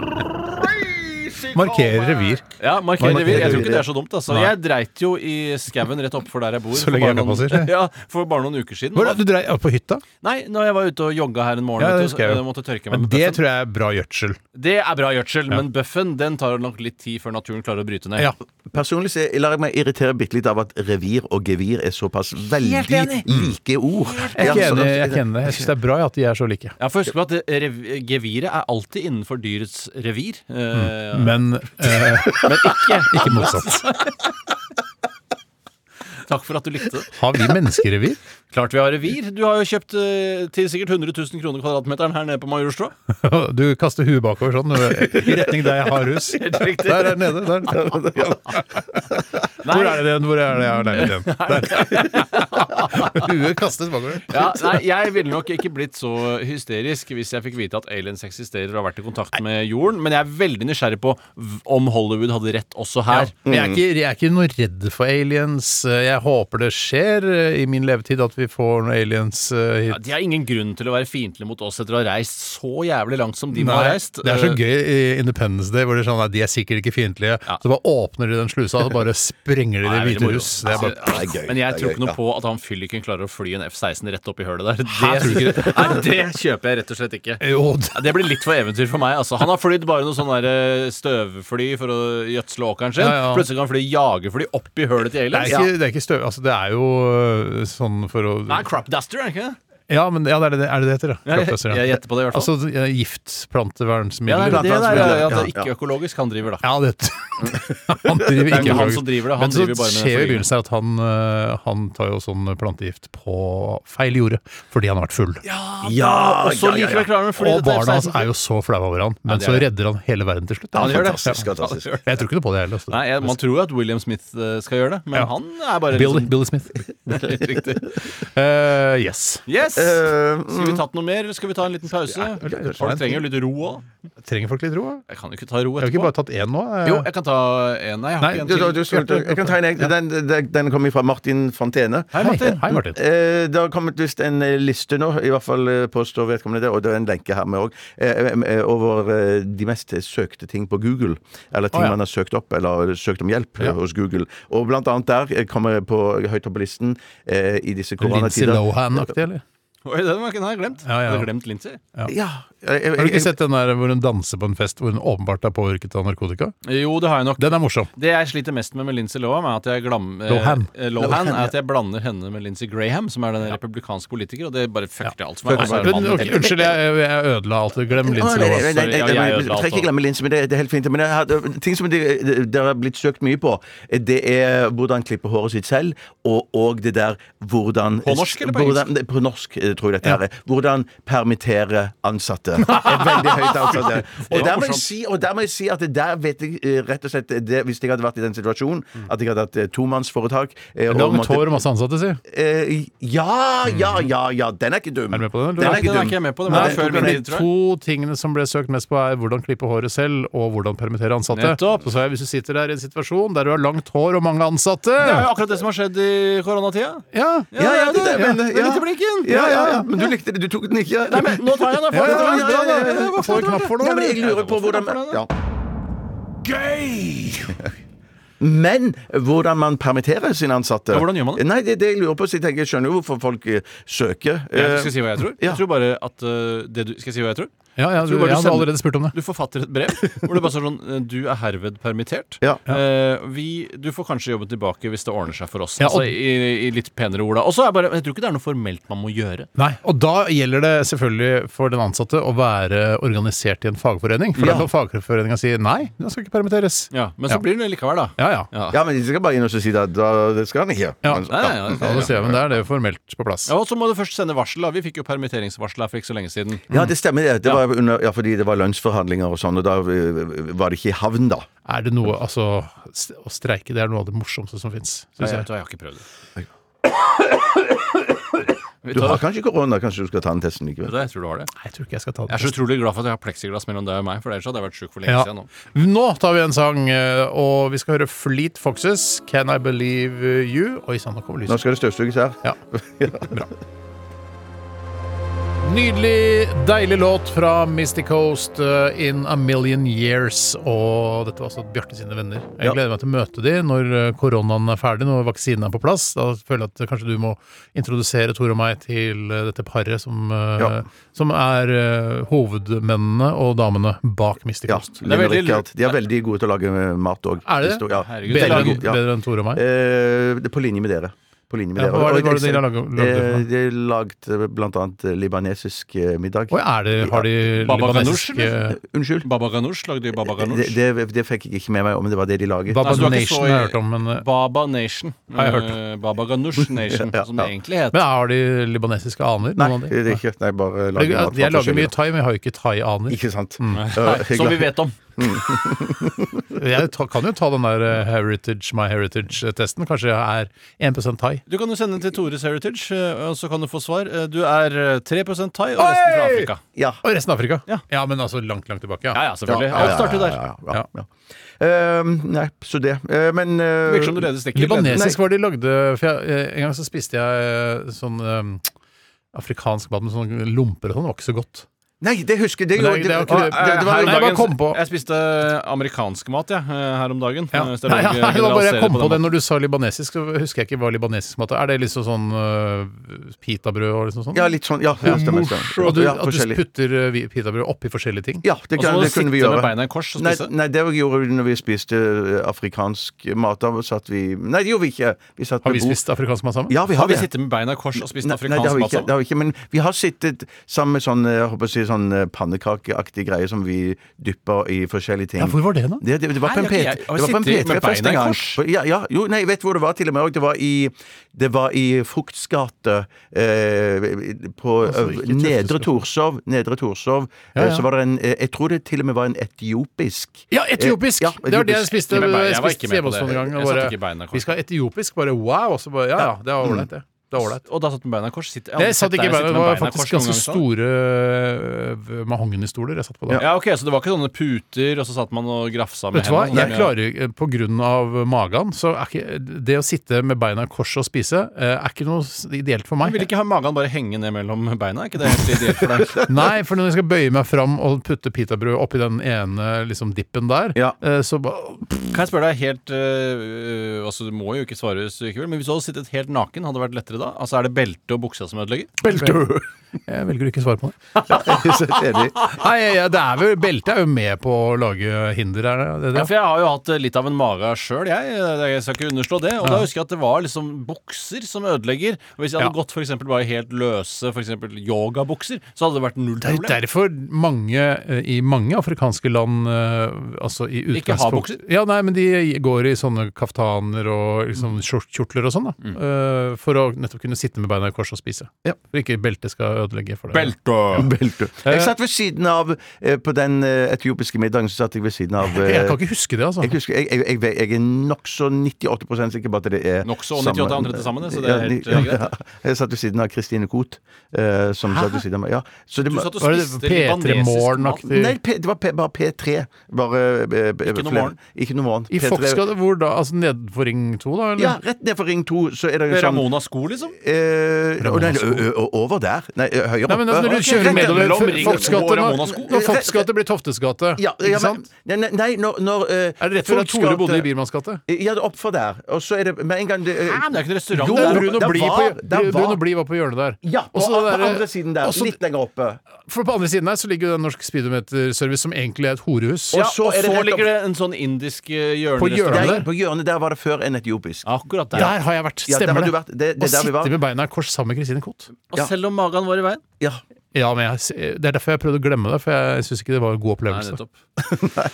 S4: Markerer revir.
S5: Ja, marker
S4: Marker
S5: revir. Jeg tror ikke
S6: revir.
S5: det er så dumt. Altså.
S4: Nei.
S5: Jeg dreit jo i skauen rett oppfor der jeg bor.
S4: Så
S5: for
S4: lenge jeg
S5: bare
S4: kan
S5: noen-
S4: passe, ikke?
S5: Ja, for bare noen uker siden.
S4: Hvor er det du dreier På hytta?
S5: Nei, når jeg var ute og jogga her en morgen,
S4: Ja, det
S5: vet du,
S4: husker jeg
S5: så
S4: jo.
S5: jeg måtte tørke meg Altså-
S4: Men
S5: med
S4: det
S5: bøffen.
S4: tror jeg er bra gjødsel.
S5: Det er bra gjødsel, men bøffen den tar nok litt tid før naturen klarer å bryte ned.
S4: Ja.
S6: Personlig så lar jeg meg irritere bitte litt av at revir og gevir er såpass veldig
S5: enig.
S6: like ord.
S4: Jeg er ikke
S6: Ja, så-
S4: enig. Jeg, er ikke enig. jeg syns det er bra at de er så like.
S5: Ja, for husk på at det, rev, geviret er alltid innenfor dyrets revir. Eh,
S4: Men, eh,
S5: ikke,
S4: ikke motsatt.
S5: Takk for at du likte det.
S4: Har vi menneskerevir?
S5: Klart vi har revir. Du har jo kjøpt eh, til sikkert 100 000 kroner kvadratmeteren her nede på Majorstua.
S4: Du kaster huet bakover sånn i retning der jeg har hus.
S5: Helt riktig.
S4: Der er nede. Der. Hvor er det den? Hvor er det jeg har leiligheten? Der. Huet kastes bakover.
S5: Ja, nei, jeg ville nok ikke blitt så hysterisk hvis jeg fikk vite at aliens eksisterer og har vært i kontakt med jorden, men jeg er veldig nysgjerrig på v- om Hollywood hadde rett også her.
S4: Men jeg er, ikke, jeg er ikke noe redd for aliens. Jeg håper det skjer eh, i min levetid at vi får noen aliens eh,
S5: Ja,
S4: hit.
S5: de har ingen grunn til å være fiendtlige mot oss etter å ha reist så jævlig langt som de må
S4: Nei,
S5: ha reist.
S4: det er så
S5: Eh,
S4: gøy i Independence Day, hvor de er sånn at de er sikkert ikke fiendtlige.
S5: Ja.
S4: Så bare åpner de den slusa, og så bare sprenger de Det
S5: Eh, Nei, det er
S4: hvite
S5: veldig
S4: hus.
S5: moro.
S4: Det er bare
S6: Ja, det er gøy.
S5: Men jeg
S6: Det er
S5: tror ikke
S6: gøy,
S5: noe
S6: ja.
S5: på at han fylliken klarer å fly en F-16 rett opp i hølet der.
S4: tror du ikke
S5: Det, nei, det kjøper jeg rett og slett ikke.
S4: Jo, det-
S5: Ja, Det blir litt for eventyr for meg. altså Han har flydd bare noe sånn der, eh, støvfly for å gjødsle åkeren sin.
S4: Ja, ja.
S5: Plutselig kan han fly jagerfly opp i hølet til
S4: det er
S5: aliens.
S4: ikke, det er ikke støv... Altså, det er jo øh, sånn for å
S5: Nei, crapduster, er det ikke det?
S4: Ja, men ja, det er, det, er det det heter,
S5: Ja,
S4: ja?
S5: jeg-
S4: Kroppsøster,
S5: jeg gjetter på det i hvert fall.
S4: Altså ja, giftplantevernsmidler.
S5: Ja, det er det der,
S6: Plantevernmiddel,
S5: ja, at det
S6: ja,
S5: er
S6: ja.
S5: ikke økologisk han driver, da.
S4: Ja, det Han driver
S5: Det er ikke han
S4: økologisk.
S5: som driver det, han
S4: Men så
S5: driver bare med
S4: skjer jo i
S5: forgjengen.
S4: begynnelsen her at han, øh, han tar jo sånn plantegift på feil jorde fordi han har vært full.
S6: Ja,
S5: Og så
S6: ja, ja, ja.
S5: likevel klarer han å fly
S4: og
S5: dette
S4: barna hans
S5: F-16
S4: er jo så flaue over han, men
S5: det
S4: så
S5: er det.
S4: redder han hele verden til slutt.
S5: Han gjør det.
S6: Fantastisk, fantastisk.
S4: Jeg tror ikke noe på det heller. altså.
S5: Nei, jeg, Man tror jo at William Smith eh, skal gjøre det, men
S4: Ja.
S5: han er bare
S4: Billy,
S5: liksom-
S4: Billy Smith.
S5: litt riktig.
S4: Eh, yes.
S5: Yes!
S6: Eh,
S5: Skal vi tatt noe mer, eller skal vi ta en liten pause?
S4: kanskje ta
S5: Folk
S4: en
S5: trenger jo litt ro òg.
S4: Trenger folk litt ro? da?
S5: Jeg kan jo ikke ta ro
S4: Jeg har ikke
S5: etterpå.
S4: bare tatt én nå. eh.
S5: Jo, jeg kan ta en. Nei, jeg har
S4: Nei,
S5: ikke en
S6: Du,
S5: til.
S6: du, du, skal- du, jeg kan ta en egen. Den, den, den kommer fra Martin Fontene.
S5: Hei, Martin.
S4: Hei, Martin.
S6: Eh, Det har kommet visst en eh, liste nå, i hvert fall eh, påstår vedkommende det, og det er en lenke her med òg, over eh, de mest søkte ting på Google. Eller ting
S4: Å, ja.
S6: man har søkt opp, eller søkt om hjelp eh, hos Google. Og blant annet der eh, kommer på høyt opp på listen eh, i disse
S4: Lindsay
S6: koronatider
S4: Lohan-aktig, eller?
S5: Oi, den var ikke den har jeg glemt.
S4: Ja, ja.
S5: Jeg hadde glemt Lindsay.
S6: Ja. eh, Jeg, jeg,
S4: Har du ikke
S6: jeg,
S4: sett den der hvor hun danser på en fest hvor hun åpenbart er påvirket av narkotika?
S5: Jo, det har jeg nok.
S4: Den er morsom.
S5: Det jeg sliter mest med med Lindsay Lohan, er at jeg, glam, eh,
S4: Lohan.
S5: eh,
S6: Lohan,
S5: Lohan,
S6: ja.
S5: er at jeg blander henne med Lindsey Graham, som er den republikanske politiker, og det bare fucker alt som er.
S4: Men,
S5: Altså, er det mannen-
S4: ok, unnskyld, jeg, jeg ødela alt. Glem
S6: Å,
S4: Lindsay
S6: nei, nei,
S4: Lohan.
S6: nei,
S5: Ja,
S6: nei, nei,
S5: jeg
S6: men-
S5: ødela alt
S6: trenger
S5: da.
S6: ikke glemme linsen, men det, det er helt fint. Men jeg hadde, ting som det- det- det har blitt søkt mye på, det er hvordan klippe håret sitt selv, og, og det der hvordan
S5: På norsk eller på
S6: hvordan, det- På norsk, eh, tror jeg dette her er. Hvordan permittere ansatte. Er veldig høyt ansatte. Og der, må jeg
S5: morsomt.
S6: si, og der må jeg si at det der vet jeg eh, rett og slett det, Hvis jeg hadde vært i den situasjonen, at jeg hadde hatt eh, tomannsforetak eh, og
S4: Langt
S6: måtte-
S4: hår og masse ansatte, si.
S6: eh, Ja, ja, ja, ja. Den er ikke dum.
S4: Er du med på den?
S6: Den
S4: eller?
S6: er
S5: Nei,
S6: ikke
S5: den er
S6: dum.
S5: ikke jeg med på. Det
S4: Nei,
S5: var før min
S4: men
S5: tid,
S4: de
S5: tror jeg.
S4: to tingene som ble søkt mest på, er hvordan klippe håret selv og hvordan permittere ansatte.
S5: Nettopp.
S4: Så sa jeg hvis du sitter der i en situasjon der du har langt hår og mange ansatte
S5: Det er
S4: Ja,
S5: jo akkurat det som har skjedd i koronatida.
S4: ja.
S6: Ja, ja, det, det, men,
S5: det er litt i blinken.
S6: Ja, ja, ja, men du likte det. Du tok den ikke.
S5: Nei, men nå tar jeg den.
S6: Ja, ja, ja, ja, ja, ja.
S5: jeg
S4: Få en knapp for noe,
S6: Nei, men jeg
S4: eller?
S6: lurer på hvordan ja.
S7: Gøy!
S6: Men hvordan man permitterer sine ansatte.
S5: Ja, hvordan gjør man det?
S6: Nei, det er det jeg lurer på. Så jeg tenker, jeg skjønner jo hvorfor folk eh, søker.
S5: Jeg skal si hva jeg tror.
S6: Ja.
S5: Jeg tror bare at eh, det du, Skal jeg si hva jeg tror?
S4: Ja, ja,
S5: Jeg
S4: du,
S5: tror bare
S4: jeg hadde
S5: sender-
S4: allerede spurt om det.
S5: Du forfatter et brev hvor det bare står sånn eh, Du er herved permittert.
S6: Ja.
S5: Eh, vi, du får kanskje jobben tilbake hvis det ordner seg for oss.
S4: Ja, og-
S5: altså, i, I litt penere ord, da. Og så er bare Jeg tror ikke det er noe formelt man må gjøre.
S4: Nei, og da gjelder det selvfølgelig for den ansatte å være organisert i en fagforening. For
S6: Ja.
S4: da kan fagforeninga si nei, han skal ikke permitteres.
S5: Ja, Men så blir det likevel, da.
S4: Ja, ja. ja.
S6: Ja, men de skal bare inn og så si at da, det skal han ikke.
S4: Ja.
S6: Men-
S5: Nei, nei, nei,
S4: Ja, det ser jeg, men der er det jo formelt på plass.
S5: Ja, og så må du først sende varsel. da Vi fikk jo permitteringsvarsel her for ikke så lenge siden.
S6: Ja, det stemmer. Det, det var under, ja, fordi det var lønnsforhandlinger og sånn, og da eh, var det ikke i havn, da.
S4: Er det noe, altså s- Å streike, det er noe av det morsomste som fins.
S5: Nei, jeg, vet hva, jeg har ikke prøvd det. Vet
S6: Du
S5: hva?
S6: har kanskje korona, kanskje du skal ta den testen
S5: Vet
S6: likevel.
S5: du hva, Jeg tror du har det.
S4: Jeg tror ikke jeg skal ta
S5: Jeg er
S4: det.
S5: så utrolig glad for at jeg har pleksiglass mellom deg og meg, for ellers hadde jeg vært sjuk for lenge
S4: Ja.
S5: siden. nå.
S4: Nå tar vi en sang, eh, og vi skal høre Fleet Foxes, 'Can I Believe You'. Oi sann, nå kommer
S6: Nå
S4: lyset.
S6: skal det støvsuges her.
S4: Ja. Bra. Nydelig, deilig låt fra Misty Coast, eh, 'In A Million Years'. Og dette var altså Bjarte sine venner. Jeg
S6: Ja.
S4: gleder meg til å møte de når eh, koronaen er ferdig, når vaksinen er på plass. Da føler jeg at eh, kanskje du må introdusere Tor og meg til eh, dette paret som, eh,
S6: Ja.
S4: som er eh, hovedmennene og damene bak Misty
S6: Ja,
S4: Coast.
S6: Linn og
S5: veldig
S6: Rikard. De er veldig gode til å lage eh, mat òg.
S4: Er det det?
S6: Ja.
S5: Herregud, det er
S4: Bedre,
S5: laget-
S4: enn, bedre enn Tor og meg?
S6: Eh, det er på linje med dere. På linje med
S4: Ja, hva
S6: dere.
S4: er det- hva
S6: Og-
S4: er det dere lager- lager for
S6: Eh,
S4: noe?
S6: De lagde blant annet eh, libanesisk eh, middag. Eh,
S4: Oi, er det, har de
S5: Baba
S4: libanesiske
S5: Ganoush, eller?
S6: Unnskyld.
S5: Baba Ganoush lagde jo Baba
S6: Det,
S5: Ganoush.
S6: det, det fikk jeg ikke med meg, men det var det de laget.
S4: Baba
S5: Altså, du har ikke så
S4: Nation
S5: i-
S4: har jeg hørt om, men, eh,
S5: Baba Nation.
S4: Har jeg hørt.
S5: Eh, Baba Ganoush Nation,
S6: Ja,
S5: som det
S6: ja.
S5: egentlig het.
S4: men har de libanesiske aner?
S6: Nei,
S4: noen av de?
S6: det er ikke Nei, bare
S4: Jeg,
S6: lage mat. fra
S4: jeg lager
S6: forskjellige-
S4: mye Mm. thai, men jeg har jo ikke thai-aner.
S6: Ikke sant. Eh,
S5: Nei, som vi vet om.
S4: Jeg ta, kan jo ta den der eh, heritage, my heritage-testen. Kanskje jeg er 1 thai.
S5: Du kan jo sende den til Tores Heritage, eh, og så kan du få svar. Eh, Du er eh, 3 thai og resten fra
S4: Oi!
S5: Afrika.
S6: Ja.
S4: Og resten av Afrika?
S5: Ja.
S4: men altså langt, langt tilbake.
S5: Ja
S4: Ja.
S5: ja, selvfølgelig.
S6: Ja,
S5: Alt starter jo der.
S6: Ja, ja, ja, ja. Eh, nei, så det. Eh, men eh,
S5: Det Virker som du leder stikket.
S4: Libanesisk var det de lagde for jeg, eh, En gang så spiste jeg eh, sånn eh, afrikansk mat med sånne lomper og sånn. Det var ikke så godt.
S6: Nei, det husker jeg. Det,
S4: Men det- det er jo ikke det-
S6: Å, eh, det, det var,
S4: Nei, jeg bare kom på.
S5: Jeg spiste eh, amerikansk mat jeg, eh, her om dagen.
S4: Ja.
S5: Eh, hvis det er
S4: Nei,
S5: lov å
S4: ja, det var bare jeg
S5: generalisere
S4: kom på
S5: den
S4: det når du sa libanesisk, så husker jeg ikke hva libanesisk mat er. Er det liksom sånn eh, pitabrød og liksom sånn?
S6: ja, litt sånn. Ja, det stemmer. stemmer.
S4: Og du,
S6: ja,
S4: at du
S6: forskjellig.
S4: putter eh, vi- pitabrød oppi forskjellige ting?
S6: Ja, det,
S5: Og så
S6: kan,
S5: må du
S6: det
S5: sitte
S6: kunne vi
S5: Altså, med
S6: gjøre.
S5: beina i kors og
S6: Nei,
S5: spise.
S6: nei, det gjorde vi når vi spiste eh, afrikansk mat. Da satt vi Nei, det gjorde vi ikke. Vi satt
S4: Har vi
S6: ved bord.
S4: spist afrikansk mat sammen?
S6: Ja, vi har,
S5: Har vi
S6: det.
S5: sittet med beina i kors og spist
S6: Nei, nei, det har
S5: afrikansk
S6: vi
S5: mat
S6: ikke, det
S5: sammen?
S6: har vi ikke. Men vi har sittet sammen med sånn, jeg håper å si, sånn eh, pannekakeaktig greie som vi dypper i forskjellige ting.
S4: Ja, hvor var det, da?
S6: Det, det, det var på en
S5: Nei, jeg- jeg- jeg har sittet med
S6: P3-fest
S5: beina i
S6: en gang.
S5: kors.
S6: Ja, ja, jo, nei, jeg vet hvor det var til og med òg. Det var i, det var i Frukts gate eh, på
S4: Altså,
S6: øv-
S4: ikke Tøftesgata.
S6: Nedre Torshov. Nedre Torshov.
S4: Ja, ja.
S6: Eh, Så var det en eh, Jeg tror det til og med var en etiopisk
S4: Ja, etiopisk!
S6: Eh, ja,
S4: Det var det jeg
S6: etiopisk.
S4: spiste,
S5: Nei, men jeg
S4: jeg
S5: var ikke med
S4: spiste
S5: på
S4: hjemme hos
S5: det.
S4: noen gang.
S5: Jeg
S4: og
S5: satt
S4: bare,
S5: ikke i beina, Karl.
S4: vi skal ha etiopisk, bare wow! Og så bare, ja, ja, det er ålreit, det. Det er ålreit.
S5: Og da satt du med beina i kors? Sitt, jeg har
S4: Det
S5: aldri
S4: satt
S5: sett
S4: ikke i
S5: deg sitte
S4: beina, det
S5: med
S4: var
S5: i kors
S4: faktisk
S5: noen sånn?
S4: ganske
S5: gang, sa.
S4: store øh, mahognistoler jeg satt på da.
S5: Ja, ok, Så det var ikke sånne puter, og så satt man og grafsa med
S4: Vet du hva,
S5: hendene?
S4: jeg klarer jo- på grunn av magen, så er ikke det å sitte med beina i kors og spise, eh, er ikke noe s- ideelt for
S5: Jeg
S4: meg.
S5: vil ikke ha magen bare henge ned mellom beina? Er ikke det helt ideelt for deg?
S4: Nei, for når jeg skal bøye meg fram og putte pitabrød oppi den ene liksom, dippen der,
S6: Ja.
S4: eh, så bare
S5: Kan jeg spørre deg helt øh, Altså, Du må jo ikke svare hvis du ikke vil, men hvis du hadde sittet helt naken, hadde det vært lettere da? Altså, Er det belte og buksa som ødelegger?
S4: Jeg velger å ikke svare på det.
S6: Så enig.
S4: Nei, ja, det er vel, Beltet er jo med på å lage hinder her. er Det,
S5: Ja,
S4: det,
S5: for jeg har jo hatt eh, litt av en mage sjøl, jeg. Jeg skal ikke underslå det. Og da husker jeg at det var liksom bukser som ødelegger. Og hvis jeg hadde
S4: Ja.
S5: gått for eksempel bare helt løse for eksempel yogabukser, så hadde det vært null
S4: Det er jo
S5: problem.
S4: derfor mange eh, i mange afrikanske land eh, altså i
S5: Ikke har
S4: utgangspunkt-
S5: bukser?
S4: Ja, nei, men de går i sånne kaftaner og liksom, skjort- kjortler og sånn, da.
S5: Mm.
S4: eh, for å nettopp kunne sitte med beina i kors og spise. For ikke beltet skal ødelegge for det.
S5: Belte!
S6: Belte. Jeg satt ved siden av eh, På den eh, etiopiske middagen så satt jeg ved siden av eh,
S4: Jeg kan ikke huske det, altså.
S6: Jeg husker, jeg, jeg, jeg, jeg er nokså 98 sikker på at det er
S5: Nokså og 98 andre til sammen, det, så det er
S6: Ja,
S5: helt,
S6: ni- ja,
S5: eh, greit.
S6: ja. Jeg satt ved siden av Christine Koht, eh, som satt ved siden av meg. Ja, så det,
S5: Du
S6: må-
S5: satt og
S4: Var det
S5: spiste
S4: P3
S5: libanesisk mat.
S4: Morgen-aktig?
S6: Nei, P, det var P, bare P3. Bare, eh, eh,
S5: noe
S6: flere-
S5: morgen.
S6: Ikke noe morgen.
S4: I
S6: P3.
S4: Foxgade, hvor da? Altså nedenfor Ring 2, da? Eller?
S6: Ja, rett ned for Ring 2, så er det jo sånn
S5: Ramona sko, liksom?
S6: Eh, og nei, ø- ø- ø- over der. Nei, eh, høyere
S4: Nei, men altså, når du kjører
S5: mellom
S4: nedover
S5: ringen.
S4: Foftsgate
S5: Går av
S4: Når,
S5: Monaco.
S4: når Foftsgate blir Toftes gate,
S6: ja, ja,
S4: ikke
S6: men,
S4: sant?
S6: nei, nei, nei, når, når eh,
S4: Er det rett før at
S6: folk
S4: Tore
S6: skal
S4: bodde i
S6: til-
S4: Birmans gate?
S6: Ja, det er oppfor der. Og så er det med en gang det,
S5: Hæ, men det er ikke en restaurant
S6: Jo,
S5: der.
S4: Bruno
S6: det
S4: Bli på,
S6: var- det var-
S4: Bruno Bli var på hjørnet der.
S6: Ja, på,
S4: Også det
S6: på
S4: der-
S6: andre siden der.
S4: også-
S6: litt lenger oppe.
S4: For på andre siden her så ligger jo den norske speedometerservice som egentlig er et horehus.
S6: Ja,
S5: Og så,
S6: og er det rett
S5: ligger det en sånn indisk eh,
S4: På hjørnet.
S5: hjørnerestaurant.
S6: Der, på hjørnet der var det før en etiopisk.
S5: Akkurat der.
S4: Der har jeg vært,
S6: Ja, der
S4: stemmer
S6: har du
S4: det.
S6: vært. Det- det er
S4: Å
S6: der vi var.
S4: sitte med beina i kors sammen med Kristine Koht.
S5: Og selv om magen var i veien.
S6: Ja.
S4: Ja, men jeg, Det er derfor jeg prøvde å glemme det, for jeg syns ikke det var en god
S5: Nei,
S4: opplevelse.
S5: nettopp.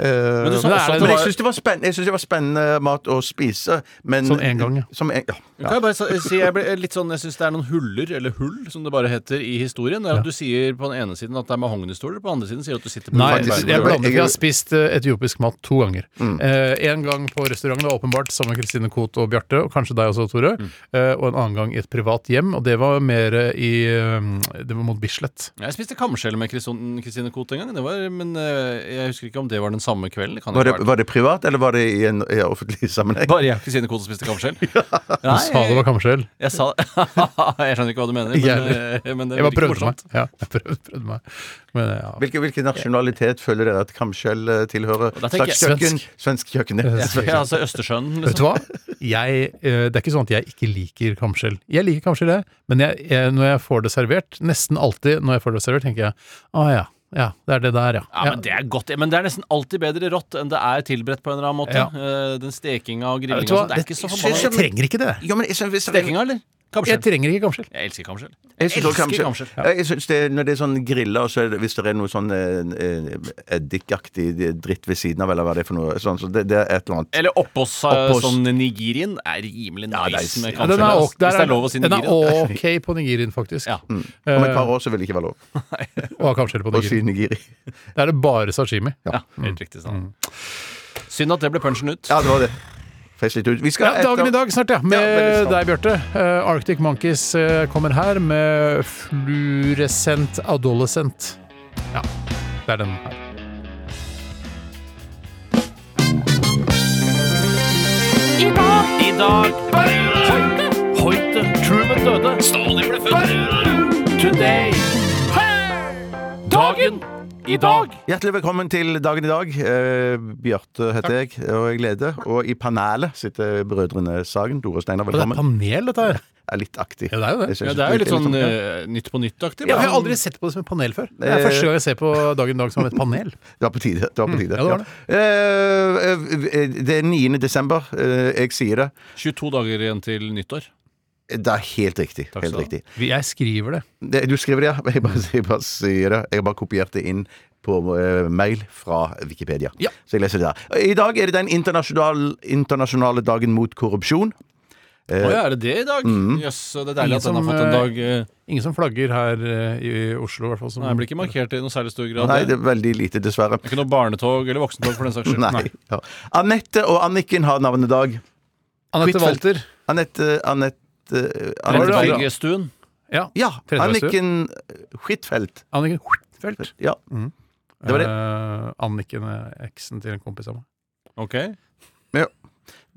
S5: Men du sa også at
S4: Men det er det-
S5: det
S6: Men jeg
S5: var
S6: syns det, var spenn- jeg synes det var spennende mat å spise, men
S4: Sånn en gang, ja.
S6: Som en, ja.
S5: Kan jeg bare sa- si, jeg ble litt sånn, jeg syns det er noen huller, eller hull, som det bare heter i historien. Det er at Du sier på den ene siden at det er mahognistoler, på den andre siden sier du at du sitter på
S4: Nei,
S5: en sånn
S4: jeg
S6: Faktisk,
S5: bærbar-
S6: ble-
S4: blander for jeg har spist eh, etiopisk mat to ganger.
S5: Mm.
S4: Eh, en gang på restauranten, det var åpenbart, sammen med Kristine Koht og Bjarte, og kanskje deg også, Tore.
S5: Mm.
S4: Eh, og en annen gang i et privat hjem, og det var mer eh, i eh, Det var mot Bislett.
S5: Jeg spiste kamskjell med Kriston- Kristine Koht en gang, det var, men eh, jeg husker ikke om det var den samme kvelden. Det kan
S6: Var,
S5: ikke
S6: det,
S5: ha vært.
S6: var det privat, eller var det i en i en offentlig sammenheng?
S5: Bare jeg og Kristine Koht som spiste kamskjell? Nei,
S4: Du sa det var kamskjell.
S5: jeg sa Jeg skjønner ikke hva du mener, men,
S4: Jeg
S5: eh, men det
S4: Jeg bare
S5: virker
S4: prøvde meg.
S5: morsomt.
S4: Ja, jeg prøvde, prøvde meg. Men ja.
S6: Hvilken, hvilken nasjonalitet føler dere at kamskjell eh, tilhører?
S5: Da tenker
S6: Slags
S5: jeg
S6: kjøkken? Svensk kjøkken.
S4: Ja.
S5: Ja, altså Østersjøen,
S4: Vet du
S5: liksom.
S4: hva? Jeg, eh, det er ikke sånn at jeg ikke liker kamskjell. Jeg liker kamskjell, jeg, men jeg, jeg, når jeg får det servert, nesten alltid når jeg får det servert, tenker jeg å ja, ja, det er det der, ja.
S5: Ja, men det er godt. Men det er nesten alltid bedre rått enn det er tilberedt på en eller annen måte.
S4: Ja.
S5: Eh, Den stekinga og
S4: Ja,
S5: grillinga
S4: vet du hva?
S5: og sånt, det er ikke så
S4: Jeg-
S5: forbanna.
S4: jeg trenger ikke det.
S6: Ja, men jeg synes, hvis det-
S5: Stekinga, eller?
S4: Jeg
S5: Kamskjell.
S4: trenger ikke kamskjell.
S5: Jeg elsker kamskjell.
S6: Jeg synes også
S5: Elsker
S6: kamskjell.
S5: kamskjell.
S6: Ja, Jeg synes det, når det er sånn grilla, og så er det, hvis det er noe sånn eh, eh, eddikaktig dritt ved siden av, eller hva det er for noe sånn, så det, det er et eller annet.
S5: Eller oppå
S6: Oppås.
S5: sånn Nigirien er rimelig nice,
S6: nice.
S5: med
S4: Ja,
S5: kamskjell.
S4: den er,
S5: altså.
S4: ok- der
S5: Hvis det er lov å si
S4: den er Mm.
S5: Nigirien.
S4: ok på Nigerien, faktisk.
S5: Ja.
S6: Om
S4: Eh,
S6: et par år så vil det ikke være lov
S4: Å ha kamskjell på
S6: å
S4: Nigerien.
S6: si nigiri.
S4: Da er det bare sashimi. Mm.
S5: Ja, helt riktig. Sant. Synd at det ble punchen ut.
S6: Ja, det var det. Fest litt ut. Vi skal
S4: Ja, dagen i dag snart, ja. Med
S6: Ja, veldig
S4: deg,
S6: snart.
S4: Bjarte. Eh, Arctic Monkeys eh, kommer her med Fluorescent Adolescent. Ja, det er den her.
S7: I dag Hoite Truman døde Stalin ble født Today Dagen I dag
S6: Hjertelig velkommen til dagen i dag. Eh, Bjarte heter jeg, og jeg leder. Og i panelet sitter brødrene Sagen. Dore og Steinar,
S4: Og det er
S6: velkommen.
S4: panel, dette her.
S6: Det er litt aktig.
S4: Ja, det er jo det.
S6: Jeg synes
S5: Ja, det er jo litt sånn
S6: ja.
S5: eh, Nytt på nytt-aktig. bare
S4: Ja, jeg har
S5: sånn-
S4: aldri sett på det som et panel før. Det er første gang jeg ser på Dagen i dag som et panel.
S6: Det var på tide. Det, var på tide.
S4: mm, ja, det var
S6: Ja. Eh, eh, det er 9. desember. eh, jeg sier det.
S5: 22 dager igjen til nyttår.
S6: Det er helt riktig.
S5: Takk
S6: Helt
S5: skal du
S6: riktig.
S4: Jeg skriver det.
S6: Det, du skriver det, ja. Jeg bare, jeg bare sier det. Jeg har bare kopiert det inn på eh, mail fra Wikipedia.
S4: Ja.
S6: Så jeg leser det der. I dag er det den internasjonal, internasjonale dagen mot korrupsjon.
S5: Å ja, er det det i dag? Jøss, det er deilig
S4: Eh, mm. Ingen
S5: at den har
S4: som,
S5: fått en
S4: eh,
S5: dag eh,
S4: Ingen som flagger her eh, i Oslo, i hvert fall. som-
S5: Nei, den blir ikke markert i noe særlig stor grad.
S6: Nei,
S5: det
S6: det er veldig lite, dessverre.
S5: er ikke noe barnetog eller voksentog for den saks skyld.
S6: Nei. Ja. Anette og Anniken har navnedag.
S4: Anette
S6: Huitfeldt.
S4: Walter.
S6: Anette Anette eh, Anette-
S5: Bergestuen.
S4: Ja.
S6: Ja.
S4: Tredjestuen.
S6: Anniken Huitfeldt.
S4: Anniken Huitfeldt.
S6: Ja. Det var det.
S4: Eh, Anniken er eksen til en kompis av meg.
S5: Ok.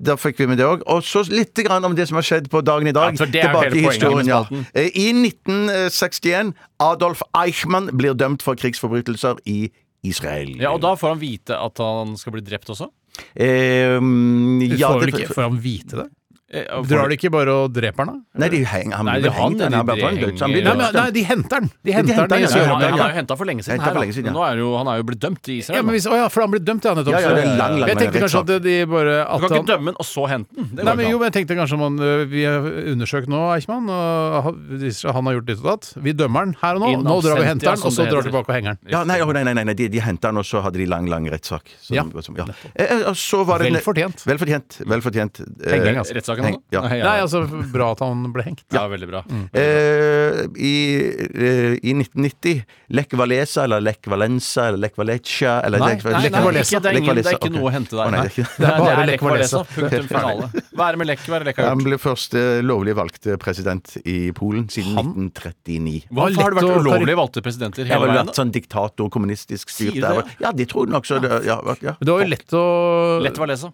S6: Da fikk vi med det òg. Og så litt grann om det som har skjedd på dagen i dag.
S5: Ja, for det er jo hele poenget med
S6: ja.
S5: spalten.
S6: Eh, I 1961 Adolf Eichmann blir dømt for krigsforbrytelser i Israel.
S5: Ja, Og da får han vite at han skal bli drept også?
S6: eh,
S4: Du
S6: ja,
S4: får vel
S6: det-
S4: ikke, får han vite det?
S5: Eh, og får-
S4: Drar de ikke bare og dreper han, da?
S6: Nei, de henger han
S5: Nei, de
S6: blir
S5: han
S6: hengt,
S5: er
S6: han er bare-
S5: de
S6: han blir dømt, så han blir
S5: henger-
S4: Nei, men,
S6: dømt.
S4: nei, de henter den! De henter den
S6: henter
S4: i
S5: han, han
S6: den, ja, ja, ja,
S4: Sør-Amerika.
S5: er jo henta for lenge siden.
S6: Hentet for
S5: Her,
S6: lenge siden, ja.
S5: Nå er jo, han er jo blitt dømt i Israel.
S4: Ja, men hvis, å ja, for han blir dømt, ja, nettopp.
S6: Ja, ja, det er lang, lang, lang
S4: jeg tenkte kanskje
S6: rettssak.
S4: at de bare
S5: du
S4: at
S5: kan
S4: han,
S5: ikke dømme den og så hente den. Det
S4: Nei,
S5: går
S4: men
S5: ikke
S4: jo,
S5: an.
S4: men jeg tenkte kanskje om han øh, Vi har undersøkt nå, Eichmann, og ha- viser seg han har gjort ditt og datt. Vi dømmer han her og nå.
S5: In
S4: Nå drar
S5: absentia,
S4: vi og henter han,
S5: som
S4: og så
S5: det
S4: drar
S5: heter.
S4: tilbake og henger han.
S6: Ja, nei, å, nei, nei, nei, nei, de, de henta han, og så hadde de lang, lang rettssak. Som-
S4: Ja.
S6: som- ja. Eh, eh, og så var det-
S4: Vel fortjent.
S6: Vel fortjent. Vel fortjent. Eh,
S4: Henging, altså.
S5: Rettssaken, altså?
S6: heng- ja. Mm.
S5: Nei,
S4: Nei, altså, bra at han ble hengt.
S5: Ja, veldig bra.
S6: Eh, i, eh, I 1990 Lech Walesa eller Lech Valenza eller Lech Valencia eller
S4: Nei,
S6: Lech,
S4: nei,
S6: Lech
S4: nei,
S5: Ikke-
S6: Walesa.
S5: Det er, ingen, det er
S6: Lech Walesa,
S5: ikke
S6: ok.
S5: noe å hente
S6: Å,
S5: der.
S6: nei,
S5: Nei,
S6: det er ikke-
S5: Det er
S4: bare
S5: bare
S4: Lech
S5: Lech Walesa.
S4: Walesa.
S5: Punktum finale. Være med Lech, være Lech har
S6: Han
S5: gjort.
S6: ble først eh, lovlig valgt eh, president i Polen siden 1939.
S5: Hvorfor har det
S4: lett
S5: vært
S4: å-
S5: ulovlig valgte presidenter
S6: Det
S5: hele
S6: har vel
S5: veien?
S6: vært sånn diktator, kommunistisk
S5: Sier
S6: styrt
S5: du
S6: der.
S5: det?
S6: Ja, de tror nok så det, ja, ja.
S4: Men det var jo lett å,
S5: Lett Valesa.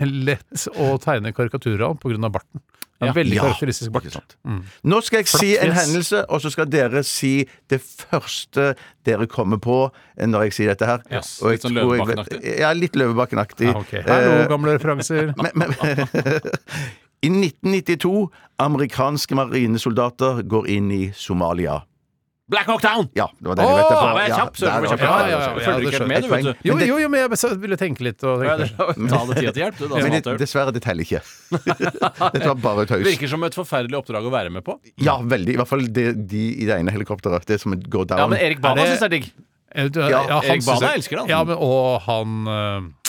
S4: lett å tegne karikaturer av pga. barten. Det er en veldig
S6: Ja.
S4: karakteristisk bart.
S6: Ikke sant.
S5: Mm.
S6: Nå skal jeg si en
S4: fjes.
S6: hendelse, og så skal dere si det første dere kommer på eh, når jeg sier dette her.
S5: Yes,
S6: Og jeg
S5: litt sånn
S6: tror jeg
S5: Løvebakken-aktig. Ah,
S6: vet- Ja, litt Løvebakken-aktig.
S4: Ja, ok. Hallo, gamle referanser.
S6: Eh, Men, men, I 1992 amerikanske marinesoldater går inn i Somalia.
S5: Black Hawk Down!
S6: Ja, det var den jeg vet. det
S5: Åh,
S6: på.
S5: jeg var
S6: Ja,
S5: kjapp, så jeg
S6: der
S5: var
S6: var
S5: kjapp. Ja,
S6: jeg på.
S5: ja, ja,
S6: Jeg
S5: ja, det
S6: følger ikke helt
S5: skjønner
S6: med,
S5: jeg.
S6: du, vet du.
S4: Jo,
S6: Men det-
S4: jo, jo, men jeg så- ville tenke litt. Og
S5: Ja,
S4: tenke.
S5: det- Ta det tida til hjelp, du. da,
S6: Men
S5: Smatter.
S6: det, dessverre, det teller ikke. Dette var bare tøys.
S5: Virker som et forferdelig oppdrag å være med på.
S6: Ja, veldig. I hvert fall det, de i det ene helikopteret. Det som går down.
S5: Ja, men Erik Bana
S4: Er det-
S5: syns det er digg.
S4: Eh, du-
S6: Ja,
S4: han
S5: Erik
S4: synes
S5: Bana
S4: jeg-
S5: elsker han.
S4: Ja, men, og han eh,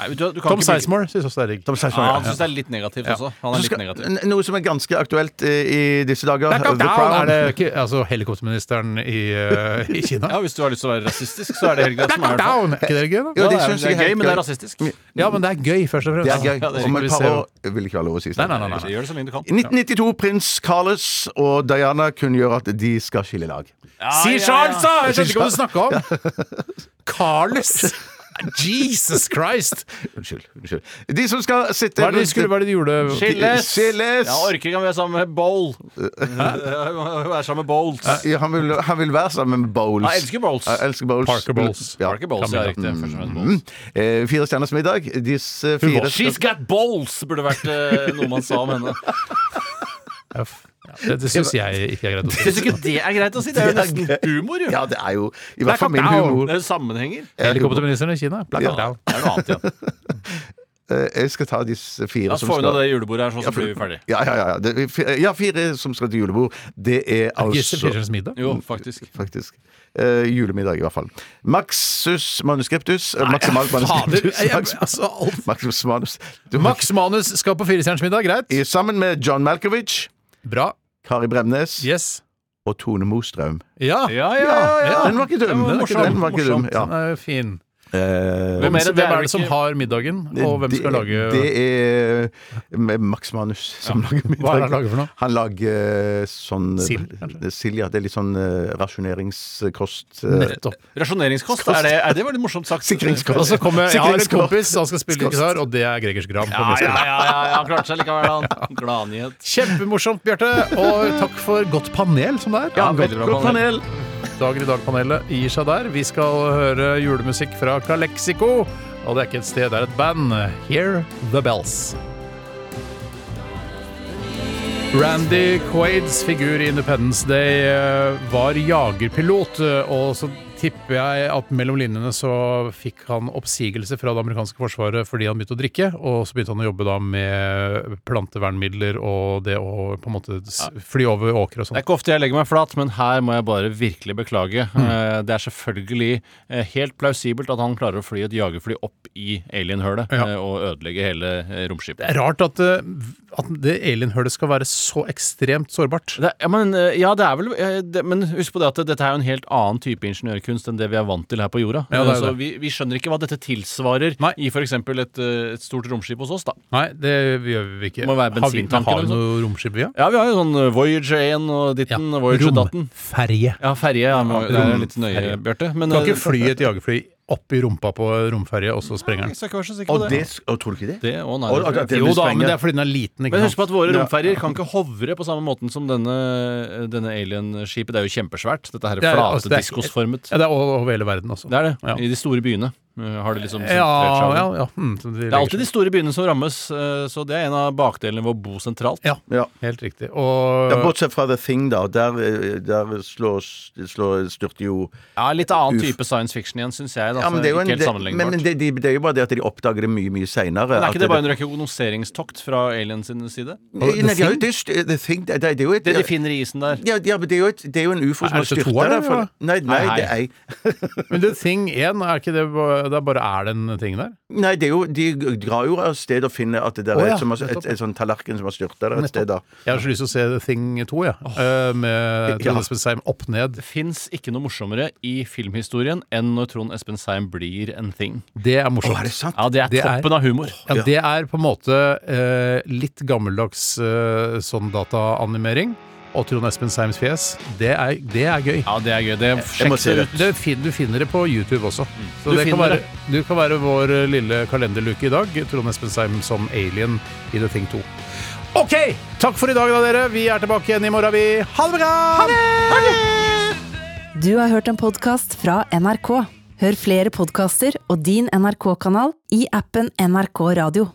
S5: Nei, du, du kan
S4: Tom
S5: ikke bruke-
S4: Sizemore syns også det er digg.
S6: Tom Seier-
S5: Ja, han syns det er litt negativt også. Han
S6: Så
S5: er litt
S6: skal-
S5: negativ.
S6: n- Noe som er ganske aktuelt eh, i disse dager.
S4: Black Hawk
S6: The
S4: Down!
S6: Crown.
S4: Er det ikke altså, helikopterministeren i, eh, i Kina?
S5: Ja, Hvis du har lyst til å være rasistisk, så er det helt greit.
S4: Black
S5: som er
S4: Hawk
S5: det.
S4: Down! Er ikke det gøy,
S6: Jo,
S4: da?
S5: Ja,
S6: det
S5: det er,
S6: synes
S5: det er
S6: jeg er
S5: gøy,
S6: helt
S5: men det er
S6: gøy.
S5: rasistisk.
S4: Ja, men det er gøy, først og fremst.
S6: Det er gøy.
S5: Ja, det er
S6: Om et
S4: hyggelig.
S6: par år vil det ikke være lov å si
S4: Nei,
S6: sånn.
S4: nei, nei, nei.
S5: Gjør det så lenge du kan.
S6: I 1992 prins Carles og Diana kunngjør at de skal skille lag.
S4: Si Charles, da! Jeg skjønte ikke hva du
S6: Charles.
S4: snakka om. Carlos! Jesus Christ!
S6: Unnskyld. unnskyld. De som skal sitte
S4: Hva er det de skulle, hva er det de gjorde?
S5: Skilles!
S6: Skilles!
S5: Jeg orker ikke å være sammen med Bowl. Være sammen med Bowles.
S6: Ja, han, vil, han vil være sammen med Bowles.
S5: Jeg elsker Bowles.
S6: Jeg elsker Bowles.
S4: Parker Bowles.
S6: Ja.
S5: Parker Bowles, ja, riktig. Først og fremst
S6: Mm.
S5: Bowles.
S6: Eh, fire stjerners middag. Disse fire
S5: She's got bowls, burde vært eh, noe man sa om henne.
S4: Ja, f- ja, det syns jeg ikke er greit å si.
S5: Syns du ikke det er greit å si? Det er jo nesten humor, jo.
S6: Ja, det er jo i hvert fall min
S4: Blackout
S6: humor.
S5: Det er jo sammenhenger.
S4: Helikopterministeren i Kina. Black Hawk
S6: Ja.
S4: Down.
S5: Det er noe annet igjen.
S6: Eh, Jeg skal ta disse fire
S5: La oss
S6: som
S5: få unna
S6: skal
S5: det julebordet her, sånn
S6: Ja,
S5: så blir vi ferdig.
S6: Ja, ja, ja. Det, ja, fire som skal til julebord. Det er
S4: Gisle
S6: altså
S4: Fischerens middag.
S5: Jo, faktisk.
S6: Faktisk. Eh, julemiddag, i hvert fall. Maxus manuskriptus. eh, Maximal
S4: Fader,
S6: manuskriptus.
S4: jeg,
S6: Max-
S4: altså, alt.
S6: Maximus manus. Du,
S4: Max Manus skal på Firestjerners middag. Greit.
S6: I- Sammen med John Malkovich,
S4: Bra.
S6: Kari Bremnes
S4: Yes.
S6: og Tone Mostrøm.
S4: Ja.
S5: Ah, Ja, ja, ja.
S4: ja.
S6: Den var ikke dum!
S4: Den er
S6: ikke dum, den var
S4: morsom.
S6: ikke dum. Ja.
S4: Den er jo fin.
S6: Eh,
S4: Hvem
S5: Men
S4: er det,
S5: det er
S4: hvem er
S5: jo
S4: det som
S5: ikke-
S4: har middagen, og hvem skal
S6: det-
S4: lage
S6: Det er med Max Manus som lager
S4: Hva
S6: middag.
S4: er det han lager for noe?
S6: Han lager sånn
S4: Sild, kanskje?
S6: Sild, ja. Det er litt sånn eh, rasjoneringskost. eh,
S4: Nettopp.
S5: Rasjoneringskost, er det, er det var litt morsomt sagt.
S6: Sikringskost.
S4: Og så kommer jeg har en
S6: Sikringskort.
S4: kompis, han skal spille gitar, og det er Gregers Gram. på
S5: Ja,
S4: neste
S5: ja,
S4: gang.
S5: ja, ja, ja, han klarte seg likevel, han. Gladnyhet.
S4: Kjempemorsomt, Bjarte. Og takk for godt panel som det er.
S5: Ja, veldig bra
S4: godt
S5: panel.
S4: panel. Dagen i dag-panelet gir seg der. Vi skal høre julemusikk fra Calexico. Og det er ikke et sted, det er et band. Hear the Bells. Randy Quaids figur i Independence Day eh, var jagerpilot, eh, og så tipper jeg at mellom linjene så fikk han oppsigelse fra det amerikanske forsvaret fordi han begynte å drikke, og så begynte han å jobbe da med plantevernmidler og det å på en måte s- fly over
S5: Det
S4: åkre og sånn.
S5: er ikke ofte jeg legger meg flat, men her må jeg bare virkelig beklage. Eh, Det er selvfølgelig eh, helt plausibelt at han klarer å fly et jagerfly opp i alienhølet
S4: Ja.
S5: eh, og ødelegge hele eh, romskipet.
S4: Det er rart at, eh, v- at det alienhølet skal være så ekstremt sårbart.
S5: Det, ja, men, eh, ja, det er vel eh, det, Men husk på det at dette er jo en helt annen type ingeniørkunst enn det vi er vant til her på jorda.
S4: Ja, det er
S5: Eh, så
S4: jo det.
S5: vi, vi skjønner ikke hva dette tilsvarer
S4: Nei.
S5: i f.eks. Et, eh, et stort romskip hos oss, da.
S4: Nei, det gjør vi ikke.
S5: Må være
S4: Har vi-
S5: bensintanker
S4: Har
S5: eller
S4: vi
S5: noe
S4: noe romskip, vi, ja?
S5: Ja, vi har jo sånn eh, Voyager 1 og ditten, og Voyager datten.
S4: Romferje.
S5: Ja, ferje. Ja, men det er litt nøye, Bjarte. Men
S4: Kan
S5: eh,
S4: ikke fly et jagerfly opp i rumpa på romferje, og så sprenger
S5: jeg
S4: den.
S5: skal ikke være så sikker
S6: Og
S5: på det.
S6: det Og tror du ikke det?
S5: Det, å nei, det tror
S6: Og- og
S5: jeg.
S6: at det
S4: Jo
S6: vil
S4: da, men
S6: sprenge.
S4: det er fordi den er liten, ikke
S5: Men husk
S4: sant?
S5: på at våre romferjer kan ikke hovre på samme måten som denne, denne alienskipet. Det er jo kjempesvært. Dette her
S4: Det
S5: er
S4: er- altså,
S5: flate
S4: det er-
S5: diskosformet.
S4: Ja, det er over over hele verden, altså.
S5: Det er det.
S4: Ja.
S5: I de store byene eh, har det liksom
S4: Ja,
S5: sentrert seg over.
S4: ja, ja. Hmm, så
S5: Det er alltid de store byene som rammes, eh, så det er en av bakdelene ved å bo sentralt.
S4: Ja,
S6: Ja.
S4: helt riktig. Og
S6: Ja,
S5: Øh.
S6: bortsett fra The Thing, da. Der, eh, der slår, slår, styrter jo
S5: Ja, Litt annen
S6: Uff.
S5: type science fiction igjen, syns jeg. Da,
S6: ja,
S5: så
S6: men det, er jo en,
S5: Altså, ikke helt
S6: det, men
S5: sammenlignbart.
S6: men det, de- det er jo bare det at de oppdager det mye, mye seinere.
S5: men er ikke det bare en rekognoseringstokt fra aliens sin side?
S6: Nei, de har jo det, st- The Thing Det, det, det er jo et
S5: Det de finner i isen der.
S6: ja, ja, men det er jo, et, det er jo en ufo som
S4: Er
S6: har
S4: det så
S6: styrta
S4: toeren,
S6: der.
S4: eller hva?
S6: For, nei, nei,
S5: Nei,
S6: det er,
S4: Men The Thing 1, er ikke det ba- Det er bare er den tingen der?
S6: nei, det er jo De drar jo av sted og finner at det der
S4: Å,
S6: er
S4: ja,
S6: et, som har, et,
S4: nettopp.
S6: et sånn tallerken som har styrta der et sted, da.
S4: Jeg har så lyst til å se The Thing 2, jeg. Eh, Med
S6: Ja.
S4: Trond Espen Seim opp ned.
S5: Det fins ikke noe morsommere i filmhistorien enn når Trond Espen Seim blir en thing.
S4: Det er morsomt.
S6: Å, er det sant?
S5: Ja, det er
S4: Det er-
S5: toppen av humor.
S4: Ja, det er på en måte eh, litt gammeldags eh, sånn dataanimering. og Trond Espen Seims fjes, det er, det er gøy.
S5: Ja, det er gøy. Det
S6: må
S5: sjekk
S6: se
S5: det
S6: det
S5: ut.
S4: Det fin, du finner det på YouTube også. Så
S5: Du
S4: det kan
S5: finner
S4: være,
S5: det.
S4: du kan være vår eh, lille kalenderluke i dag. Trond Espen Seim som alien i The Thing 2. OK! Takk for i dag, da, dere. Vi er tilbake igjen i morgen, vi. Ha det bra! Ha det!
S1: Du har hørt en podkast fra NRK. Hør flere podkaster og din NRK-kanal i appen NRK Radio.